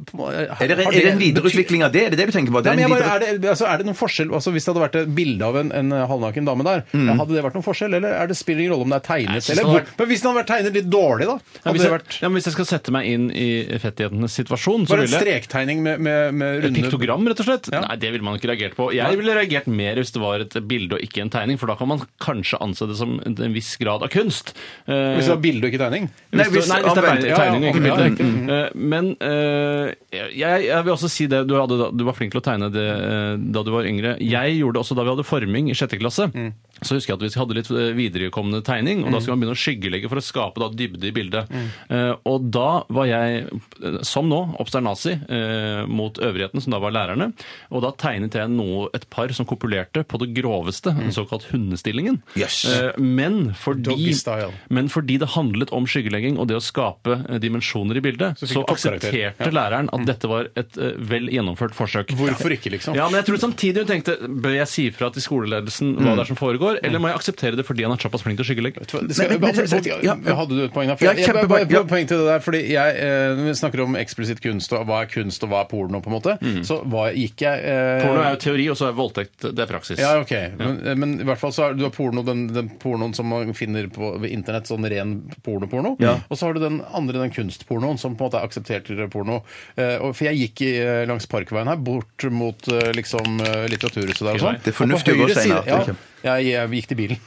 Speaker 3: det, er det en videreutvikling av det? Er det det du tenker på?
Speaker 1: Nei,
Speaker 3: Det er
Speaker 1: men
Speaker 3: en
Speaker 1: jeg bare,
Speaker 3: videre-
Speaker 1: er, det, altså, er det noen forskjell altså, Hvis det hadde vært et bilde av en, en halvnaken dame der,
Speaker 3: Mm.
Speaker 1: hadde det vært noen forskjell? Eller er det spiller ingen rolle om det er
Speaker 2: jeg
Speaker 1: tegnet?
Speaker 2: synes
Speaker 1: Eller,
Speaker 2: det hadde
Speaker 1: hvor- Men hvis den hadde vært tegnet litt dårlig, da?
Speaker 2: Ja,
Speaker 1: Hadde
Speaker 2: hvis,
Speaker 1: det
Speaker 2: jeg,
Speaker 1: vært
Speaker 2: ja, men hvis jeg skal sette meg inn i fettgjetenes situasjon, så
Speaker 1: bare en
Speaker 2: ville jeg
Speaker 1: strektegning med, med, med
Speaker 2: et
Speaker 1: runde
Speaker 2: piktogram, rett og slett? Nei, det ville man ikke reagert på. Jeg ville reagert mer hvis det var et bilde og ikke en tegning, for da kan man kanskje anse det som en viss grad av kunst. Eh,
Speaker 1: Hvis det var bilde og ikke tegning?
Speaker 2: Nei, hvis, nei, hvis det er
Speaker 1: Ja,
Speaker 2: tegning,
Speaker 1: ja,
Speaker 2: tegning og ikke
Speaker 1: omvendt. Mm.
Speaker 2: bilde. Eh, Men eh, jeg, jeg vil også si det, du, hadde, da- du var flink til å tegne det eh, da du var yngre. Jeg gjorde det også da vi hadde forming i sjette klasse.
Speaker 1: Mm.
Speaker 2: Så husker jeg at vi hadde litt eh, viderekommende tegning, og da skulle man begynne å skyggelegge for å skape da, dybde i bildet.
Speaker 1: Mm.
Speaker 2: Eh, og da var jeg, eh, som nå, obsternasi eh, mot øvrigheten, som da var lærerne. Og da tegnet jeg noe, et par som kopulerte på det
Speaker 1: Mm.
Speaker 2: groveste, den såkalt hundestillingen.
Speaker 3: Yes.
Speaker 2: Eh, men fordi
Speaker 1: Doggy style.
Speaker 2: men fordi det handlet om skyggelegging og det å skape eh, dimensjoner i bildet, så,
Speaker 1: Så fikk du toppkarakter.
Speaker 2: aksepterte
Speaker 1: Ja. Mm.
Speaker 2: læreren at dette var et eh, vel gjennomført forsøk.
Speaker 1: Hvorfor ikke, liksom?
Speaker 2: Mm. Ja, men jeg tror samtidig hun tenkte Bør jeg si fra til skoleledelsen hva
Speaker 1: Mm.
Speaker 2: det er som foregår, eller må jeg akseptere det fordi han er såpass flink til å skyggelegge?
Speaker 1: Det skal,
Speaker 2: Men- men-
Speaker 1: altså,
Speaker 2: men-
Speaker 1: folk-
Speaker 2: ja.
Speaker 1: Hadde du et poeng der? For
Speaker 2: Ja,
Speaker 1: jeg, jeg, bare-
Speaker 2: kjempepoeng,
Speaker 1: bare
Speaker 2: ja.
Speaker 1: poeng til det der, fordi jeg, eh, Når vi snakker om eksplisitt kunst, og hva er kunst og hva er porno, på en måte, så var, gikk jeg eh,
Speaker 2: Mm. Porno er jo teori, og så er voldtekt det er praksis.
Speaker 1: Ja, ok. Men, eh, men i hvert fall så har du har porno, den, den pornoen som man finner på ved internett, sånn ren porno-porno.
Speaker 2: Ja.
Speaker 1: Og så har du den andre, den kunstpornoen, som på en måte er akseptert til porno. Eh, og, for jeg gikk i, eh, langs Parkveien her, bort mot eh, liksom eh, Litteraturhuset der og sånn.
Speaker 3: Det er fornuftig å gå senere,
Speaker 1: Ja,
Speaker 3: det er ikke-
Speaker 1: jeg, jeg gikk til bilen.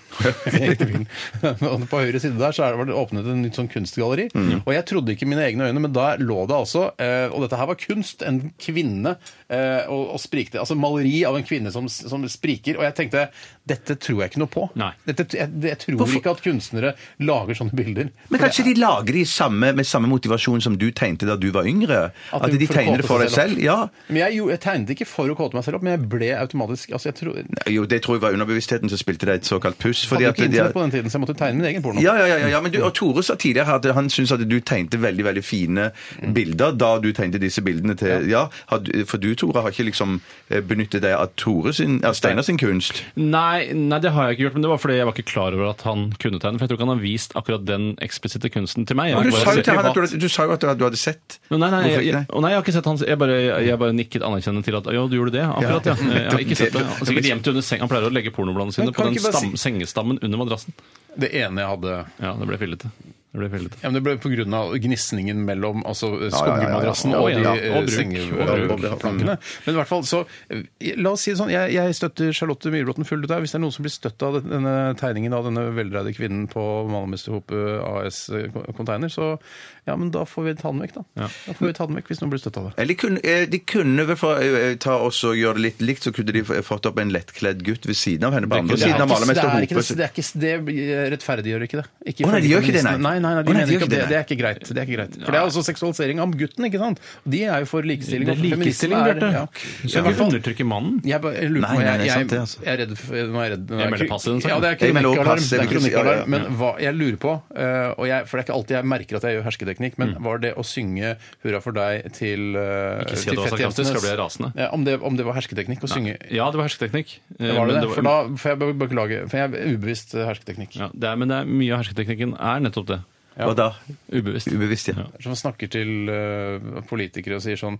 Speaker 1: Jeg gikk til bilen. og på høyre side der så er det, var det åpnet et nytt sånn kunstgalleri.
Speaker 3: Mm.
Speaker 1: Og jeg trodde ikke mine egne øyne, men der lå det altså eh, Og dette her var kunst. En kvinne eh, og, og sprikte. Altså maleri av en kvinne som, som spriker. Og jeg tenkte dette tror jeg ikke noe på. Dette, jeg, jeg tror ikke at kunstnere lager sånne bilder.
Speaker 3: Men kanskje de lager de samme, med samme motivasjon som du tegnte da du var yngre? At de
Speaker 1: for å
Speaker 3: tegner det
Speaker 1: kåte
Speaker 3: for deg
Speaker 1: seg
Speaker 3: selv? Ja.
Speaker 1: opp. Men jeg, gjorde- jeg tegnet ikke for å kåte meg selv opp, men jeg ble automatisk altså jeg tror,
Speaker 3: Jo, det tror jeg var underbevisstheten som spilte deg et såkalt puss.
Speaker 1: Hadde
Speaker 3: Fordi
Speaker 1: jo
Speaker 3: at
Speaker 1: ikke
Speaker 3: de,
Speaker 1: internett på den tiden, så jeg måtte tegne min egen porno.
Speaker 3: ja, ja, ja, ja, ja, men du, og Tore sa tidligere at han syntes at du tegnte veldig veldig fine bilder da du tegnte disse bildene til Ja, har du- For du, Tore, har ikke liksom eh, benyttet deg av Tore sin, av Steinar sin kunst?
Speaker 2: Nei, nei, det har jeg ikke gjort, men det var fordi jeg var ikke klar over at han kunne tegne. For jeg tror ikke han har vist akkurat den eksplisitte kunsten til meg. Jeg
Speaker 3: Men
Speaker 2: har
Speaker 3: du
Speaker 2: bare
Speaker 3: sa jo
Speaker 2: sett-
Speaker 3: til han at du, du sa jo at du, hadde- du hadde sett
Speaker 2: Nei, nei, nei,
Speaker 3: Hvorfor
Speaker 2: jeg,
Speaker 3: ikke?
Speaker 2: jeg, å nei, jeg har ikke sett hans Jeg bare, jeg bare nikket anerkjennende til at Ja, du gjorde det? Akkurat, ja.
Speaker 3: Ja.
Speaker 2: Jeg har ikke sett det. Han har sikkert gjemt det under seng. Han pleier å legge pornobladene sine
Speaker 1: Men
Speaker 2: på
Speaker 1: kan
Speaker 2: den
Speaker 1: ikke bare
Speaker 2: stam, sengestammen under madrassen.
Speaker 1: Det ene jeg hadde
Speaker 2: Ja, det ble fillete. Det ble fillete.
Speaker 1: Ja, men Det ble pga. gnisningen mellom altså,
Speaker 2: ja, ja, ja.
Speaker 1: skoggemadrassen
Speaker 2: Og ja,
Speaker 1: og de eh,
Speaker 2: og bruk, og bruk.
Speaker 1: sengeplankene. Men i hvert fall, så eh, La oss si det sånn, jeg, jeg støtter Charlotte Myhrbråten fullt ut her. Hvis det er noen som blir støtt av denne tegningen av denne veldreide kvinnen på Malmøsterhopet AS-container, eh, så ja, men da får vi ta den vekk, da. Da får vi ta den vekk hvis noen blir støtt av det.
Speaker 3: Eller kunne, eh, de kunne vel få, eh, ta også gjøre det litt likt, så kunne de f- fått opp en lettkledd gutt ved siden av henne. på andre siden
Speaker 1: Det er
Speaker 3: av
Speaker 1: ikke- det
Speaker 3: malermester
Speaker 1: er ikke
Speaker 3: Hope.
Speaker 1: det- det er ikke- Det rettferdiggjør ikke det.
Speaker 3: Å, nei, de
Speaker 1: ifølge
Speaker 3: gjør ikke det, nei.
Speaker 1: feministene. Nei, nei, nei, de
Speaker 3: Å, nei, de gjør
Speaker 1: mener ikke at
Speaker 3: ikke
Speaker 1: det,
Speaker 3: det,
Speaker 1: det er ikke greit. Det er ikke greit. For det er altså seksualisering av gutten, ikke sant? De er jo for likestilling.
Speaker 2: Det er
Speaker 1: og for feminisme
Speaker 2: likestilling,
Speaker 1: er-
Speaker 2: Bjarte.
Speaker 1: ja.
Speaker 2: Du
Speaker 1: Ja, i
Speaker 2: skal
Speaker 1: hvert
Speaker 2: ikke
Speaker 1: fall-
Speaker 2: undertrykke mannen.
Speaker 1: Jeg, bare, jeg lurer på
Speaker 2: Nei,
Speaker 1: jeg,
Speaker 2: nei, det er
Speaker 1: jeg,
Speaker 2: sant, det,
Speaker 1: jeg,
Speaker 2: altså.
Speaker 1: er redd for nå er jeg redd, nå er
Speaker 2: Jeg melder pass i den saken.
Speaker 1: Ja, det er
Speaker 2: Jeg melder også
Speaker 1: kronikkalarm.
Speaker 2: pass,
Speaker 1: Det er
Speaker 2: jeg vil ikke si-
Speaker 1: kronikkalarm.
Speaker 2: ja, ja, ja.
Speaker 1: Men hva jeg lurer på, eh, og jeg, for det er ikke alltid jeg merker at jeg gjør hersketeknikk, men var det å synge 'Hurra for deg' til,
Speaker 2: Mm.
Speaker 1: eh,
Speaker 2: Ikke si
Speaker 1: til
Speaker 2: at det var sarkastisk,
Speaker 1: fettjentenes-
Speaker 2: da blir jeg rasende.
Speaker 1: Ja, om, det, om det var hersketeknikk å synge
Speaker 2: Ja, det var hersketeknikk. Eh,
Speaker 1: Var det
Speaker 2: men
Speaker 1: det? For da får jeg be- beklage, for jeg er ubevisst eh, hersketeknikk.
Speaker 2: Ja, det er, men det er mye av hersketeknikken er nettopp det.
Speaker 1: Ja. Hva da?
Speaker 2: Ubevisst.
Speaker 3: Ubevisst, ja.
Speaker 1: Som snakker til eh, politikere og sier sånn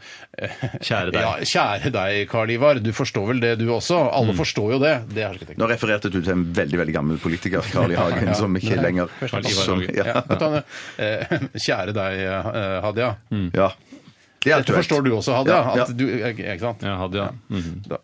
Speaker 2: Kjære deg.
Speaker 1: Ja, kjære deg, Karl Ivar. Du forstår vel det, du også? Alle
Speaker 2: Mm.
Speaker 1: forstår jo det. Det er hersketeknikk.
Speaker 3: Nå refererte du til en veldig veldig gammel politiker, Carl I. Hagen,
Speaker 1: Ja.
Speaker 3: som ikke
Speaker 1: Nei,
Speaker 3: lenger
Speaker 1: Karl Ivar
Speaker 3: som,
Speaker 1: Hagen.
Speaker 3: ja.
Speaker 1: Ja, vet du, Anne, eh, Kjære deg, eh, Hadia.
Speaker 2: Mm.
Speaker 3: Ja. Det er
Speaker 1: Dette
Speaker 3: aktuelt.
Speaker 1: forstår du også, Hadia.
Speaker 3: Ja, ja.
Speaker 1: At du, eh, ikke sant?
Speaker 2: Ja, Hadia. Mm-hmm.
Speaker 1: Da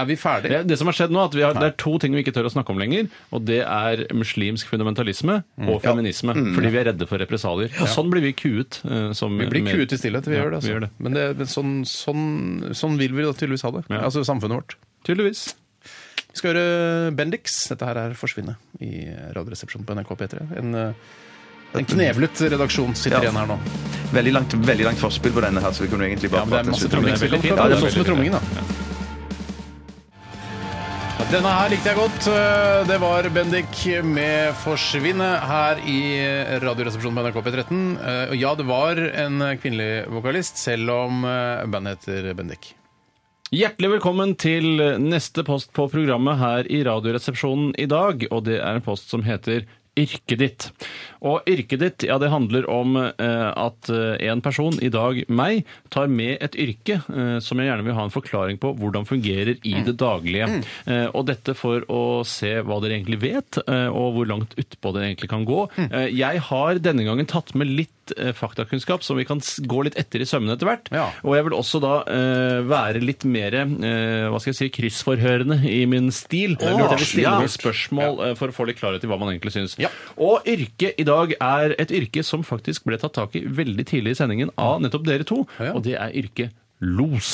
Speaker 1: er vi ferdige.
Speaker 2: Det, det som har skjedd nå, er at vi har, det er to ting vi ikke tør å snakke om lenger. Og det er muslimsk fundamentalisme og feminisme.
Speaker 1: Mm.
Speaker 2: Fordi vi er redde for represalier. Og sånn blir vi kuet. eh, Som
Speaker 1: Vi blir
Speaker 2: med-
Speaker 1: kuet i stillhet, vi
Speaker 2: Ja,
Speaker 1: gjør det. Altså.
Speaker 2: Vi gjør det.
Speaker 1: Men, det, men sånn, sånn, sånn vil vi da tydeligvis ha det.
Speaker 2: Ja.
Speaker 1: Altså samfunnet vårt.
Speaker 2: Tydeligvis.
Speaker 1: Vi skal høre Bendix. Dette her er Forsvinne i Radioresepsjonen på NRK P3. En, eh, en knevlet redaksjon sitter
Speaker 3: Ja.
Speaker 1: igjen her nå.
Speaker 3: Veldig langt, veldig langt forspill på denne her, så vi kunne egentlig bare
Speaker 1: Ja, men det er
Speaker 3: prate oss
Speaker 1: masse
Speaker 3: ut om
Speaker 1: trommer.
Speaker 3: det.
Speaker 1: Det er veldig fint.
Speaker 3: Ja, det
Speaker 1: Sånn som med
Speaker 3: veldig fint.
Speaker 1: trommingen, da. Denne her likte jeg godt. Eh, Det var Bendik med 'Forsvinne' her i Radioresepsjonen på NRK P13. Eh, Og ja, det var en kvinnelig vokalist, selv om eh, bandet heter Bendik.
Speaker 2: Hjertelig velkommen til neste post på programmet her i Radioresepsjonen i dag. Og det er en post som heter yrket ditt. Og yrket ditt, ja, det handler om eh, at eh, en person, i dag meg, tar med et yrke eh, som jeg gjerne vil ha en forklaring på hvordan fungerer i det daglige. Eh, og dette for å se hva dere egentlig vet, eh, og hvor langt utpå dere egentlig kan gå. Eh, jeg har denne gangen tatt med litt eh, faktakunnskap som vi kan s- gå litt etter i sømmene etter hvert. Og jeg vil også da eh, være litt mer eh, hva skal jeg si, kryssforhørende i min stil.
Speaker 1: Åh,
Speaker 2: Jeg vil stille
Speaker 1: ja.
Speaker 2: noen spørsmål eh, for å få litt klarhet i hva man egentlig syns. Og yrket i dag er et yrke som faktisk ble tatt tak i veldig tidlig i sendingen av nettopp dere to, og det er yrket los.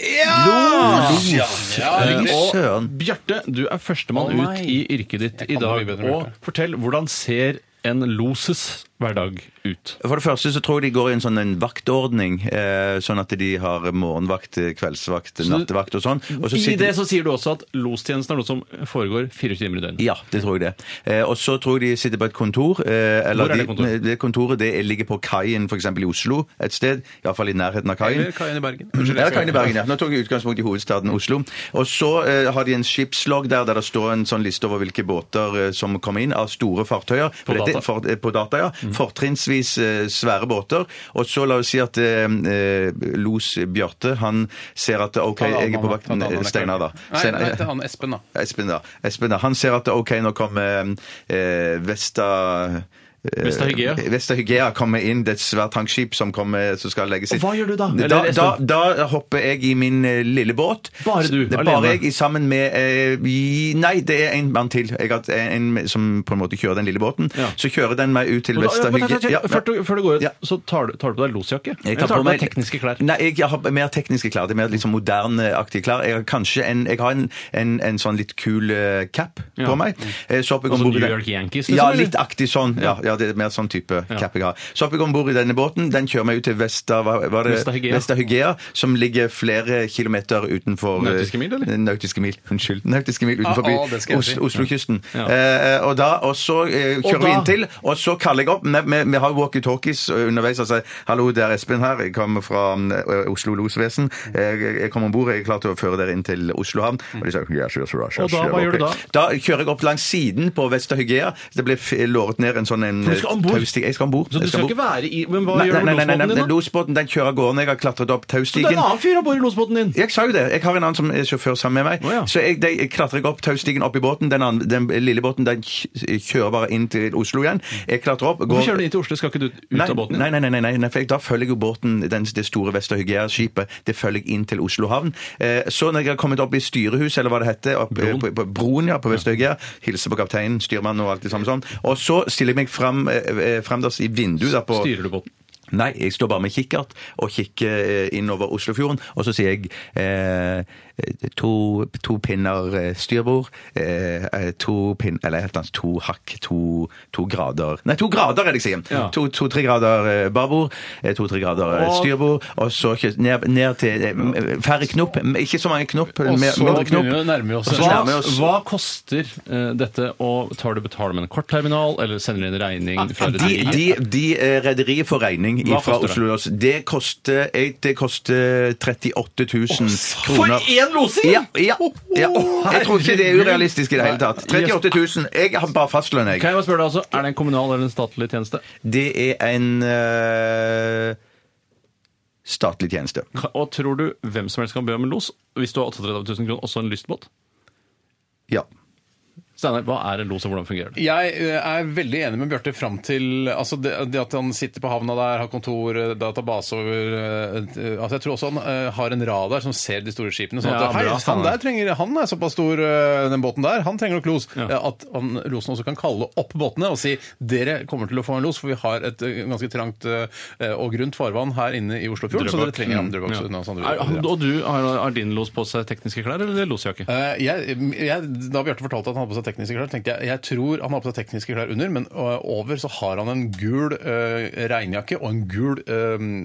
Speaker 1: Los! Ah, Ja,
Speaker 2: Eh,
Speaker 1: riktig.
Speaker 2: og Bjarte, du er førstemann
Speaker 1: Å,
Speaker 2: ut
Speaker 1: nei.
Speaker 2: i yrket ditt i
Speaker 1: kan det
Speaker 2: dag.
Speaker 1: mye bedre enn
Speaker 2: Og fortell, hvordan ser en loses hverdag ut?
Speaker 3: For det første så tror jeg de går i en sånn en vaktordning, eh, sånn at de har morgenvakt, eh, kveldsvakt, nattevakt og sånn.
Speaker 1: Altså,
Speaker 3: Og så
Speaker 2: I
Speaker 3: sitter-
Speaker 2: det så sier du også at lostjenesten er noe som foregår 24 timer i døgnet.
Speaker 3: Ja, det tror jeg det. Eh, og så tror jeg de sitter på et kontor. Eh,
Speaker 2: Hvor
Speaker 3: eller
Speaker 2: er det
Speaker 3: de-
Speaker 2: kontoret?
Speaker 3: det kontoret det ligger på kaien, f.eks. i Oslo et sted. Iallfall i nærheten av kaien. Mm,
Speaker 1: Eller Kaien i Bergen. Unnskyld, jeg
Speaker 3: Ja,
Speaker 1: skal-
Speaker 3: Kaien i Bergen, ja. Nå tok jeg utgangspunkt i hovedstaden Oslo. Og så eh, har de en skipslogg der der det står en sånn liste over hvilke båter eh, som kommer inn av store fartøyer.
Speaker 2: På
Speaker 3: Dette-
Speaker 2: data.
Speaker 3: for, eh, på data ja. Fortrinnsvis eh, svære båter. Og så la oss si at eh, eh, los Bjarte, han ser at OK,
Speaker 1: Ta det
Speaker 3: jeg er på
Speaker 1: andre, ta
Speaker 3: vakten.
Speaker 1: det andre,
Speaker 3: Steinar, da.
Speaker 1: Nei,
Speaker 3: Steinar,
Speaker 1: nei,
Speaker 3: ja.
Speaker 1: til han Espen, da.
Speaker 3: Espen, da. Espen, da. Han ser at OK, nå kommer eh, Vesta eh,
Speaker 2: Vesta Hygea.
Speaker 3: Vesta Hygea kommer inn. Det er et svært tankskip som, kommer, som skal legges inn.
Speaker 2: Hva gjør du da?
Speaker 3: Da,
Speaker 2: Eller
Speaker 3: da,
Speaker 2: Espen?
Speaker 3: da hopper jeg i min eh, lille båt.
Speaker 2: Bare du,
Speaker 3: Det er
Speaker 2: alene?
Speaker 3: Bare jeg i- sammen med eh, i- Nei, det er en mann til jeg har, hatt en, en som på en måte kjører den lille båten. Så kjører den meg ut til
Speaker 2: Og da-
Speaker 3: Vesta
Speaker 2: men- men-
Speaker 3: Hygea.
Speaker 2: men-
Speaker 3: Ja,
Speaker 2: Før du før du går ut, så tar du, tar du på Mm. deg losjakke?
Speaker 3: jeg
Speaker 2: Eller
Speaker 3: tar på
Speaker 2: du
Speaker 3: meg
Speaker 2: deg tekniske klær?
Speaker 3: Nei, jeg har mer tekniske klær. Det er mer liksom moderneaktige klær. Jeg har kanskje en, jeg har en, en, en sånn litt kul eh, cap
Speaker 2: Ja.
Speaker 3: på meg. Eh, Så hopper jeg
Speaker 2: Altså
Speaker 3: ombord i
Speaker 2: New
Speaker 3: den-
Speaker 2: York Yankees, liksom,
Speaker 3: Ja,
Speaker 2: eller?
Speaker 3: litt aktig sånn. Ja, ja, det er mer sånn type cap jeg har. Så hopper jeg ombord i denne båten. Den kjører meg ut til Vesta, hva, hva er det?
Speaker 2: Vesta Hygea.
Speaker 3: Vesta Hygea, som ligger flere kilometer utenfor eh,
Speaker 2: Nautiske mil, eller?
Speaker 3: Nautiske mil, unnskyld. Nautiske mil utenfor
Speaker 1: Ah, ah, det skal jeg
Speaker 3: Os-
Speaker 1: si.
Speaker 3: Oslo-kysten.
Speaker 1: Ja.
Speaker 3: Eh, og da, og så eh,
Speaker 1: Og
Speaker 3: kjører vi
Speaker 1: da-
Speaker 3: inntil, og så kaller jeg opp. Vi, vi, vi har walkietalkies underveis og sier 'hallo, det er Espen her, jeg kommer fra eh, Oslo losvesen'. Jeg, jeg kommer om bord, jeg er klar til å føre dere inn til Oslo havn. Og de sier yes, yes, yes, yes,
Speaker 2: Og da,
Speaker 3: yes,
Speaker 2: hva gjør du
Speaker 3: ok.» Da kjører jeg opp langs siden på Vesta Hygea. Det ble f- låret ned en sånn en
Speaker 2: For du skal om bord?
Speaker 3: taustig- Jeg skal om bord.
Speaker 2: Så du
Speaker 3: Jeg
Speaker 2: skal
Speaker 3: om
Speaker 2: ikke
Speaker 3: bord.
Speaker 2: være i Men hva
Speaker 3: Nei,
Speaker 2: gjør
Speaker 3: nei, nei,
Speaker 2: losbåten
Speaker 3: nei, nei,
Speaker 2: din,
Speaker 3: den
Speaker 2: da?
Speaker 3: losbåten den kjører av gårde. Jeg har klatret
Speaker 2: Så
Speaker 3: opp
Speaker 2: det er
Speaker 3: taustigen.
Speaker 2: en annen fyr om bord i losbåten din!
Speaker 3: Jeg sa jo det. Jeg har en annen som er sjåfør sammen med meg. Så jeg, de, jeg klatrer ikke opp taustigen opp i båten. Den, andre, den lille båten den kj- kjører bare inn til Oslo igjen. Jeg klatrer opp.
Speaker 2: Hvorfor kjører du inn til Oslo? Skal ikke du ut
Speaker 3: Nei,
Speaker 2: av båten?
Speaker 3: Nei, nei, nei, nei, nei, nei for jeg, da følger jeg jo båten, den, det store Vester Hygea-skipet, det følger jeg inn til Oslo havn. Eh, så når jeg har kommet opp i styrehuset, eller hva det heter, opp, broen. På, på broen ja, på Vester Hygea, hilser på kapteinen, styrmannen og alt det samme sånn, og så stiller jeg meg frem, eh, eh, fremdeles i vinduet der på
Speaker 2: Styrer du båten?
Speaker 3: Nei, jeg står bare med kikkert og kikker eh, innover Oslofjorden, og så sier jeg eh, to, to pinner eh, styrbord, eh, eh, to pin, eller helt annet, to hakk, to, to grader Nei, to grader er det jeg sier!
Speaker 2: Ja.
Speaker 3: To- To-tre grader eh, babord, eh, to-tre grader eh,
Speaker 2: Og-
Speaker 3: styrbord, og så kjø- ned, ned til eh, færre knopp, m- ikke så mange knopp,
Speaker 1: Og
Speaker 3: mer-
Speaker 1: så
Speaker 3: mindre knopp.
Speaker 1: begynner vi å nærme oss.
Speaker 3: Og så
Speaker 2: Hva,
Speaker 3: nærmer vi oss.
Speaker 2: hva koster eh, dette, og tar du betaler med en kortterminal, eller sender du en regning fra
Speaker 3: De,
Speaker 2: rederiet?
Speaker 3: de, de eh, rederiet får regning
Speaker 2: Hva
Speaker 3: fra
Speaker 2: koster det?
Speaker 3: Oslo Loss. Det koster, eh, det koster 38 000 kroner.
Speaker 2: én losing?!
Speaker 3: Ja, ja, ja. Åh, jeg tror ikke det er urealistisk i det hele tatt. 38 000. Jeg har bare fastlønn,
Speaker 2: Kan
Speaker 3: jeg.
Speaker 2: jeg bare spørre deg, altså, Er det en kommunal eller en statlig tjeneste?
Speaker 3: Det er en eh, statlig tjeneste.
Speaker 2: Ka- Og tror du hvem som helst kan be om en los? Hvis du har 38 000 kroner, også en lystbåt?
Speaker 3: Ja.
Speaker 2: Steinar, hva er en los, og hvordan fungerer det?
Speaker 1: Jeg eh, er veldig enig med Bjarte fram til altså det, det at han sitter på havna der, har kontor, eh, database over eh, eh, altså Jeg tror også han eh, har en radar som ser de store skipene. Sånn at
Speaker 2: Ja,
Speaker 1: hei,
Speaker 2: bra,
Speaker 1: han,
Speaker 2: Steinar.
Speaker 1: der trenger, han er såpass stor, eh, den båten der, han trenger nok los. Eh, At han, losen også kan kalle opp båtene og si dere kommer til å få en los, for vi har et eh, ganske trangt eh, og grunt farvann her inne i Oslofjorden, så
Speaker 2: Drøbak. Mm.
Speaker 1: dere trenger ja, Drøbak,
Speaker 2: Ja.
Speaker 1: så-
Speaker 3: altså,
Speaker 1: nå, sånn,
Speaker 2: Er,
Speaker 1: Drøbak, ja.
Speaker 2: og du, har, har din los på seg tekniske klær, eller er det losjakke?
Speaker 1: Eh, jeg, jeg, da Bjarte fortalte at han hadde på seg tekniske klær, tenkte jeg jeg tror han har på seg tekniske klær under, men ø, over så har han en gul ø, regnjakke og en gul ø,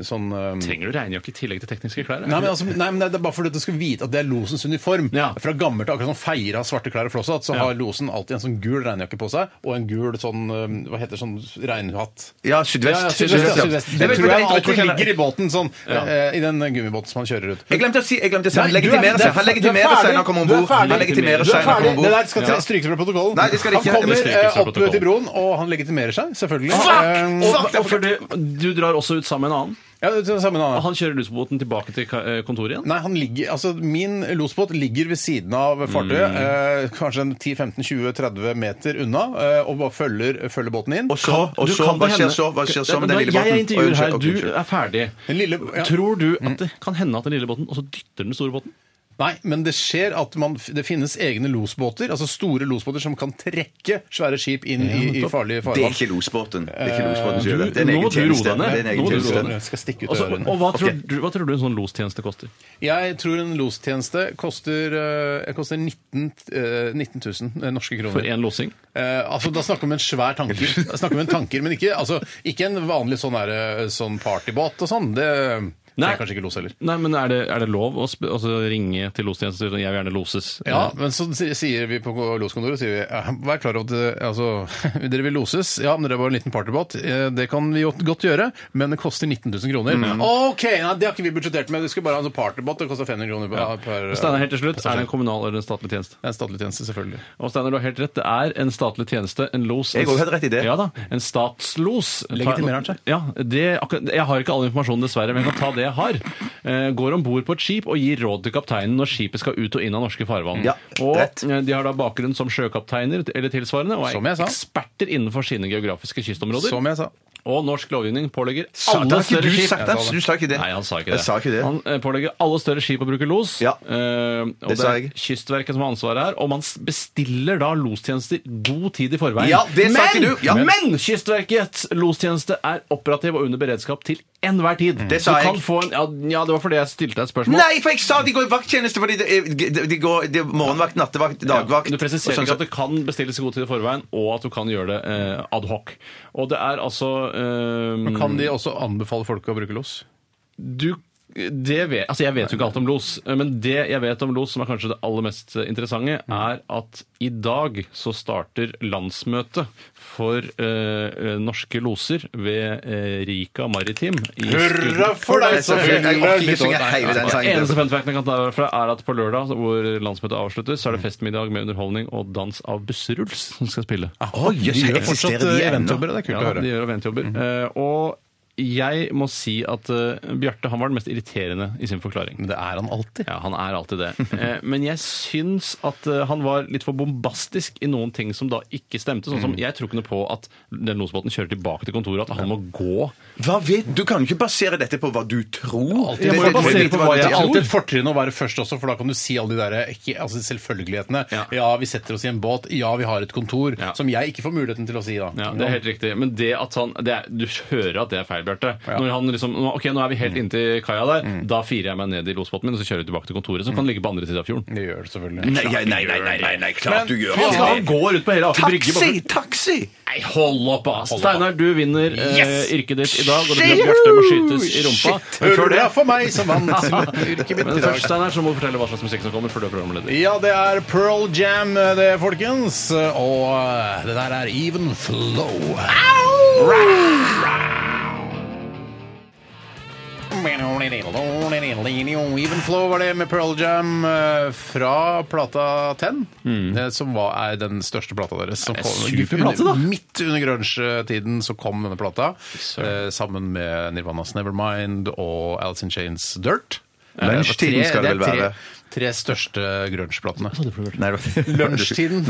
Speaker 1: sånn ø,
Speaker 2: Trenger du regnjakke i tillegg til tekniske klær?
Speaker 1: Nei, men, altså, nei, men Det er bare fordi at du skal vite at det er losens uniform.
Speaker 2: Ja.
Speaker 1: Fra gammelt av, akkurat som feier har svarte klær og flosshatt, så
Speaker 2: Ja.
Speaker 1: har losen alltid en sånn gul regnjakke på seg og en gul sånn ø, Hva heter det, sånn regnhatt?
Speaker 3: Ja, sydvest.
Speaker 1: Ja, ja, sydvest, ja, sydvest.
Speaker 3: Jeg
Speaker 1: Det
Speaker 3: vet
Speaker 1: tror
Speaker 3: ikke,
Speaker 1: jeg
Speaker 3: jeg tror
Speaker 1: alltid
Speaker 3: ikke-
Speaker 1: ligger i båten sånn,
Speaker 3: Ja.
Speaker 1: ø, i den gummibåten som han kjører ut.
Speaker 3: Jeg glemte å si, jeg glemte å si. han
Speaker 1: Nei, du er-
Speaker 3: legitimerer
Speaker 1: det er
Speaker 3: seg. Han
Speaker 1: fer-
Speaker 3: legitimerer
Speaker 1: du er
Speaker 3: seg når
Speaker 1: ferdig.
Speaker 3: han kommer om
Speaker 1: Du er
Speaker 3: bord.
Speaker 1: ferdig.
Speaker 3: Han legitimerer
Speaker 1: Du er
Speaker 3: seg når han
Speaker 1: ferdig.
Speaker 3: kommer om bord.
Speaker 1: Det der skal
Speaker 3: Ja.
Speaker 1: strykes fra protokollen.
Speaker 3: Nei, det skal det ikke.
Speaker 1: Han kommer
Speaker 3: Det skal
Speaker 1: eh,
Speaker 3: ikke fra
Speaker 1: opp til
Speaker 3: protokollen.
Speaker 1: broen, og han legitimerer seg, selvfølgelig.
Speaker 2: Fuck!
Speaker 1: Eh,
Speaker 2: Og, og fordi du drar også ut sammen med en annen?
Speaker 1: Ja, ut sammen med en annen.
Speaker 2: Og han kjører losbåten tilbake til ka- eh, kontoret igjen?
Speaker 1: Nei, han ligger, altså Min losbåt ligger ved siden av fartøyet,
Speaker 3: Mm.
Speaker 1: eh, kanskje en 10-15-20-30 meter unna, eh, og bare følger, følger båten inn. Og
Speaker 3: så- og Du så, kan hva det skjer hende- så? Hva skjer så med den lille båten?
Speaker 2: Jeg er intervjuer
Speaker 3: Oi,
Speaker 2: her,
Speaker 3: unnskyld,
Speaker 2: du
Speaker 3: ok, unnskyld. Mm.
Speaker 2: er ferdig. Tror du at det kan hende at den lille båten, og så dytter den store båten?
Speaker 1: Nei, men det skjer at man, det finnes egne losbåter, altså store losbåter som kan trekke svære skip inn i, i
Speaker 3: nettopp.
Speaker 1: farlige
Speaker 3: Det
Speaker 1: farvann.
Speaker 3: er ikke losbåten. Det er ikke losbåten som
Speaker 2: Du,
Speaker 3: gjør
Speaker 2: nå
Speaker 3: det. Det er en
Speaker 2: må du
Speaker 3: egen
Speaker 2: roe
Speaker 3: tjeneste.
Speaker 2: deg
Speaker 3: Det er
Speaker 2: ned.
Speaker 3: en
Speaker 2: Nå
Speaker 3: egen
Speaker 2: må du roe
Speaker 3: tjeneste.
Speaker 2: deg ned.
Speaker 1: Jeg skal stikke ut
Speaker 2: Altså,
Speaker 1: ørene.
Speaker 2: og hva tror,
Speaker 1: Ok.
Speaker 2: du, hva tror du en sånn lostjeneste koster?
Speaker 1: Jeg tror en lostjeneste koster, eh, koster 19, eh, 19 000 norske kroner.
Speaker 2: For én losing?
Speaker 1: Eh, altså, Da snakker vi om en svær tanker. Da snakker vi om en tanker, Men ikke, altså, ikke en vanlig sånn, der, eh, sånn partybåt og sånn. Det trenger kanskje ikke los heller.
Speaker 2: Nei, men er det, er det lov å sp altså, ringe til lostjenesten og si at jeg vil gjerne loses?
Speaker 1: Ja, men så si- sier vi på loskontoret sier vi, eh, Vær klar over at eh, altså, dere vil loses. Ja, men dere er bare en liten partybåt. Eh, Det kan vi jo godt gjøre, men det koster 19 000 kroner.
Speaker 2: Mm.
Speaker 1: OK! Nei, det har ikke vi budsjettert med. Vi skulle bare ha en sånn partybåt. Det koster 500 kroner per, per
Speaker 2: Og Eh, Steinar, helt til slutt, er det en kommunal eller en statlig tjeneste?
Speaker 1: Det er en statlig tjeneste, selvfølgelig.
Speaker 2: Og Steinar, du har helt rett. Det er en statlig tjeneste. En los. en-
Speaker 3: Jeg går helt rett i det.
Speaker 2: Ja da. En statslos.
Speaker 1: Legitimerer han seg?
Speaker 2: Ja. Det, akkurat, jeg har ikke all informasjonen, dessverre, men jeg kan ta det jeg har. Eh, går om bord på et skip og gir råd til kapteinen når skipet skal ut og inn av norske farvann.
Speaker 3: Ja,
Speaker 2: og eh, de har da bakgrunn som sjøkapteiner eller tilsvarende, og
Speaker 1: Som jeg
Speaker 2: er
Speaker 1: sa.
Speaker 2: eksperter innenfor sine geografiske kystområder.
Speaker 1: Som jeg sa.
Speaker 2: Og norsk lovgivning pålegger
Speaker 3: Sa-
Speaker 2: alle
Speaker 3: det har ikke
Speaker 2: større
Speaker 3: du
Speaker 2: skip
Speaker 3: sagt, Hans. Du sa ikke det.
Speaker 2: Nei, han sa ikke
Speaker 3: Jeg
Speaker 2: det.
Speaker 3: sa ikke det.
Speaker 2: Han eh, pålegger alle større skip å bruke los. Eh, og
Speaker 3: det
Speaker 2: det,
Speaker 3: sa
Speaker 2: er
Speaker 3: jeg.
Speaker 2: Kystverket som har ansvaret her. Og man s- bestiller da lostjenester god tid i forveien.
Speaker 3: Ja, det sa
Speaker 2: men,
Speaker 3: ikke du. Ja.
Speaker 2: men Kystverkets lostjeneste er operativ og under beredskap til enhver tid.
Speaker 3: Det sa
Speaker 2: du kan
Speaker 3: jeg.
Speaker 2: Få en, ja, ja, det var fordi jeg stilte deg et spørsmål.
Speaker 3: Nei, for jeg sa de går i vakttjeneste fordi de, de, de går det er morgenvakt, nattevakt, dagvakt.
Speaker 2: Du presiserer
Speaker 3: og sånn.
Speaker 2: ikke at det kan bestilles i god tid i forveien, og at du kan gjøre det eh, ad hoc. Og det er altså eh,
Speaker 1: Men
Speaker 3: Mm.
Speaker 1: kan de også anbefale folk å bruke los?
Speaker 2: Du det vet, altså Jeg vet jo ikke alt om los, men det jeg vet om los, som er kanskje det aller mest interessante, er at i dag så starter landsmøtet for eh, norske loser ved eh, Rika Maritim. i
Speaker 1: Hurra for
Speaker 2: Skudenesvåg.
Speaker 1: deg som fyller
Speaker 2: Jeg orker ikke
Speaker 1: ditt
Speaker 2: synge
Speaker 1: år.
Speaker 2: hele den
Speaker 1: Nei,
Speaker 2: sangen.
Speaker 1: nei.
Speaker 2: Eneste fun facten jeg kan ta derfra, er at på lørdag, hvor landsmøtet avsluttes, så er det festmiddag med underholdning og dans av busseruls som skal spille.
Speaker 3: Å,
Speaker 2: De
Speaker 3: jøss,
Speaker 2: gjør
Speaker 3: eksisterer
Speaker 2: fortsatt,
Speaker 3: de
Speaker 2: eh,
Speaker 3: ennå?
Speaker 2: eventjobber, og det er kult
Speaker 3: Ja,
Speaker 2: å høre.
Speaker 3: de
Speaker 2: De gjør eventjobber. Eh, og jeg må si at eh, Bjarte han var den mest irriterende i sin forklaring.
Speaker 1: Men det er han alltid.
Speaker 2: Ja, han er alltid det. Eh, men jeg syns at eh, han var litt for bombastisk i noen ting som da ikke stemte. Sånn som Jeg tror ikke noe på at den losbåten kjører tilbake til kontoret, at han må gå.
Speaker 3: Hva vet Du kan jo ikke basere dette på hva du tror.
Speaker 1: Jeg må
Speaker 3: Det-
Speaker 1: jo
Speaker 3: det-
Speaker 1: basere
Speaker 3: det-
Speaker 1: på hva
Speaker 3: det-
Speaker 1: jeg tror. Alltid et fortrinn å være først også, for da kan du si alle de der ikke, altså selvfølgelighetene. Ja. vi setter oss i en båt. Ja, vi har et kontor. Som jeg ikke får muligheten til å si, da.
Speaker 2: Ja, det er helt riktig. Men det at han det er, Du hører at det er feil, Bjarte. Når han liksom nå- Ok, nå er vi helt inntil kaia der. Da firer jeg meg ned i losbåten min, og så kjører jeg tilbake til kontoret, som kan ligge på andre siden av fjorden.
Speaker 1: Det gjør det selvfølgelig.
Speaker 3: Nei, nei, nei, nei, nei, nei, nei, klart du gjør
Speaker 2: Han skal han gå rundt på hele Aker Brygge
Speaker 3: Taxi!
Speaker 2: bare-
Speaker 3: Taxi!
Speaker 2: Nei, hold opp, ass!
Speaker 3: Hold opp, ass.
Speaker 2: Steinar, du vinner eh,
Speaker 3: Yes!
Speaker 2: yrket ditt i dag, og det blir at Bjarte må skytes i rumpa.
Speaker 1: Shit.
Speaker 2: Men før det-
Speaker 1: Hurra for meg som vant yrket mitt
Speaker 2: Men
Speaker 1: i dag.
Speaker 2: først, Steinar, så må du fortelle hva slags musikk som kommer, før du er programleder.
Speaker 1: Ja, det er Pearl Jam, det, folkens. Og eh, det der er Even Flow. Even Flow var det med Pearl Jam eh, fra plata 10, eh, som var, er den største plata deres. Som
Speaker 2: Det er
Speaker 1: kom-
Speaker 2: superplate, da.
Speaker 1: under- Midt under grunge-tiden så kom denne plata, eh, sammen med Nirvanas Nevermind og Alice in Chains Dirt. Eh, det var
Speaker 3: Lunsjtiden
Speaker 1: tre-
Speaker 3: skal det
Speaker 1: er
Speaker 3: vel
Speaker 1: tre-
Speaker 3: være.
Speaker 1: Tre største grunge-platene.
Speaker 3: Nei, det var-
Speaker 1: Lunsjtiden.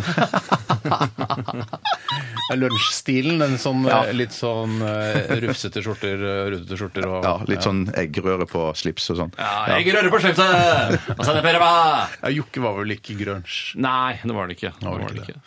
Speaker 1: Det er Lunsjstilen. En sånn,
Speaker 3: Ja.
Speaker 1: eh, litt sånn eh, rufsete skjorter, eh, rutete skjorter og
Speaker 3: Ja, litt sånn eggerøre på slips og sånn.
Speaker 2: Ja, jeg rører på slipset! Og så er det Per Ebba!
Speaker 1: Ja, Jokke var vel ikke grunge.
Speaker 2: Nei, det var det ikke. Det
Speaker 1: var
Speaker 2: var
Speaker 1: ikke
Speaker 2: det ikke.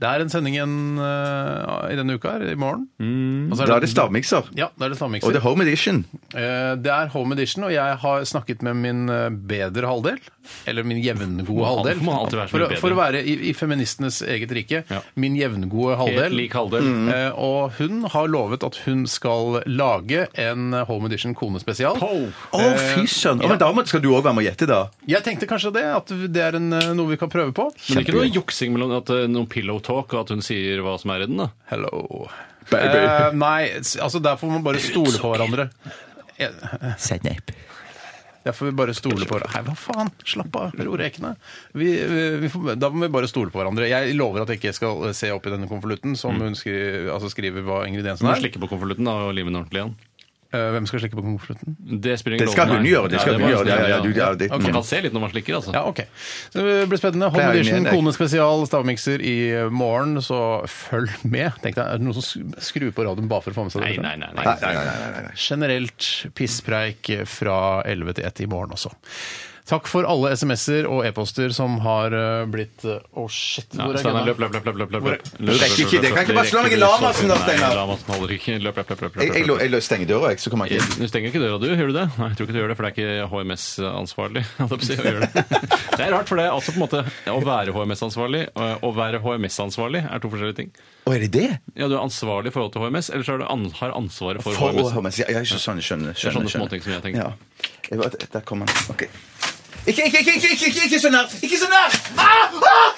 Speaker 1: Det er en sending igjen eh, i denne uka her, i morgen.
Speaker 2: Mm.
Speaker 1: Og så
Speaker 3: Da er det stavmikser.
Speaker 1: Ja, da er det stavmikser.
Speaker 3: Og det er home edition.
Speaker 1: Eh, Det er Home Edition, og jeg har snakket med min eh, bedre halvdel. Eller min jevngode
Speaker 2: han-
Speaker 1: halvdel.
Speaker 2: må han alltid være så
Speaker 1: for,
Speaker 2: mye
Speaker 1: å- for å
Speaker 2: bedre.
Speaker 1: være i, i feministenes eget rike.
Speaker 2: Ja.
Speaker 1: Min jevngode halvdel.
Speaker 2: lik halvdel.
Speaker 1: Eh, Og hun har lovet at hun skal lage en eh, Home Edition konespesial.
Speaker 3: Å, fy søren! Å, Men da må- skal du òg være med å gjette, da.
Speaker 1: Jeg tenkte kanskje det, at det er en, eh, noe vi kan prøve på.
Speaker 2: Men det er ikke noe juksing mellom at eh, noen pillow talk og at hun sier hva som er i den, da?
Speaker 1: Hello.
Speaker 3: Baby.
Speaker 1: Eh, nei, s- altså der får man bare stole på hverandre. Sennep. Derfor vi bare stoler på hverandre. Nei, hva faen? Slapp av, Bror Ekne. Vi, vi får, da må vi bare stole på hverandre. Jeg lover at jeg ikke skal eh, se opp i denne konvolutten som hun skriver, altså skriver hva
Speaker 2: Mm.
Speaker 1: ingrediensene
Speaker 2: Må
Speaker 1: er.
Speaker 2: slikke på konvolutten da, og lime den ordentlig igjen.
Speaker 1: Eh, Hvem skal slikke på konvolutten?
Speaker 2: Det spiller ingen
Speaker 3: Det skal
Speaker 2: rolle.
Speaker 3: hun
Speaker 2: Nei.
Speaker 3: gjøre, det skal
Speaker 2: Ja,
Speaker 3: hun
Speaker 2: må hun
Speaker 3: gjøre, ja, ja,
Speaker 2: gjøre,
Speaker 3: du- ja, det-
Speaker 2: Ok. Man kan se litt når man slikker, altså.
Speaker 1: Ja, ok. Så det blir spennende.
Speaker 3: Pleier
Speaker 1: Home Edition,
Speaker 3: med, jeg.
Speaker 1: Kone spesial, stavmikser i morgen, så følg med. Tenk deg, er det noen som skrur på radioen bare for å få med seg det?
Speaker 2: Nei, nei, nei, nei.
Speaker 3: Nei, nei, nei, nei, nei, nei.
Speaker 1: Generelt pisspreik fra 11 til 1 i morgen også. Takk for alle SMS-er og e-poster som har eh, blitt eh, Å, shit!
Speaker 2: Ja,
Speaker 1: Hvor er
Speaker 2: Steinar,
Speaker 1: Gunnar?
Speaker 2: løp, løp, løp. løp, løp, løp.
Speaker 1: Hvor er-
Speaker 2: løp, løp,
Speaker 3: rekker ikke det. Kan ikke bare slå
Speaker 2: Det
Speaker 3: noen
Speaker 2: rekker du
Speaker 3: Lamassen da,
Speaker 2: så- Nei,
Speaker 3: Steinar.
Speaker 2: Lamassen holder ikke. Løp, løp, løp. løp, løp,
Speaker 3: Jeg, jeg,
Speaker 2: løp,
Speaker 3: lo-
Speaker 2: løp.
Speaker 3: jeg lo- stenger døra, jeg, så kommer jeg inn.
Speaker 2: Eh, Du stenger ikke døra, du? Gjør du det? Nei, jeg tror ikke du gjør det, for det er ikke HMS-ansvarlig. holdt jeg på å si, å gjøre Det Det er rart, for det er altså på en måte å være HMS-ansvarlig og å være HMS-ansvarlig er to forskjellige ting.
Speaker 3: Å, er det det?
Speaker 2: Ja, Du er ansvarlig i forhold til HMS, eller så er du an har ansvaret for,
Speaker 3: For
Speaker 2: HMS.
Speaker 3: HMS. Ja, ja, ikke sånn, skjønner.
Speaker 2: Det er
Speaker 3: skjønner,
Speaker 2: sånne
Speaker 3: skjønner.
Speaker 2: småting som jeg tenker.
Speaker 3: Ja. Jeg var, der kom han. Ok. Ikke, ikke, ikke, ikke, ikke, ikke, ikke så nært! Ikke så nært! Ah!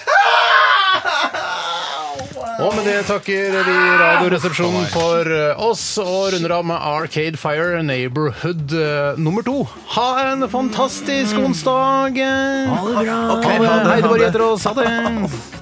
Speaker 1: Og med det takker vi Radioresepsjonen for eh, oss, og runder av med Arcade Fire Neighborhood eh, nummer to. Ha en
Speaker 2: Mm.
Speaker 1: fantastisk onsdag! Ha det bra! Hei, det var Jethro. Ha det!